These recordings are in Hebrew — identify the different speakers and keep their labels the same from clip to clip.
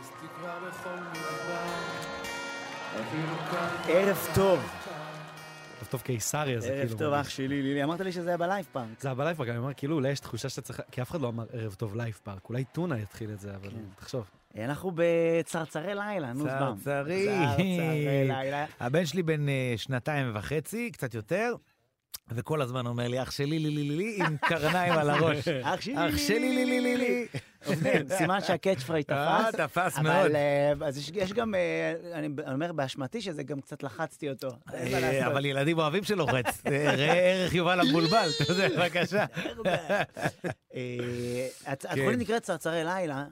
Speaker 1: אז תקרא בכל מדבר, אפילו כאן.
Speaker 2: ערב טוב,
Speaker 3: ערב טוב קיסריה זה כאילו.
Speaker 2: ערב טוב
Speaker 3: מרגיש.
Speaker 2: אח שלי, לילי. אמרת לי שזה היה בלייב פעם.
Speaker 3: זה היה בלייב פארק, אני אומר, כאילו, אולי יש תחושה שאתה צריך... כי אף אחד לא אמר ערב טוב לייב פארק, אולי טונה יתחיל את זה, אבל תחשוב.
Speaker 2: כן. אנחנו בצרצרי לילה, נו זבם.
Speaker 4: צרצרי.
Speaker 2: צרצרי לילה.
Speaker 4: הבן שלי בן אה, שנתיים וחצי, קצת יותר, וכל הזמן אומר לי, אח שלי, לי, לי, לי, לי, עם קרניים על הראש.
Speaker 2: אח שלי,
Speaker 4: אח שלי, לי, לי, לי, לי.
Speaker 2: אוקיי, סימן שהקאץ' פרייד
Speaker 4: אה,
Speaker 2: תפס.
Speaker 4: תפס מאוד.
Speaker 2: אבל אה, אז יש- יש גם, אה, אני ב- אני אומר באשמתי שזה גם קצת לחצתי אותו. אין מה
Speaker 4: אה,
Speaker 2: לעשות.
Speaker 4: אבל ילדים אוהבים שלוחץ. אה, ראה ערך יובל המבולבל, אתה יודע, בבקשה. כן.
Speaker 2: אה, הצ- התוכנית נקראת צרצרי לילה.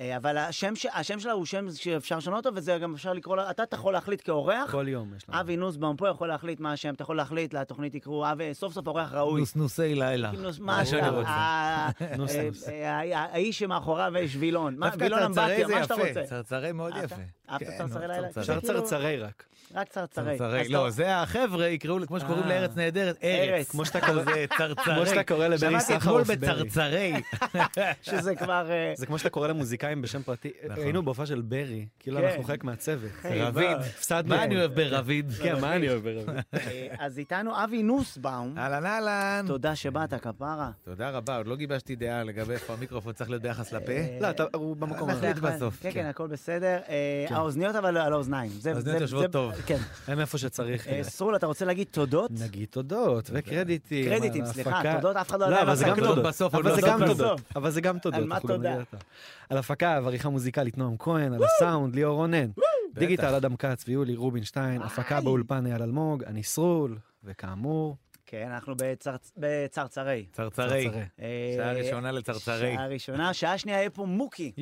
Speaker 2: אה, אבל השם, ש... השם שלה הוא שם שאפשר לשנות אותו, וזה גם אפשר לקרוא לה, אתה אתה יכול להחליט כאורח,
Speaker 3: כל יום יש לנו.
Speaker 2: אבי נוסבאום פה יכול להחליט מה השם, אתה יכול להחליט, לתוכנית יקראו אבי, סוף סוף אורח ראוי.
Speaker 4: נוסנוסי לילה.
Speaker 2: כאילו, מה
Speaker 4: אה, מה שאני
Speaker 2: השם,
Speaker 4: רוצה.
Speaker 2: ה-
Speaker 3: נוס,
Speaker 2: אה,
Speaker 3: נוס.
Speaker 2: אה, ה- האיש שמאחוריו יש וילון, מה,
Speaker 4: דווקא
Speaker 2: וילון
Speaker 4: צרצרי
Speaker 2: אמבטיה,
Speaker 4: זה
Speaker 2: מה שאתה
Speaker 4: יפה,
Speaker 2: רוצה.
Speaker 4: צרצרי מאוד
Speaker 2: אהבת?
Speaker 4: יפה.
Speaker 2: אהבת
Speaker 4: כן,
Speaker 2: אה, צרצרי
Speaker 4: נו,
Speaker 2: לילה?
Speaker 3: אפשר
Speaker 2: כאילו-
Speaker 3: צרצרי רק.
Speaker 2: רק צרצרי. אז
Speaker 4: צרצרי,
Speaker 2: אתה-
Speaker 4: לא, זה החבר'ה יקראו, לי, כמו שקוראים
Speaker 3: אה.
Speaker 4: לארץ נהדרת,
Speaker 2: ארץ.
Speaker 4: ארץ.
Speaker 3: כמו שאתה
Speaker 4: קורא, זה צרצרי.
Speaker 3: כמו שאתה קורא לברי
Speaker 4: שמעתי אתמול
Speaker 3: סחרוף, ברי.
Speaker 4: בצרצרי.
Speaker 2: שזה כבר... אה,
Speaker 3: זה כמו שאתה קורא למוזיקאים בשם פרטי.
Speaker 4: נכון.
Speaker 3: היינו בהופעה של ברי, כאילו
Speaker 2: כן.
Speaker 3: אנחנו חלק מהצוות.
Speaker 4: רביד.
Speaker 3: הפסדנו.
Speaker 4: מה אני אוהב ברביד?
Speaker 3: כן, מה אני אוהב ברביד?
Speaker 2: אה, אז איתנו אבי נוסבאום,
Speaker 4: אהלן אהלן.
Speaker 2: תודה שבאת, כפרה.
Speaker 4: תודה רבה, עוד לא גיבשתי דעה לגבי איפה המיקרופון צריך להיות ביחס לפה.
Speaker 3: לא, אתה- הוא במקום
Speaker 4: אנחנו-
Speaker 3: הזה.
Speaker 4: נחליט בסוף,
Speaker 2: כן,
Speaker 4: כן.
Speaker 2: כן, הכל בסדר. אה, האוזניות אבל על האוזניים. זה-
Speaker 4: האוזניות
Speaker 2: זה-
Speaker 4: יושבות
Speaker 2: זה-
Speaker 4: טוב.
Speaker 2: כן.
Speaker 3: הם איפה שצריך.
Speaker 2: אה, סרול, אתה רוצה להגיד תודות?
Speaker 3: נגיד תודות וקרדיטים.
Speaker 2: קרדיטים,
Speaker 3: על
Speaker 2: סליחה,
Speaker 3: ההפקה.
Speaker 2: תודות, אף אחד לא
Speaker 3: לא,
Speaker 2: יודע
Speaker 3: אבל זה
Speaker 2: מה
Speaker 3: גם
Speaker 2: זה.
Speaker 3: תודות.
Speaker 4: בסוף, עוד
Speaker 3: אבל זה
Speaker 4: בסוף,
Speaker 3: גם
Speaker 2: בסוף. לא
Speaker 3: תודות. אבל זה גם תודות.
Speaker 2: על מה
Speaker 3: אנחנו גם
Speaker 2: תודה?
Speaker 3: נגיד אותה. על הפקה ועריכה מוזיקלית, נועם כהן, על הסאונד, ליאור רונן. דיגיטל, אדם כץ ויולי רובינשטיין. הפקה באולפן אייל אלמוג, אני סרול, וכאמור,
Speaker 2: כן, אנחנו בצרצ- בצרצרי.
Speaker 4: צרצרי.
Speaker 3: צרצרי.
Speaker 2: אה,
Speaker 4: שעה ראשונה לצרצרי.
Speaker 2: שעה ראשונה, שעה שנייה יהיה פה מוקי.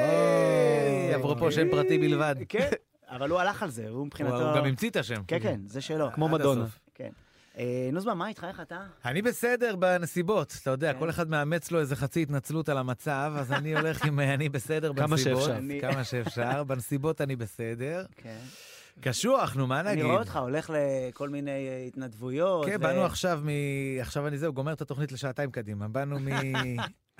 Speaker 4: ייי! כן. אפרופו שם פרטי בלבד.
Speaker 2: אה, כן, אבל הוא הלך על זה, הוא
Speaker 4: הוא
Speaker 2: מבחינתו...
Speaker 4: הוא גם המציא את השם.
Speaker 2: כן, כן, זה שלו.
Speaker 3: כמו
Speaker 4: עד
Speaker 3: מדונה.
Speaker 4: הסוף.
Speaker 2: כן. אה, נוזמן, מה איתך? איך אתה?
Speaker 4: אני בסדר בנסיבות, אתה יודע, כל אחד מאמץ לו איזה חצי התנצלות על המצב, אז אני הולך עם אה, אני בסדר
Speaker 3: כמה
Speaker 4: בנסיבות.
Speaker 3: שאפשר.
Speaker 2: אני-
Speaker 4: כמה שאפשר. בנסיבות אני בסדר.
Speaker 2: כן.
Speaker 4: קשוח, נו, מה
Speaker 2: אני
Speaker 4: נגיד?
Speaker 2: רואה אותך הולך לכל מיני אה, התנדבויות.
Speaker 4: כן,
Speaker 2: ו-
Speaker 4: באנו עכשיו מ... עכשיו אני זהו, גומר את התוכנית לשעתיים קדימה. באנו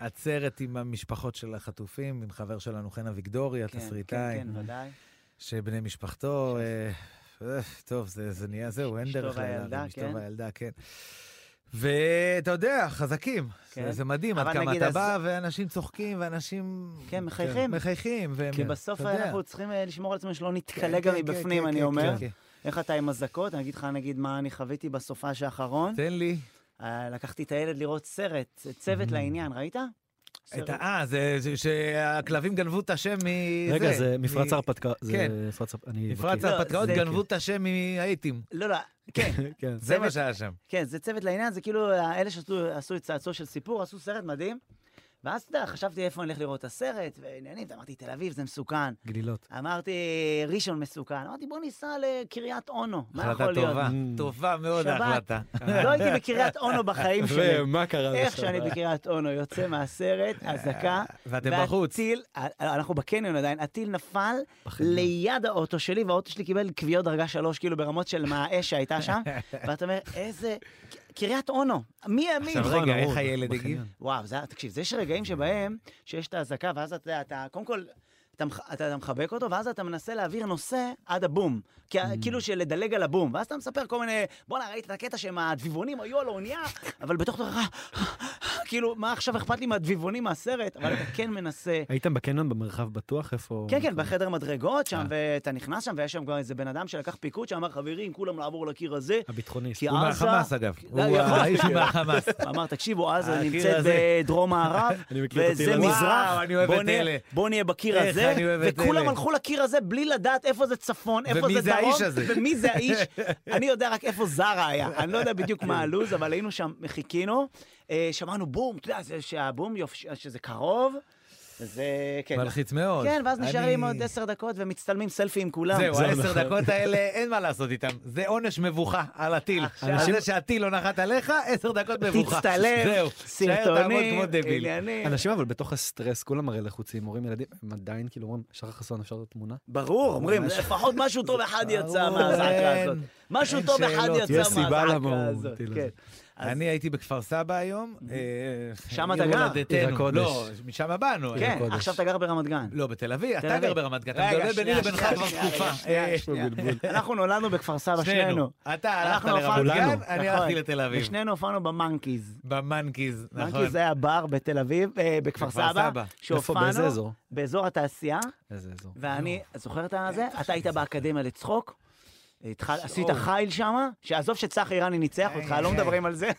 Speaker 4: מעצרת עם המשפחות של החטופים, עם חבר שלנו חן אביגדורי,
Speaker 2: כן,
Speaker 4: התסריטאי,
Speaker 2: כן, כן, ודאי.
Speaker 4: שבני משפחתו... אה, אה, טוב, זה זה נהיה זהו, אין
Speaker 2: אשתו
Speaker 4: דרך
Speaker 2: והילדה,
Speaker 4: להרים, אשתו
Speaker 2: כן.
Speaker 4: והילדה, כן. ואתה יודע, חזקים.
Speaker 2: כן.
Speaker 4: זה- זה מדהים עד
Speaker 2: אבל
Speaker 4: כמה
Speaker 2: נגיד,
Speaker 4: אתה
Speaker 2: אז-
Speaker 4: בא, ואנשים צוחקים, ואנשים...
Speaker 2: כן, מחייכים.
Speaker 4: מחייכים, והם-
Speaker 2: כי בסוף
Speaker 4: אתה יודע.
Speaker 2: אנחנו צריכים אה, לשמור על עצמנו שלא
Speaker 4: כן,
Speaker 2: נתקלה
Speaker 4: כן,
Speaker 2: גם
Speaker 4: כן,
Speaker 2: מבפנים,
Speaker 4: כן,
Speaker 2: אני
Speaker 4: כן,
Speaker 2: אומר.
Speaker 4: כן.
Speaker 2: איך אתה עם אזעקות? אני אגיד לך, נגיד, מה אני חוויתי בסופש האחרון.
Speaker 4: תן לי.
Speaker 2: אה, לקחתי את הילד לראות סרט, צוות לעניין, ראית?
Speaker 4: את
Speaker 2: סרט.
Speaker 4: ה... אה, זה זה- שהכלבים גנבו את השם מ...
Speaker 3: רגע, זה
Speaker 4: מ-
Speaker 3: מפרץ הרפתקה. זה
Speaker 4: כן.
Speaker 3: מפרץ הרפ- אני
Speaker 4: מפרץ
Speaker 3: מכיר.
Speaker 2: לא,
Speaker 4: ההרפתקאות
Speaker 2: זה-
Speaker 4: גנבו את השם מהאיטים.
Speaker 2: לא, לא, כן,
Speaker 3: כן.
Speaker 4: זה מה
Speaker 2: צוות-
Speaker 4: שהיה שם.
Speaker 2: כן, זה צוות לעניין, זה כאילו אלה שעשו עשו את צעצוע של סיפור, עשו סרט מדהים. ואז, אתה יודע, חשבתי איפה אני הולך לראות את הסרט, ועניינים, אמרתי, תל אביב זה מסוכן.
Speaker 3: גלילות.
Speaker 2: אמרתי, ראשון מסוכן. אמרתי, בוא ניסע לקריית אונו, מה
Speaker 4: החלטה
Speaker 2: יכול להיות?
Speaker 4: טובה. טובה מאוד
Speaker 2: שבת.
Speaker 4: ההחלטה.
Speaker 2: לא הייתי בקריית אונו בחיים שלי.
Speaker 3: ומה קרה
Speaker 2: איך שאני בקריית אונו יוצא מהסרט, אזעקה.
Speaker 4: אה, ואתם בחוץ.
Speaker 2: והטיל, אה, אנחנו בקניון עדיין, הטיל נפל
Speaker 3: בחניון.
Speaker 2: ליד האוטו שלי, והאוטו שלי קיבל כוויות דרגה שלוש, כאילו ברמות של מהאש שהייתה שם. ואתה אומר, איזה... קריית אונו, מי יאמין?
Speaker 4: עכשיו
Speaker 3: נכון,
Speaker 4: רגע, איך
Speaker 3: ברור,
Speaker 4: הילד
Speaker 3: בחניון.
Speaker 4: הגיב?
Speaker 2: וואו, זה, היה- תקשיב, זה יש רגעים שבהם שיש את האזעקה, ואז אתה יודע, אתה, קודם כל, אתה, מח- אתה, אתה מחבק אותו, ואז אתה מנסה להעביר נושא עד הבום. כי, ה-
Speaker 3: Mm.
Speaker 2: כאילו שלדלג על הבום, ואז אתה מספר כל מיני, בואנה, ראית את הקטע שהם הדביבונים היו על האונייה, אבל בתוך תוכך, כאילו, מה עכשיו אכפת לי מהדביבונים מהסרט? אבל אתה כן מנסה.
Speaker 3: הייתם בקניון במרחב בטוח? איפה...
Speaker 2: כן, כן, בחדר מדרגות
Speaker 3: אה.
Speaker 2: שם, ואתה נכנס שם, ויש שם כבר איזה בן אדם שלקח פיקוד, שאמר, חברים, כולם לעבור לקיר הזה.
Speaker 3: הביטחוניסט.
Speaker 2: כי
Speaker 4: הוא
Speaker 2: עזה...
Speaker 4: מהחמאס אגב.
Speaker 2: לא,
Speaker 4: הוא
Speaker 2: יכול.
Speaker 4: האיש הוא מהחמאס.
Speaker 2: אמר, תקשיבו, עזה
Speaker 4: הקיר
Speaker 2: נמצאת
Speaker 4: הזה.
Speaker 2: בדרום מערב,
Speaker 3: אני מכיר את הטיל
Speaker 2: וזה
Speaker 3: הזה.
Speaker 2: מזרח,
Speaker 4: וואו, אני אוהב
Speaker 2: בוא
Speaker 4: את
Speaker 2: נהיה-
Speaker 4: אלה.
Speaker 2: בוא נהיה בקיר
Speaker 4: איך
Speaker 2: הזה,
Speaker 4: אני אוהב את
Speaker 2: וכולם
Speaker 4: אלה.
Speaker 2: הלכו לקיר הזה בלי לדעת איפה זה צפון, איפה
Speaker 4: ומי
Speaker 2: זה
Speaker 4: זה
Speaker 2: דרום,
Speaker 4: האיש הזה?
Speaker 2: ומי זה האיש. אני יודע רק איפה זרה היה, אני לא יודע בדיוק
Speaker 4: כן.
Speaker 2: מה הלו"ז, אבל היינו שם, חיכינו, אה, שמענו בום, אתה יודע, זה שהבום, יופי, שזה
Speaker 4: כן,
Speaker 2: קרוב, זה, כן.
Speaker 4: מלחיץ מאוד.
Speaker 2: כן, ואז
Speaker 4: אני-
Speaker 2: נשארים עוד עשר דקות ומצטלמים סלפי עם כולם.
Speaker 4: זהו,
Speaker 3: זה
Speaker 4: העשר
Speaker 2: לא.
Speaker 3: נכון.
Speaker 4: דקות האלה, אין מה לעשות איתם. זה עונש מבוכה על הטיל. על
Speaker 2: אנשים-
Speaker 4: זה שהטיל לא נחת עליך, עשר דקות מבוכה.
Speaker 2: תצטלם,
Speaker 4: זהו, תישאר תעמוד
Speaker 2: סרטונים,
Speaker 4: כמו דביל.
Speaker 2: עניינים.
Speaker 3: אנשים אבל בתוך הסטרס, כולם הרי לחוצים, הורים ילדים, הם עדיין כאילו אומרים, שחר חסון אפשר לראות תמונה?
Speaker 2: ברור, אומרים, לפחות משהו טוב אחד יצא
Speaker 4: ברור,
Speaker 2: מהזעקה
Speaker 4: אין-
Speaker 2: הזאת. משהו
Speaker 4: אין
Speaker 2: טוב אחד
Speaker 4: שאלות.
Speaker 3: יש
Speaker 2: יצא
Speaker 3: סיבה למה
Speaker 2: מהזעקה
Speaker 3: הוא
Speaker 2: הזאת,
Speaker 3: מטיל את
Speaker 2: כן.
Speaker 3: זה.
Speaker 2: אז-
Speaker 4: אני הייתי בכפר סבא היום. אה,
Speaker 2: שם
Speaker 4: עיר
Speaker 2: אתה גר?
Speaker 4: הולדתנו.
Speaker 3: עיר הקודש.
Speaker 4: לא, משם באנו.
Speaker 2: כן,
Speaker 4: אה,
Speaker 2: עכשיו אתה גר ברמת גן.
Speaker 4: לא, בתל אביב,
Speaker 2: תל
Speaker 4: אתה
Speaker 2: אביב.
Speaker 4: גר ברמת גן, אתה
Speaker 2: רגע,
Speaker 4: מדבר ביני
Speaker 2: שנייה,
Speaker 4: לבינך
Speaker 2: שנייה,
Speaker 4: כבר
Speaker 2: שנייה,
Speaker 4: תקופה.
Speaker 2: רגע, שנייה,
Speaker 4: אה,
Speaker 2: שנייה. אנחנו נולדנו בכפר סבא, שנינו.
Speaker 4: אתה הלכת
Speaker 2: אנחנו
Speaker 4: לרמת
Speaker 2: הופענו-
Speaker 4: גן,
Speaker 2: נכון.
Speaker 4: אני הלכתי לתל אביב.
Speaker 2: ושנינו הופענו במאנקיז.
Speaker 4: במאנקיז, נכון.
Speaker 2: מאנקיז היה בר בתל אביב, אה, בכפר
Speaker 4: בכפר
Speaker 2: סבא,
Speaker 4: סבא. איפה?
Speaker 2: שהופענו
Speaker 3: באיזה אזור?
Speaker 2: באזור התעשייה,
Speaker 3: איזה אזור.
Speaker 2: ואני
Speaker 4: לא.
Speaker 2: זוכר את הזה, אתה היית באקדמיה לצחוק, התחל- עשית חיל שם, שעזוב שצחי איראני ניצח אותך,
Speaker 4: כן.
Speaker 2: לא מדברים על זה.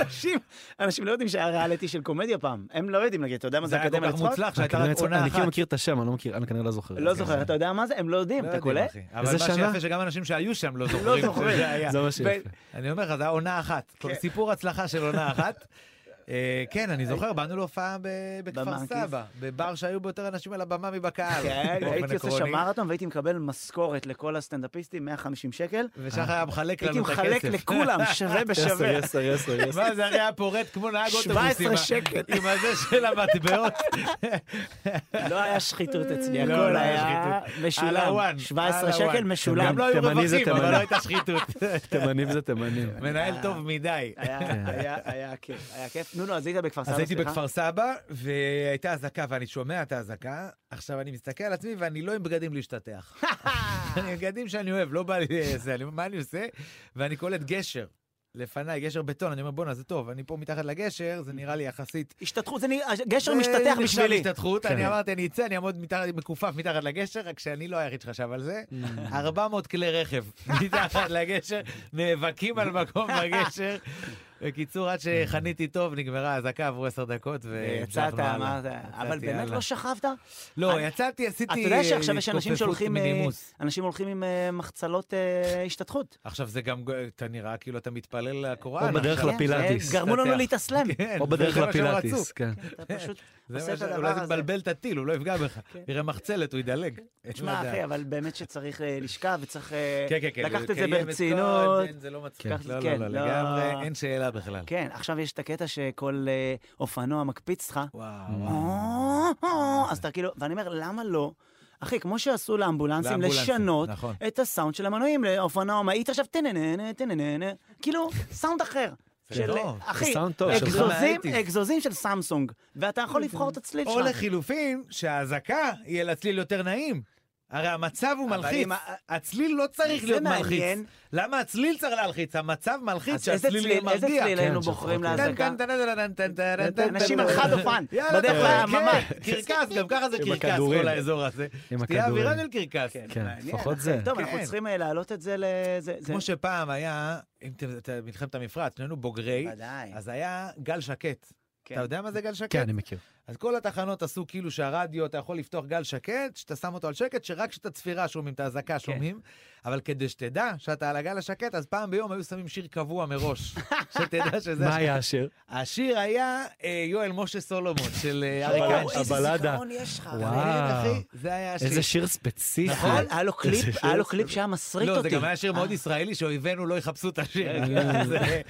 Speaker 2: אנשים- אנשים לא יודעים שהיה ריאליטי של קומדיה פעם, הם לא יודעים נגיד, אתה יודע מה
Speaker 4: זה
Speaker 2: זה
Speaker 4: היה כל
Speaker 2: אקדמיה
Speaker 4: כך
Speaker 2: לצחוק?
Speaker 4: מוצלח שהייתה
Speaker 3: אני
Speaker 4: רק
Speaker 3: כאילו-
Speaker 4: עונה
Speaker 3: אני
Speaker 4: אחת.
Speaker 3: כאילו מכיר את השם, אני לא מכיר, אני כנראה לא זוכר.
Speaker 2: לא
Speaker 3: כן.
Speaker 2: זוכר, אתה יודע מה זה? הם לא יודעים,
Speaker 4: לא
Speaker 2: אתה
Speaker 4: יודעים,
Speaker 2: קולט?
Speaker 4: אחי. אבל
Speaker 3: איזה
Speaker 4: מה
Speaker 3: שנה?
Speaker 4: שיפה שגם אנשים שהיו שם לא
Speaker 2: לא
Speaker 4: זוכרים
Speaker 2: זוכרים.
Speaker 4: שזה היה.
Speaker 3: זה מה שיפה.
Speaker 4: אני אומר לך, זה היה עונה אחת. כבר
Speaker 2: כן.
Speaker 4: סיפור הצלחה של עונה אחת. אה, כן, אני זוכר, באנו להופעה ב- בכפר
Speaker 2: במאנקיז.
Speaker 4: סבא, בבר שהיו בו יותר אנשים על הבמה מבקהל.
Speaker 2: כן,
Speaker 4: באופן
Speaker 2: הייתי עושה
Speaker 4: עקרוני.
Speaker 2: שם מרתון והייתי מקבל משכורת לכל הסטנדאפיסטים, 150 שקל.
Speaker 4: ושחר היה מחלק
Speaker 2: הייתי
Speaker 4: לנו את הכסף.
Speaker 2: מחלק לכולם, שווה
Speaker 3: יסר,
Speaker 2: בשווה.
Speaker 3: יסר, יסר, יסר.
Speaker 4: מה זה, הרי היה פורט כמו נהג אוטובוס.
Speaker 2: 17
Speaker 4: עם ה-
Speaker 2: שקל.
Speaker 4: עם הזה של המטבעות.
Speaker 2: לא היה שחיתות אצלי,
Speaker 4: לא,
Speaker 2: הכל
Speaker 4: לא היה
Speaker 2: היה
Speaker 4: על
Speaker 2: משולם.
Speaker 4: הוואן,
Speaker 2: 17
Speaker 4: על
Speaker 2: שקל
Speaker 4: הוואן.
Speaker 2: משולם.
Speaker 4: גם לא היו
Speaker 3: תימני זה
Speaker 4: רווחים, אבל
Speaker 3: תימני.
Speaker 4: לא הייתה שחיתות.
Speaker 3: תימנים זה תימנים.
Speaker 4: מנהל טוב מדי.
Speaker 2: היה- היה היה כיף, היה כיף. נו, נו, אז היית בכפר סבא,
Speaker 4: אז
Speaker 2: סליחה.
Speaker 4: הייתי בכפר סבא, והייתה אזעקה, ואני שומע את האזעקה. עכשיו אני מסתכל על עצמי, ואני לא עם בגדים להשתטח. אני עם בגדים שאני אוהב, לא בא לי... זה, אני- מה אני עושה? ואני קולט גשר. לפניי, גשר בטון, אני אומר, בואנה, זה טוב, אני פה מתחת לגשר, זה נראה לי יחסית...
Speaker 2: השתתחות, זה נראה, גשר
Speaker 4: זה
Speaker 2: משתתח
Speaker 4: נחשב
Speaker 2: בשבילי.
Speaker 4: השתתחות,
Speaker 3: כן.
Speaker 4: אני אמרתי, אני אצא, אני אעמוד מתחת- מכופף מתחת לגשר, רק שאני לא היחיד שחשב על
Speaker 2: Mm.
Speaker 4: זה. 400 כלי רכב מתחת לגשר, נאבקים על מקום בגשר. בקיצור, עד שחניתי טוב, נגמרה האזעקה, עברו עשר דקות,
Speaker 2: אה, יצאת,
Speaker 4: והמשכנו הלאה.
Speaker 2: אמרת,
Speaker 4: יצאתי,
Speaker 2: אבל באמת
Speaker 4: יאללה.
Speaker 2: לא שכבת?
Speaker 4: לא,
Speaker 2: אני-
Speaker 4: יצאתי, עשיתי...
Speaker 2: אתה יודע שעכשיו יש אנשים
Speaker 4: התכופפות
Speaker 2: שהולכים, אה,
Speaker 4: מנימוס.
Speaker 2: אנשים הולכים עם אה, מחצלות אה, השתתחות.
Speaker 4: עכשיו זה גם, אתה נראה כאילו אתה מתפלל לקוראן.
Speaker 3: או בדרך
Speaker 4: עכשיו.
Speaker 2: כן,
Speaker 3: לפילאטיס.
Speaker 2: זה גרמו לנו
Speaker 4: משתתח.
Speaker 2: להתאסלם.
Speaker 4: כן,
Speaker 3: או
Speaker 4: זה
Speaker 3: בדרך
Speaker 4: מה שהם
Speaker 3: לפילאטיס,
Speaker 4: רצו.
Speaker 3: כן.
Speaker 2: אתה פשוט
Speaker 4: זה
Speaker 2: עושה
Speaker 4: מה
Speaker 2: את
Speaker 4: ש-
Speaker 2: הדבר
Speaker 4: אולי
Speaker 2: הזה.
Speaker 4: זה מבלבל את הטיל, הוא לא יפגע בך. יראה מחצלת, הוא ידלג. אין מה
Speaker 2: תשמע,
Speaker 4: לדעת.
Speaker 2: כן. אחי, אבל באמת שצריך אה, לשכב וצריך אה,
Speaker 4: כן, כן, כן.
Speaker 2: לקחת את זה
Speaker 4: לקיים כל-
Speaker 2: ברצינות.
Speaker 4: אין, זה לא מצחיק.
Speaker 2: כן.
Speaker 4: לא,
Speaker 2: כן,
Speaker 4: לא, לא,
Speaker 2: לא.
Speaker 4: לגמרי, אין שאלה בכלל.
Speaker 2: כן, עכשיו יש את הקטע שכל אה, אופנוע מקפיץ לך.
Speaker 4: וואו,
Speaker 2: אז אתה כאילו, ואני אומר, למה לא? אחי, כמו שעשו לאמבולנסים,
Speaker 4: לאמבולנסים,
Speaker 2: לשנות
Speaker 4: נכון.
Speaker 2: את הסאונד של המנועים לאופנוע מאית עכשיו טנננה, טנננה, כאילו, סאונד אחר.
Speaker 4: זה
Speaker 2: של, אה,
Speaker 4: טוב.
Speaker 2: אחי,
Speaker 3: לא, סאונד טוב, של
Speaker 2: אגזוזים,
Speaker 4: מהאייטיז.
Speaker 2: אגזוזים של סמסונג, ואתה יכול לבחור את הצליל
Speaker 4: או
Speaker 2: שלך.
Speaker 4: לחילופין, שהאזעקה יהיה לצליל יותר נעים. הרי המצב הוא
Speaker 2: אבל
Speaker 4: מלחיץ,
Speaker 2: אם ה-
Speaker 4: הצליל לא צריך
Speaker 2: זה
Speaker 4: להיות מלחיץ.
Speaker 2: מעניין.
Speaker 4: למה הצליל צריך להלחיץ? המצב מלחיץ
Speaker 2: אז איזה
Speaker 4: שהצליל יהיה
Speaker 2: צליל, איזה
Speaker 4: מרגיע.
Speaker 2: צליל
Speaker 3: כן,
Speaker 2: היינו
Speaker 3: של
Speaker 2: בוחרים
Speaker 3: פרוק.
Speaker 2: להזעקה?
Speaker 4: טן, טן, טן, טן, טן, טן, טן,
Speaker 2: אנשים
Speaker 4: טן,
Speaker 2: על חד
Speaker 4: טן.
Speaker 2: אופן,
Speaker 4: יאללה,
Speaker 2: בדרך
Speaker 4: אתה רואה,
Speaker 2: ליממה.
Speaker 4: כן, קרקס, גם ככה זה
Speaker 3: עם
Speaker 4: קרקס,
Speaker 3: הכדורים.
Speaker 4: כל האזור הזה.
Speaker 3: עם
Speaker 4: תהיה
Speaker 3: הכדורים.
Speaker 4: אווירה של קרקס.
Speaker 3: כן,
Speaker 2: מעניין,
Speaker 3: לפחות
Speaker 2: אחי.
Speaker 3: זה.
Speaker 2: טוב, אנחנו
Speaker 4: כן.
Speaker 2: צריכים אה, להעלות את זה לזה. זה-
Speaker 4: כמו שפעם היה, אם אתם- אתה- מלחמת המפרץ, שנינו בוגרי,
Speaker 2: ודאי.
Speaker 4: אז היה גל שקט.
Speaker 2: כן.
Speaker 4: אתה יודע מה זה גל שקט?
Speaker 3: כן, אני מכיר.
Speaker 4: אז כל התחנות עשו כאילו שהרדיו, אתה יכול לפתוח גל שקט, שאתה שם אותו על שקט, שרק כשאת הצפירה שומעים, את האזעקה שומעים, אבל כדי שתדע שאתה על הגל השקט, אז פעם ביום היו שמים שיר קבוע מראש, שתדע שזה...
Speaker 3: מה
Speaker 4: השיר.
Speaker 3: היה השיר?
Speaker 4: השיר היה אה, יואל משה סולומון של אה,
Speaker 2: וואו,
Speaker 4: אריק איינשטיין.
Speaker 2: איזה
Speaker 3: הבלדה.
Speaker 2: זיכרון יש לך.
Speaker 3: וואו.
Speaker 4: כן, אחי, זה היה השיר.
Speaker 3: איזה שיר ספציפי.
Speaker 4: נכון.
Speaker 2: היה לו קליפ, היה לו קליפ שהיה מסריט
Speaker 4: לא,
Speaker 2: אותי. אה.
Speaker 4: זה גם היה שיר מאוד ישראלי, שאויבינו לא יחפשו את השיר. אז, אה,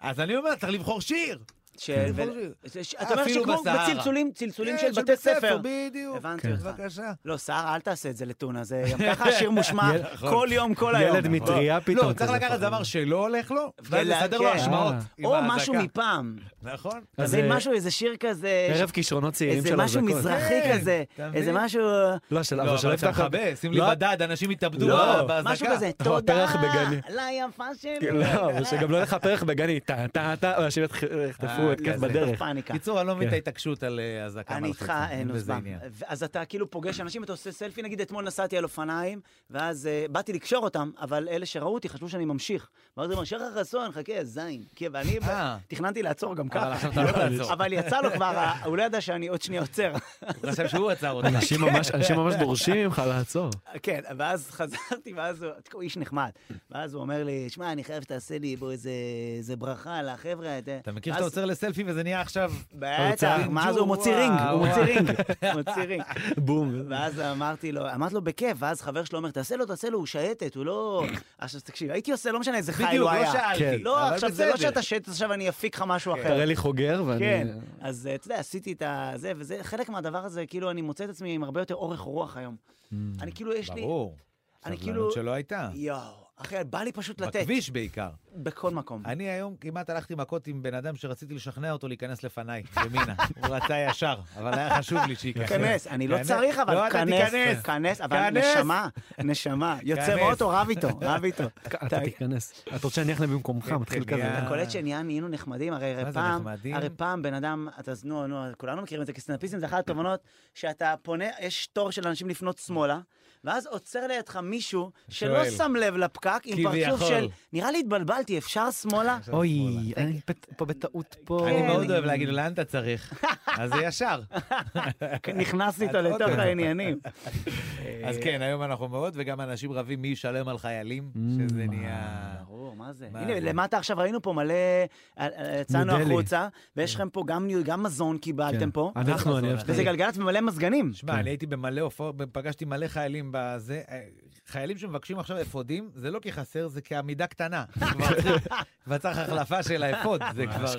Speaker 4: אז אני אומר, צריך לבחור שיר.
Speaker 2: של...
Speaker 4: כן.
Speaker 2: ו- ש- ש- אתה אומר
Speaker 4: אפילו
Speaker 2: שכמו
Speaker 4: בסהרה.
Speaker 2: בצלצולים, צלצולים
Speaker 4: כן,
Speaker 2: של בתי
Speaker 4: בית
Speaker 2: ספר.
Speaker 4: בדיוק.
Speaker 2: הבנתי
Speaker 4: כן.
Speaker 2: אותך.
Speaker 4: בבקשה.
Speaker 2: לא, שרה, אל תעשה את זה לטונה, זה גם ככה השיר מושמע
Speaker 4: נכון.
Speaker 2: כל יום, כל היום.
Speaker 3: ילד מטריה פתאום.
Speaker 4: לא, צריך
Speaker 3: כזה.
Speaker 4: לקחת זמר שלא הולך לא. לו, ואז
Speaker 2: ולה-
Speaker 4: לסדר לו
Speaker 2: כן.
Speaker 4: השמעות.
Speaker 3: אה.
Speaker 4: עם
Speaker 2: או
Speaker 4: האזעקה.
Speaker 2: משהו מפעם.
Speaker 4: נכון.
Speaker 2: אתה
Speaker 3: אז,
Speaker 2: מבין,
Speaker 3: אה,
Speaker 2: משהו, איזה שיר כזה...
Speaker 3: ערב כישרונות צעירים
Speaker 2: איזה
Speaker 3: של
Speaker 2: משהו
Speaker 3: אזעקות.
Speaker 2: מזרחי
Speaker 4: כן,
Speaker 2: כזה,
Speaker 4: אתה מבין?
Speaker 2: איזה משהו...
Speaker 3: לא, של
Speaker 4: לא,
Speaker 3: אבל שלא
Speaker 4: אבל אתה
Speaker 3: יפתח...
Speaker 4: מכבה, שים לי
Speaker 3: לא,
Speaker 4: בדד, אנשים יתאבדו
Speaker 2: לא,
Speaker 4: ב- בהזעקה.
Speaker 2: משהו כזה,
Speaker 3: או
Speaker 2: תודה,
Speaker 3: פרח בגני.
Speaker 2: ליפה אה, שלי.
Speaker 4: כן,
Speaker 3: לא, אבל שגם לא יהיה לך פרח בגני, טה טה טה, או אנשים יתח- יחטפו
Speaker 4: אה,
Speaker 3: התקף
Speaker 4: כזה.
Speaker 3: בדרך.
Speaker 2: פאניקה.
Speaker 4: קיצור, אני לא מבין את
Speaker 3: כן.
Speaker 4: ההתעקשות על אה, אזעקה
Speaker 2: אני
Speaker 4: מלחיצה.
Speaker 2: איתך, אה,
Speaker 4: אין בזה
Speaker 2: נוסבן.
Speaker 4: עניין.
Speaker 2: אז אתה כאילו פוגש אנשים, אתה עושה סלפי, נגיד אתמול נסעתי על אופניים, ואז אה, באתי לקשור אותם, אבל אלה שראו אותי חשבו שאני ממשיך. ואז הוא אמר, שחר חסון, חכה, זין. כי- ואני ב-
Speaker 4: אה.
Speaker 2: תכננתי לעצור גם
Speaker 4: אבל
Speaker 2: ככה.
Speaker 4: עכשיו אתה לא תעצור.
Speaker 2: אבל יצא לו כבר, ה- הוא לא ידע שאני עוד שנייה עוצר.
Speaker 4: הוא חשב שהוא עצר כן. אותך.
Speaker 3: אנשים ממש- אנשים ממש דורשים ממך לעצור.
Speaker 2: כן, ואז חזרתי, ואז הוא, הוא איש נחמד. ואז הוא אומר לי, שמע, אני חייב שתעשה לי בו איזה, איזה ברכה לחבר'ה.
Speaker 4: אתה מכיר שאתה עוצר לסלפי וזה נהיה עכשיו...
Speaker 2: בטח, מה זה, הוא מוציא רינג,
Speaker 4: וואו,
Speaker 2: הוא
Speaker 4: וואו.
Speaker 2: מוציא רינג, כאילו, הוא מוציא רינג.
Speaker 3: בום.
Speaker 2: ואז אמרתי לו, אמרתי לו בכיף, ואז חבר שלו אומר, תעשה לו, תעשה לו, הוא שייטת, הוא לא... עכשיו תקשיב, הייתי עושה, לא משנה איזה חי
Speaker 4: בדיוק,
Speaker 2: הוא
Speaker 4: לא
Speaker 2: היה.
Speaker 3: כן.
Speaker 4: שאלתי.
Speaker 2: לא,
Speaker 4: אבל
Speaker 2: עכשיו זה לא
Speaker 4: בסדר. כן.
Speaker 2: שאתה שייטת, עכשיו אני אפיק לך משהו אחר.
Speaker 3: תראה לי חוגר ואני...
Speaker 2: כן, אז אה, אתה יודע, עשיתי את הזה, וזה חלק מהדבר הזה, כאילו, אני מוצא את עצמי עם הרבה יותר אורך רוח היום. אני כאילו, יש לי...
Speaker 4: Mm. ברור.
Speaker 2: אני
Speaker 4: סבלנות
Speaker 2: כאילו...
Speaker 4: שלא הייתה.
Speaker 2: יואו, אחי, בא לי פשוט לתת.
Speaker 4: בכביש בעיקר.
Speaker 2: בכל מקום.
Speaker 4: אני היום כמעט הלכתי מכות עם בן אדם שרציתי לשכנע אותו להיכנס לפניי, ימינה. הוא רצה ישר, אבל היה חשוב לי שייכנס.
Speaker 2: כנס, אני לא
Speaker 4: כנס.
Speaker 2: צריך,
Speaker 4: לא,
Speaker 2: אבל
Speaker 4: אתה
Speaker 2: כנס,
Speaker 4: תיכנס.
Speaker 2: כנס, אבל
Speaker 4: כנס.
Speaker 2: נשמה, נשמה, יוצא
Speaker 4: כנס.
Speaker 2: מאוטו, רב איתו, רב איתו.
Speaker 3: אתה תיכנס. אתה רוצה שאני אכנס במקומך, מתחיל
Speaker 4: כן,
Speaker 3: כזה.
Speaker 4: כן.
Speaker 2: אתה קולט שנהיה נהיינו נחמדים, הרי הרי
Speaker 4: מה זה
Speaker 2: פעם,
Speaker 4: נחמדים?
Speaker 2: הרי פעם בן אדם, אתה אז נו, נו, כולנו מכירים את זה כסטנדאפיסטים, זה אחת התובנות, שאתה פונה, יש תור של אנשים לפנות שמאלה, ואז עוצר לידך מישהו שלא
Speaker 4: שואל.
Speaker 2: שם לב לפקק, עם
Speaker 4: כביכול.
Speaker 2: פרצוף של, נראה לי התבלבלתי, אפשר שמאלה?
Speaker 3: אוי, אני פת- פה בטעות פה.
Speaker 4: אני לא
Speaker 2: כן.
Speaker 4: מאוד אוהב להגיד לו, לאן אתה צריך? אז זה ישר.
Speaker 2: נכנס איתו
Speaker 4: עוד
Speaker 2: לתוך
Speaker 4: פעם.
Speaker 2: העניינים.
Speaker 4: אז כן, היום אנחנו מאוד, וגם אנשים רבים מי ישלם על חיילים, שזה נהיה...
Speaker 2: Mm, ברור, מה זה?
Speaker 4: מה
Speaker 2: הנה,
Speaker 4: זה?
Speaker 2: למטה עכשיו ראינו פה מלא, אה, אה, יצאנו
Speaker 3: נודלי.
Speaker 2: החוצה, ויש
Speaker 4: כן.
Speaker 2: לכם פה גם ניו- גם מזון קיבלתם
Speaker 3: כן.
Speaker 2: פה,
Speaker 3: אנחנו, אני אוהב שאתה...
Speaker 2: וזה גלגלצ ומלא מזגנים.
Speaker 4: שמע, אני הייתי במלא הופעות, פגשתי מלא חיילים בזה, אה, חיילים שמבקשים עכשיו אפודים, זה לא כי חסר, זה כעמידה קטנה. כבר צריך- כבר צריך החלפה של האפוד, זה כבר...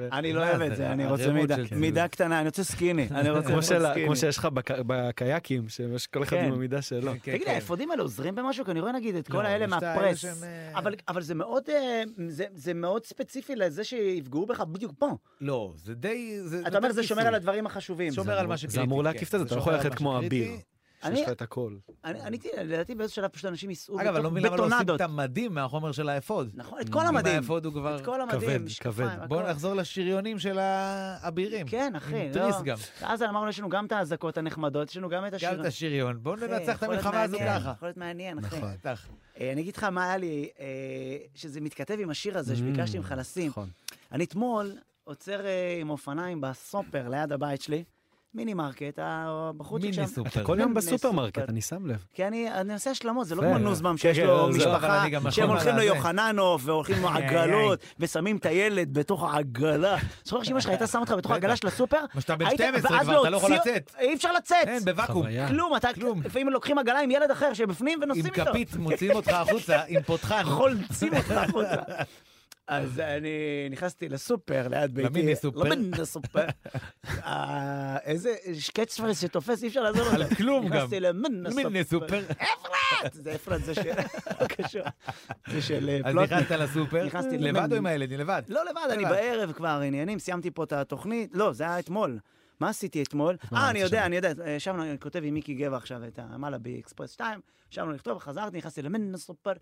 Speaker 4: אה,
Speaker 2: אני לא
Speaker 4: מה
Speaker 2: אוהב את זה, אני רוצה
Speaker 4: ערימות
Speaker 2: מידה-
Speaker 4: של ציוד.
Speaker 2: מידה קטנה, אני רוצה סקיני, אני
Speaker 4: לא
Speaker 2: רוצה
Speaker 3: כמו
Speaker 2: מאוד
Speaker 3: של ה-
Speaker 2: סקיני.
Speaker 3: כמו שיש לך בק- בקייקים, שיש כל אחד
Speaker 2: כן.
Speaker 3: עם המידה שלו.
Speaker 4: כן,
Speaker 2: תגיד,
Speaker 4: כן.
Speaker 2: האפודים האלה עוזרים במשהו? כי אני רואה נגיד את כל
Speaker 4: לא,
Speaker 2: האלה
Speaker 4: יש את האלה
Speaker 2: מהפרס.
Speaker 4: שהם, אה,
Speaker 2: אבל- אבל זה מאוד, אה, זה- זה מאוד ספציפי לזה שיפגעו בך בדיוק פה.
Speaker 4: לא, זה די... זה
Speaker 2: אתה אומר,
Speaker 4: נותן
Speaker 2: זה שומר
Speaker 4: כיסוי.
Speaker 2: על הדברים החשובים.
Speaker 4: שומר על מה
Speaker 3: זה
Speaker 4: שקריטי.
Speaker 3: אמור
Speaker 4: כן.
Speaker 3: להקיף את זה, אתה לא
Speaker 4: שומר
Speaker 3: יכול
Speaker 4: על
Speaker 3: ללכת
Speaker 4: מה
Speaker 3: כמו
Speaker 4: שקריטי.
Speaker 3: אביר.
Speaker 2: אני-
Speaker 3: שיש לך את הכל.
Speaker 2: אני עניתי, לדעתי באיזשהו שלב פשוט אנשים ייסעו
Speaker 4: אגב, אני לא
Speaker 2: בתוך
Speaker 4: מבין למה לא עושים
Speaker 2: בטונדות.
Speaker 4: את המדים מהחומר של האפוד.
Speaker 2: נכון, את כל
Speaker 4: אם
Speaker 2: המדים.
Speaker 4: האפוד הוא כבר...
Speaker 2: את כל המדים,
Speaker 3: כבד,
Speaker 2: משקפיים,
Speaker 3: כבד.
Speaker 2: הכל.
Speaker 4: בואו נחזור לשריונים של האבירים.
Speaker 2: כן, אחי,
Speaker 4: עם
Speaker 2: לא.
Speaker 4: תריס גם.
Speaker 2: אז אמרנו, יש לנו גם את האזעקות הנחמדות, יש לנו גם את השיר.
Speaker 4: גם את השריון. בואו
Speaker 2: אחי,
Speaker 4: ננצח את
Speaker 2: יכול להיות
Speaker 4: המלחמה הזו
Speaker 2: מעניין, כן,
Speaker 4: ככה. נכון.
Speaker 2: יכול להיות מעניין, אחי.
Speaker 4: בטח.
Speaker 2: אה, אני אגיד לך מה היה לי, אה, שזה מתכתב עם השיר הזה שביקשתי
Speaker 4: Mm,
Speaker 2: ממך לשים.
Speaker 3: נכון.
Speaker 2: אני אתמול עוצר אה, עם אופניים בסופר ליד הבית שלי, מיני מרקט, הבחורצ'יק שם.
Speaker 4: מיני סופר.
Speaker 3: כל יום
Speaker 2: גם
Speaker 3: בסופרמרקט,
Speaker 2: בסופר.
Speaker 3: אני שם לב.
Speaker 2: כי אני, אני עושה השלמות, זה לא
Speaker 3: יפה.
Speaker 2: כמו נוזמן
Speaker 3: כן,
Speaker 2: שיש
Speaker 3: כן,
Speaker 2: לו
Speaker 3: לא,
Speaker 4: אבל
Speaker 2: משפחה,
Speaker 4: אני גם כן,
Speaker 2: שהם
Speaker 4: יכול
Speaker 2: הולכים
Speaker 4: על זה.
Speaker 2: ליוחננוף והולכים עם
Speaker 4: איי,
Speaker 2: עגלות ושמים את הילד בתוך העגלה. זוכר שאמא שלך הייתה שמה אותך בתוך העגלה של הסופר?
Speaker 4: אבל שאתה בן
Speaker 2: היית-
Speaker 4: 12
Speaker 2: ואז
Speaker 4: כבר, אתה לא יכול
Speaker 2: להוציא-
Speaker 4: לצאת.
Speaker 2: אי אפשר לצאת.
Speaker 4: אין, בוואקום.
Speaker 3: חוויה.
Speaker 2: כלום, אתה,
Speaker 4: כלום.
Speaker 2: לפעמים לוקחים עגלה עם ילד אחר שבפנים
Speaker 4: עם
Speaker 2: ונוסעים איתו.
Speaker 4: כפית מוציאים אותך החוצה, עם פותחן.
Speaker 2: חולצים אותך החוצה. אז אני נכנסתי לסופר ליד ביתי.
Speaker 4: למיני סופר.
Speaker 2: למיני סופר. אה, איזה שקץ פרס שתופס, אי אפשר לעזור לו.
Speaker 4: על כלום גם.
Speaker 2: נכנסתי למיני סופר.
Speaker 4: מיני סופר.
Speaker 2: אפרת! זה אפרת, זה של... לא קשור. זה של אה,
Speaker 4: אז
Speaker 2: פלוט.
Speaker 4: נכנסת לסופר,
Speaker 2: נכנסתי
Speaker 4: לבד
Speaker 2: למן.
Speaker 4: או עם הילדים? לבד.
Speaker 2: לא לבד, אני בערב כבר עניינים, סיימתי פה את התוכנית. לא, זה היה אתמול. מה עשיתי אתמול? אה, אני יודע, אני יודע. אה, ישבנו, אני כותב עם מיקי גבע עכשיו את המעלה באקספרס 2, ישבנו לכתוב, חזרתי, נכנסתי למן סופר.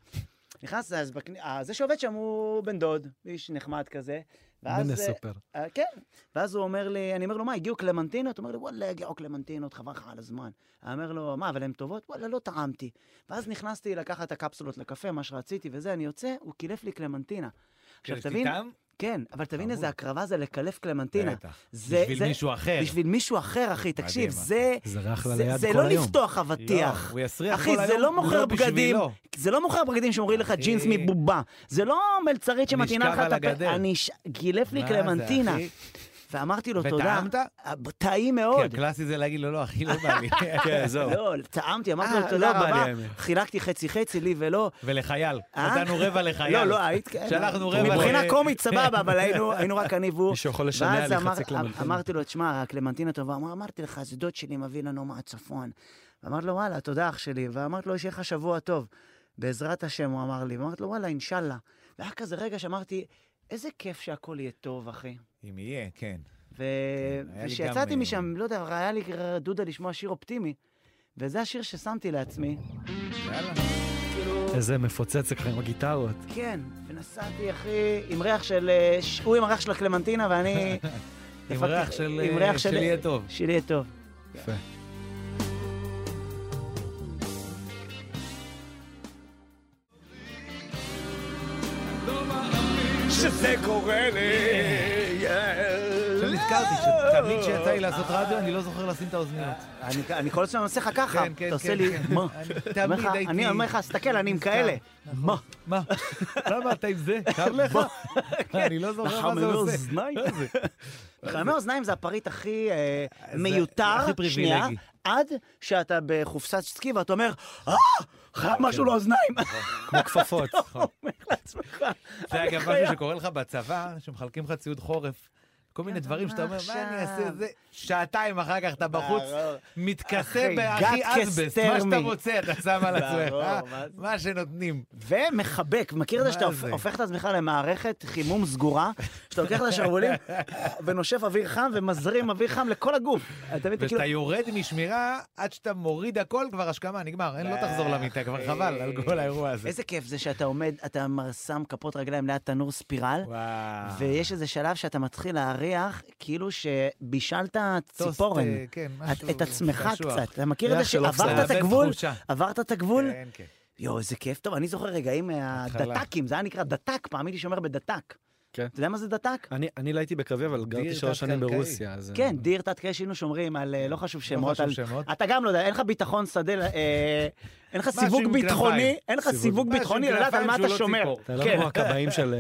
Speaker 2: נכנס, אז בכנ- אה, זה שעובד שם הוא בן דוד, איש נחמד כזה. ואז,
Speaker 3: מן
Speaker 2: אה,
Speaker 3: הסופר.
Speaker 2: אה, כן. ואז הוא אומר לי, אני אומר לו, מה, הגיעו קלמנטינות? הוא אומר לי, וואלה, הגיעו קלמנטינות, חבל לך על הזמן. אני אומר לו, מה, אבל הן טובות? וואלה, לא טעמתי. ואז נכנסתי לקחת את הקפסולות לקפה, מה שרציתי וזה, אני יוצא, הוא קילף לי קלמנטינה. עכשיו, תבין,
Speaker 4: איתם?
Speaker 2: כן, אבל תבין איזה הקרבה זה לקלף קלמנטינה.
Speaker 4: בטח.
Speaker 2: זה-
Speaker 4: בשביל
Speaker 2: זה-
Speaker 4: מישהו אחר.
Speaker 2: בשביל מישהו אחר, אחי, תקשיב,
Speaker 4: מדהים,
Speaker 2: זה...
Speaker 3: זה רך לה
Speaker 2: זה-
Speaker 3: ליד
Speaker 2: זה
Speaker 3: כל
Speaker 2: לא
Speaker 3: היום.
Speaker 2: לפתוח אבטיח.
Speaker 4: לא, הוא יסריח
Speaker 2: אחי,
Speaker 4: כל
Speaker 2: זה
Speaker 4: היום,
Speaker 2: לא מוכר
Speaker 4: לא
Speaker 2: בגדים,
Speaker 4: בשבילו.
Speaker 2: זה לא מוכר בגדים שאומרים לך
Speaker 4: אחי.
Speaker 2: ג'ינס מבובה. זה לא מלצרית שמטעינה
Speaker 4: נשכב
Speaker 2: לך את
Speaker 4: על הגדר.
Speaker 2: הפה. אני ש- גילף לי
Speaker 4: מה זה,
Speaker 2: קלמנטינה.
Speaker 4: אחי?
Speaker 2: ואמרתי לו, תודה.
Speaker 4: וטעמת?
Speaker 2: טעים
Speaker 4: כי
Speaker 2: מאוד.
Speaker 4: הקלאסי זה להגיד לו, לא, אחי, לא בא לי.
Speaker 3: כן, זהו.
Speaker 2: לא, טעמתי, אמרתי לו,
Speaker 3: אה,
Speaker 2: תודה
Speaker 3: לא בא לי
Speaker 2: רבה.
Speaker 3: האמת.
Speaker 2: חילקתי חצי-חצי, לי ולא.
Speaker 4: ולחייל.
Speaker 2: אה?
Speaker 4: נתנו רבע לחייל.
Speaker 2: לא, לא, היית... כן.
Speaker 4: שלחנו רבע.
Speaker 2: מבחינה
Speaker 4: ל-
Speaker 2: קומית, סבבה, אבל היינו- היינו רק אני והוא.
Speaker 3: מישהו יכול לשנע
Speaker 2: ואז
Speaker 3: לי חצי
Speaker 2: אמר-
Speaker 3: קלמנטינה.
Speaker 2: אמרתי לו, תשמע, הקלמנטינה טובה. אמר, אמרתי לך, זה דוד שלי מביא לנו מהצפון. אמרתי לו, וואלה, תודה אח שלי. ואמרתי לו, שיהיה לך שבוע טוב. בעזרת השם, הוא אמר לי. ואמרתי לו, וואלה, אינשאללה. והיה כזה רגע שאמרתי, איזה כיף שהכל יהיה טוב, אחי.
Speaker 4: אם יהיה, כן.
Speaker 2: ו...
Speaker 4: כן, היה לי
Speaker 2: וכשיצאתי
Speaker 4: גם,
Speaker 2: משם, לא יודע, היה לי דודה לשמוע שיר אופטימי. וזה השיר ששמתי לעצמי.
Speaker 4: יאללה.
Speaker 3: איזה מפוצץ אצלך עם הגיטרות.
Speaker 2: כן, ונסעתי, אחי, עם ריח של... אה, ש- הוא עם הריח של הקלמנטינה ואני...
Speaker 4: עם
Speaker 2: דפקתי-
Speaker 4: ריח של...
Speaker 2: עם
Speaker 4: אה,
Speaker 2: ריח
Speaker 4: של יהיה טוב.
Speaker 2: של יהיה טוב.
Speaker 3: יפה.
Speaker 1: שזה קורה לי.
Speaker 2: כן.
Speaker 4: עכשיו נזכרתי אה, שתמיד כשיצא לי לעשות רדיו, אני לא זוכר לשים את האוזניות.
Speaker 2: אני- אני כל הזמן עושה לך ככה,
Speaker 4: כן, כן,
Speaker 2: אתה עושה
Speaker 4: כן,
Speaker 2: לי...
Speaker 4: כן.
Speaker 2: מה?
Speaker 4: אני
Speaker 2: אומר
Speaker 4: תמיד
Speaker 2: לך-
Speaker 4: הייתי...
Speaker 2: אני אומר לך, סתכל, אני עם
Speaker 4: נזכר.
Speaker 2: כאלה. נכון. מה?
Speaker 4: מה? למה אתה עם זה? קר לך? אני לא זוכר מה
Speaker 2: לחממי
Speaker 4: זה עושה.
Speaker 2: אוזניים. לחממי אוזניים זה הפריט הכי אה,
Speaker 4: זה
Speaker 2: מיותר,
Speaker 4: הכי פריבילגי.
Speaker 2: שנייה, עד שאתה בחופסת סקי ואתה אומר, אה, חייב
Speaker 4: כן.
Speaker 2: משהו לאוזניים.
Speaker 4: נכון.
Speaker 3: כמו כפפות.
Speaker 2: אומר לעצמך.
Speaker 4: זה
Speaker 2: אני
Speaker 4: אגב
Speaker 2: חייב.
Speaker 4: משהו שקורה לך בצבא, שמחלקים לך ציוד חורף. כל מיני דברים שאתה אומר,
Speaker 2: לא, עכשיו?"
Speaker 4: מה אני אעשה זה? שעתיים אחר כך אתה בחוץ,
Speaker 2: ברור.
Speaker 4: מתכסה
Speaker 2: אחי,
Speaker 4: בהכי
Speaker 2: גת
Speaker 4: אזבסט, מה שאתה
Speaker 2: כסטרמי.
Speaker 4: רוצה אתה שם על עצמך, אה?
Speaker 2: ברור, מה זה?
Speaker 4: מה שנותנים.
Speaker 2: ומחבק, מכיר את זה
Speaker 4: מה
Speaker 2: שאתה
Speaker 4: זה?
Speaker 2: הופך את עצמך למערכת חימום סגורה, שאתה לוקח את השרוולים ונושף אוויר חם ומזרים אוויר חם לכל הגוף. אתה מבין, אתה כאילו...
Speaker 4: ואתה יורד משמירה עד שאתה מוריד הכל, כבר השכמה, נגמר, אין, לא תחזור למיטה, כבר חבל על כל האירוע הזה.
Speaker 2: אה, איזה כיף זה שאתה עומד, אתה מר- שם כפות רגליים ליד תנור ספירל,
Speaker 4: וואו.
Speaker 2: ויש איזה שלב שאתה מתחיל להריח כאילו שבישלת
Speaker 4: טוסט,
Speaker 2: ציפורן.
Speaker 4: אה, כן,
Speaker 2: את-
Speaker 4: משהו
Speaker 2: את עצמך
Speaker 4: קשוח.
Speaker 2: קצת, אתה מכיר את זה
Speaker 4: ריח של אופסייד.
Speaker 2: שעברת את
Speaker 4: מאבד
Speaker 2: הגבול?
Speaker 4: תחושה.
Speaker 2: עברת את הגבול?
Speaker 4: כן, כן.
Speaker 2: יואו, איזה כיף. טוב, אני זוכר רגעים
Speaker 4: התחלה.
Speaker 2: מהדת"קים, זה היה נקרא דת"ק, פעם הייתי שומר בדת"ק.
Speaker 3: כן.
Speaker 2: אתה יודע מה זה דת"ק?
Speaker 3: אני, אני לא הייתי בקרבי, אבל גרתי
Speaker 4: דיר אוקיי.
Speaker 3: שלוש שנים
Speaker 4: תת-קרקעי.
Speaker 3: ברוסיה, אז... אה,
Speaker 2: כן, דיר תת-קרש, היינו שומרים על, אה, לא חשוב שמות.
Speaker 4: חשוב
Speaker 2: על-
Speaker 4: שמות.
Speaker 2: אתה גם לא יודע, אין לך ביטחון שדה, אה, אין לך סיווג
Speaker 4: עם
Speaker 2: ביטחוני,
Speaker 4: כנפיים.
Speaker 2: אין לך סיווג
Speaker 4: משהו עם
Speaker 2: ביטחוני לדעת על
Speaker 4: כנפיים
Speaker 2: מה
Speaker 4: שהוא
Speaker 2: אתה
Speaker 4: לא
Speaker 2: שומר.
Speaker 4: ציפור.
Speaker 3: אתה לא
Speaker 2: כן.
Speaker 3: כמו הכבאים של,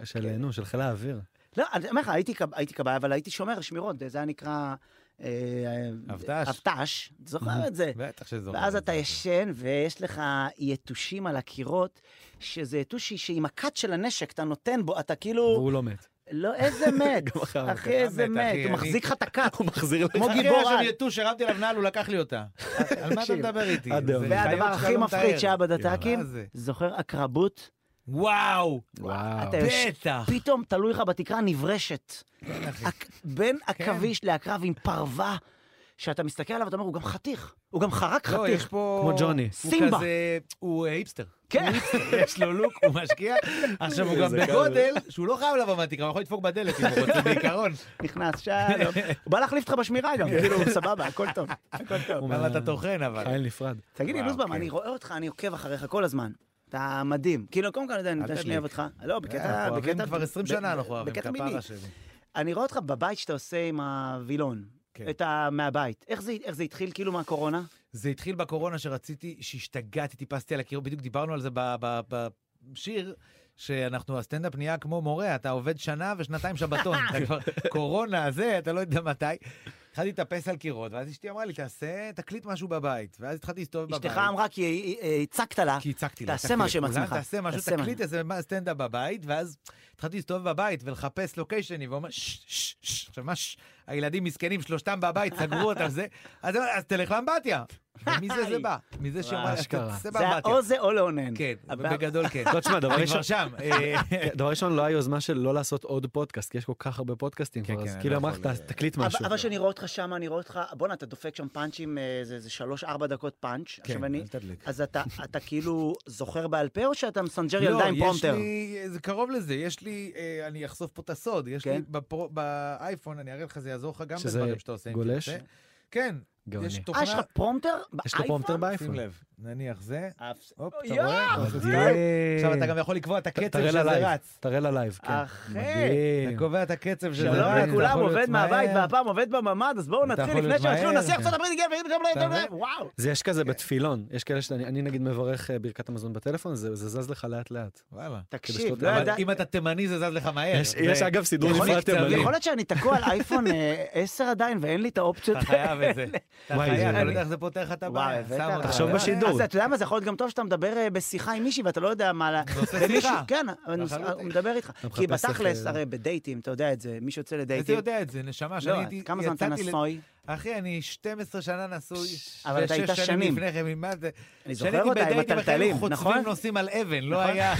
Speaker 3: אה, של,
Speaker 4: כן.
Speaker 3: אה, נו, של חיל האוויר.
Speaker 2: לא, אני אומר לך, הייתי כב- הייתי כבאי, אבל הייתי שומר שמירות, זה היה נקרא... אה, אה,
Speaker 4: אבט"ש.
Speaker 2: אבט"ש, זוכר את זה.
Speaker 4: בטח שזה
Speaker 2: ואז
Speaker 4: עובד.
Speaker 2: אתה ישן, ויש לך יתושים על הקירות, שזה יתושי שעם הכת של הנשק אתה נותן בו, אתה כאילו...
Speaker 3: והוא לא מת.
Speaker 2: לא, איזה מת.
Speaker 3: אחר
Speaker 2: אחי, איזה
Speaker 4: מת, אחי,
Speaker 2: מת. הוא
Speaker 4: אני-
Speaker 2: מחזיק לך את הכת. הוא מחזיר לך. כמו
Speaker 4: אחי, יש
Speaker 2: גיבור
Speaker 4: שם
Speaker 2: על.
Speaker 4: יתוש שהרמתי עליו נעל, הוא לקח לי אותה. על מה אתה
Speaker 2: תקשיב.
Speaker 4: מדבר איתי?
Speaker 3: עד
Speaker 4: זה
Speaker 3: היום.
Speaker 2: והדבר
Speaker 4: חיות שאתה
Speaker 2: הכי
Speaker 4: לא
Speaker 2: מפחיד
Speaker 4: מתאר.
Speaker 2: שהיה בדת"קים,
Speaker 4: מה זה?
Speaker 2: זוכר הקרבות?
Speaker 4: וואו!
Speaker 3: וואו.
Speaker 2: אתה יושב-
Speaker 4: בטח.
Speaker 2: פתאום תלוי לך בתקרה נברשת. הק- בין
Speaker 4: כן.
Speaker 2: עכביש לעקרב עם פרווה, שאתה מסתכל עליו ואתה אומר, הוא גם חתיך. הוא גם חרק
Speaker 4: לא, יש
Speaker 2: חתיך.
Speaker 4: פה...
Speaker 3: כמו ג'וני.
Speaker 2: סימבה.
Speaker 4: הוא כזה... הוא אה, היפסטר.
Speaker 2: כן.
Speaker 4: יש לו לוק, הוא משקיע. עכשיו, הוא גם
Speaker 3: איזה
Speaker 4: בגודל שהוא לא חייב לבוא מהתקרה, הוא יכול לדפוק בדלת אם הוא רוצה, בעיקרון.
Speaker 2: נכנס, שלום. הוא בא להחליף אותך בשמירה גם, כאילו, סבבה, הכל טוב. הכל טוב.
Speaker 3: הוא
Speaker 4: למה
Speaker 3: מה-
Speaker 4: אתה טוחן, אבל?
Speaker 3: חייל נפרד.
Speaker 2: תגיד לי,
Speaker 4: וואו,
Speaker 2: לוזבם,
Speaker 4: כן.
Speaker 2: אני רואה אותך, אני עוקב אחריך כל הזמן. אתה מדהים. כאילו, קודם כל, אני יודע, אני
Speaker 4: אל
Speaker 2: יודע שאני
Speaker 4: תדליק. אה,
Speaker 2: אוהב אותך. לא, בקטע...
Speaker 4: אנחנו אוהבים
Speaker 2: בקטע-
Speaker 4: כבר 20
Speaker 2: ב-
Speaker 4: שנה אנחנו אוהבים,
Speaker 2: בקטע
Speaker 4: כפרה
Speaker 2: מיני.
Speaker 4: שלי.
Speaker 2: אני רואה אותך בבית שאתה עושה עם הווילון.
Speaker 4: כן.
Speaker 2: את ה... מהבית. איך זה, איך זה התחיל כאילו מהקורונה?
Speaker 4: זה התחיל בקורונה שרציתי, שהשתגעתי, טיפסתי על הקיר, בדיוק דיברנו על זה ב- ב- בשיר. שאנחנו, הסטנדאפ נהיה כמו מורה, אתה עובד שנה ושנתיים שבתון, אתה כבר קורונה, זה, אתה לא יודע מתי. התחלתי לטפס על קירות, ואז אשתי אמרה לי, תעשה, תקליט משהו בבית. ואז התחלתי להסתובב בבית.
Speaker 2: אשתך אמרה כי אה, אה, הצקת לה.
Speaker 4: כי הצקתי לה.
Speaker 2: תעשה
Speaker 4: הצקתי
Speaker 2: משהו עם
Speaker 4: לכולם,
Speaker 2: עצמך.
Speaker 4: תעשה משהו,
Speaker 2: תעשה
Speaker 4: תקליט
Speaker 2: משהו.
Speaker 4: איזה מה- סטנדאפ בבית, ואז התחלתי להסתובב בבית ולחפש לוקיישנים, ואומר, "ש, ש, ש." עכשיו, מה ש... הילדים מסכנים, שלושתם בבית, סגרו אותם, זה. אז אמר, "אז תלך לאמבטיה. ומי זה זה בא? מזה שאומר, "אז
Speaker 3: אשכרה.
Speaker 4: תעשה
Speaker 2: זה היה
Speaker 4: באמבטיה.
Speaker 2: או זה או לאונן.
Speaker 4: כן,
Speaker 2: אבל-
Speaker 4: בגדול כן.
Speaker 3: לא, תשמע, דבר
Speaker 4: אני
Speaker 3: ראשון-
Speaker 4: כבר שם. אה,
Speaker 3: דבר ראשון, לא היה יוזמה של לא לעשות עוד פודקאסט, כי יש כל כך הרבה פודקאסטים
Speaker 4: כן,
Speaker 3: כבר,
Speaker 4: כן,
Speaker 3: אז
Speaker 4: אני
Speaker 3: כאילו
Speaker 4: לא
Speaker 3: אמרה לך,
Speaker 4: יכול,
Speaker 3: "ת-
Speaker 4: אה,
Speaker 3: תקליט
Speaker 2: אבל-
Speaker 3: משהו.
Speaker 2: אבל כשאני רואה אותך שם, אני רואה אותך, בואנה, אתה דופק שם פאנצ'ים, אה, זה זה שלוש, ארבע דקות פאנץ'.
Speaker 4: כן,
Speaker 2: עכשיו אני...
Speaker 4: אל תדליק.
Speaker 2: אז אתה אתה כאילו זוכר בעל פה, או שאתה מסנג'ר
Speaker 4: לא,
Speaker 2: ילדה עם
Speaker 4: יש
Speaker 2: פרומטר?
Speaker 4: לי- זה קרוב לזה, יש לי, אה, אני אחשוף פה את הסוד, יש לי
Speaker 2: כן.
Speaker 4: בפרו- באייפון, אני אראה לך, זה יעזור לך גם
Speaker 3: שזה
Speaker 4: בדברים שאתה עושה. אם
Speaker 3: גולש?
Speaker 4: תרצה. כן,
Speaker 3: גאוני.
Speaker 4: יש
Speaker 2: אה, יש לך
Speaker 4: תוכנה,
Speaker 2: פרומטר?
Speaker 3: יש לו פרומטר
Speaker 4: שים
Speaker 3: באייפון.
Speaker 4: לב, נניח זה, הופ, אתה
Speaker 2: יואו,
Speaker 4: רואה? אתה עושה סטייל. עכשיו אתה גם יכול לקבוע את
Speaker 3: ת-
Speaker 4: הקצב
Speaker 3: תראה
Speaker 4: שזה
Speaker 3: ללייב,
Speaker 4: רץ.
Speaker 3: תראה ללייב, לא- כן.
Speaker 2: אחי.
Speaker 3: מדהים.
Speaker 4: אתה קובע את הקצב שזה רץ.
Speaker 2: שלום
Speaker 4: אתה יכול
Speaker 2: לכולם,
Speaker 4: להיות
Speaker 2: לא, עובד
Speaker 4: מהר.
Speaker 2: מהבית והפעם עובד בממ"ד, אז בואו
Speaker 4: אתה
Speaker 2: נתחיל
Speaker 4: יכול
Speaker 2: לפני
Speaker 4: להיות
Speaker 2: שאפילו
Speaker 4: מהר.
Speaker 2: נשיא ארצות הברית הגיע
Speaker 4: אתה מבין?
Speaker 2: ו... וואו.
Speaker 3: זה יש
Speaker 2: כן.
Speaker 3: כזה בתפילון, יש כאלה שאני אני נגיד מברך אה, ברכת המזון בטלפון, זה זה זז לך לאט לאט.
Speaker 4: וואלה.
Speaker 2: תקשיב, לא
Speaker 3: אבל
Speaker 4: אבל
Speaker 2: ידע...
Speaker 4: אם אתה תימני זה זז לך מהר.
Speaker 3: יש-
Speaker 4: זה-
Speaker 3: יש אגב סידור
Speaker 4: יכול
Speaker 3: נפרד
Speaker 4: להיות קצבים.
Speaker 3: תימני.
Speaker 2: יכול להיות שאני תקוע על אייפון אה, 10 עדיין ואין לי את האופציות.
Speaker 4: אתה חייב את זה. אתה
Speaker 3: וואי,
Speaker 4: חייב,
Speaker 3: זה-
Speaker 4: אתה לא יודע איך זה פותר לך את הבעיה.
Speaker 2: הבאת-
Speaker 4: שם אותך.
Speaker 3: תחשוב
Speaker 4: אתה-
Speaker 3: בשידור.
Speaker 2: אז אתה יודע מה, זה יכול להיות גם טוב שאתה מדבר אה, בשיחה עם מישהי ואתה לא יודע מה... לה-
Speaker 4: נושא
Speaker 2: ומישהו-
Speaker 4: שיחה.
Speaker 2: כן, אבל נוס-
Speaker 4: לחלוטין.
Speaker 2: הוא מדבר איתך.
Speaker 3: מחפש
Speaker 2: כי בתכלס,
Speaker 3: איך, אה,
Speaker 2: הרי בדייטים, אתה יודע את זה, מי שיוצא
Speaker 4: אתה
Speaker 2: לדייטים...
Speaker 4: יודע את זה, נשמה, שאני
Speaker 2: לא,
Speaker 4: הייתי...
Speaker 2: כמה זמן אתה
Speaker 4: יצאתי ל-
Speaker 2: נשוי?
Speaker 4: אחי, אני 12 שנה נשוי.
Speaker 2: אבל אתה
Speaker 4: ושש
Speaker 2: היית שנים.
Speaker 4: שנים לפני כן, עם מה זה?
Speaker 2: אני זוכר
Speaker 4: כשאני הייתי
Speaker 2: אותה עם
Speaker 4: בדייטים, אחי,
Speaker 2: הטלטלים,
Speaker 4: היו
Speaker 2: נכון?
Speaker 4: חוצבים נוסעים על אבן, לא
Speaker 2: נכון?
Speaker 4: היה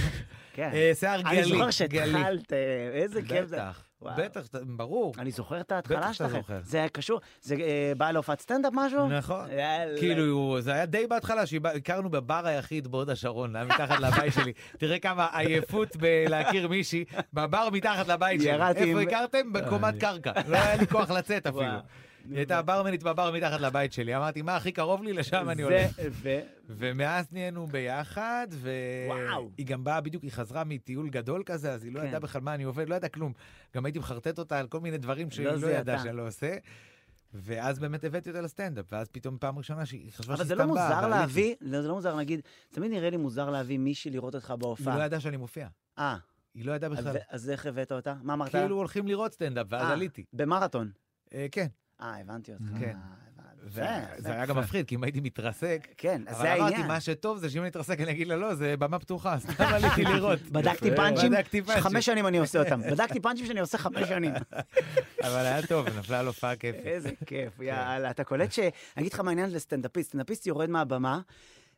Speaker 2: כן.
Speaker 4: אה, שיער גלי.
Speaker 2: אני זוכר
Speaker 4: גלי.
Speaker 2: שהתחלת, אה, איזה כיף זה.
Speaker 4: בטח,
Speaker 2: וואו.
Speaker 4: בטח, אתה- ברור.
Speaker 2: אני זוכר את ההתחלה
Speaker 4: בטח שאתה
Speaker 2: שלכם.
Speaker 4: זוכר.
Speaker 2: זה היה קשור, אה, זה אה, בא להופעת סטנדאפ משהו?
Speaker 4: נכון.
Speaker 2: יאללה.
Speaker 4: כאילו, זה היה די בהתחלה, שהכרנו בבר היחיד בהוד השרון, היה מתחת לבית שלי. תראה כמה עייפות בלהכיר מישהי, בבר מתחת לבית שלי.
Speaker 2: ירדתי עם- אה,
Speaker 4: איפה הכרתם? בקומת קרקע. לא היה לי כוח לצאת אפילו.
Speaker 2: וואו.
Speaker 4: היא הייתה ברמנית בבר מתחת לבית שלי. אמרתי, מה הכי קרוב לי? לשם אני
Speaker 2: זה-
Speaker 4: הולך.
Speaker 2: ו...
Speaker 4: ומאז נהיינו ביחד,
Speaker 2: וואו.
Speaker 4: והיא גם באה בדיוק, היא חזרה מטיול גדול כזה, אז היא לא
Speaker 2: כן.
Speaker 4: ידעה בכלל מה אני עובד, לא ידעה כלום. גם הייתי מחרטט אותה על כל מיני דברים שהיא
Speaker 2: לא
Speaker 4: לא
Speaker 2: זיהתה.
Speaker 4: ידעה שאני לא עושה. ואז באמת הבאתי אותה לסטנדאפ, ואז פתאום פעם ראשונה שהיא חשבה
Speaker 2: אבל
Speaker 4: שהיא
Speaker 2: זה לא
Speaker 4: סתם באה,
Speaker 2: מוזר
Speaker 4: אבל עליתי.
Speaker 2: להביא, לא, זה לא מוזר נגיד, תמיד נראה לי מוזר להביא מישהי לראות אותך
Speaker 4: היא לא
Speaker 2: בהופעה.
Speaker 4: ידעה שאני מופיע.
Speaker 2: אה,
Speaker 4: היא לא ידעה
Speaker 2: אז-
Speaker 4: בכלל.
Speaker 2: אז איך הבאת אותה? מה אמרת?
Speaker 4: כאילו הולכים לראות סטנדאפ, ואז
Speaker 2: אה,
Speaker 4: עליתי.
Speaker 2: במרתון.
Speaker 4: אה, כן.
Speaker 2: אה, הבנתי אותך.
Speaker 4: כן.
Speaker 2: אה, הבנתי.
Speaker 4: זה- זה היה גם מפחיד, כי אם הייתי מתרסק...
Speaker 2: כן, אז
Speaker 4: אבל
Speaker 2: זה
Speaker 4: אמרתי,
Speaker 2: העניין.
Speaker 4: מה שטוב זה שאם אני אתרסק אני אגיד לה לא, זה במה פתוחה, סתם עליתי לראות.
Speaker 2: בדקתי
Speaker 4: יפה.
Speaker 2: פאנצ'ים,
Speaker 4: בדקתי פאנצ'ים.
Speaker 2: חמש שנים אני עושה אותם. בדקתי פאנצ'ים שאני עושה חמש שנים.
Speaker 4: אבל היה טוב, נפלה על הופעה כיפית.
Speaker 2: איזה
Speaker 4: כן.
Speaker 2: כיף, יאללה. אתה קולט ש... אני אגיד לך מה העניין לסטנדאפיסט. סטנדאפיסט יורד מהבמה,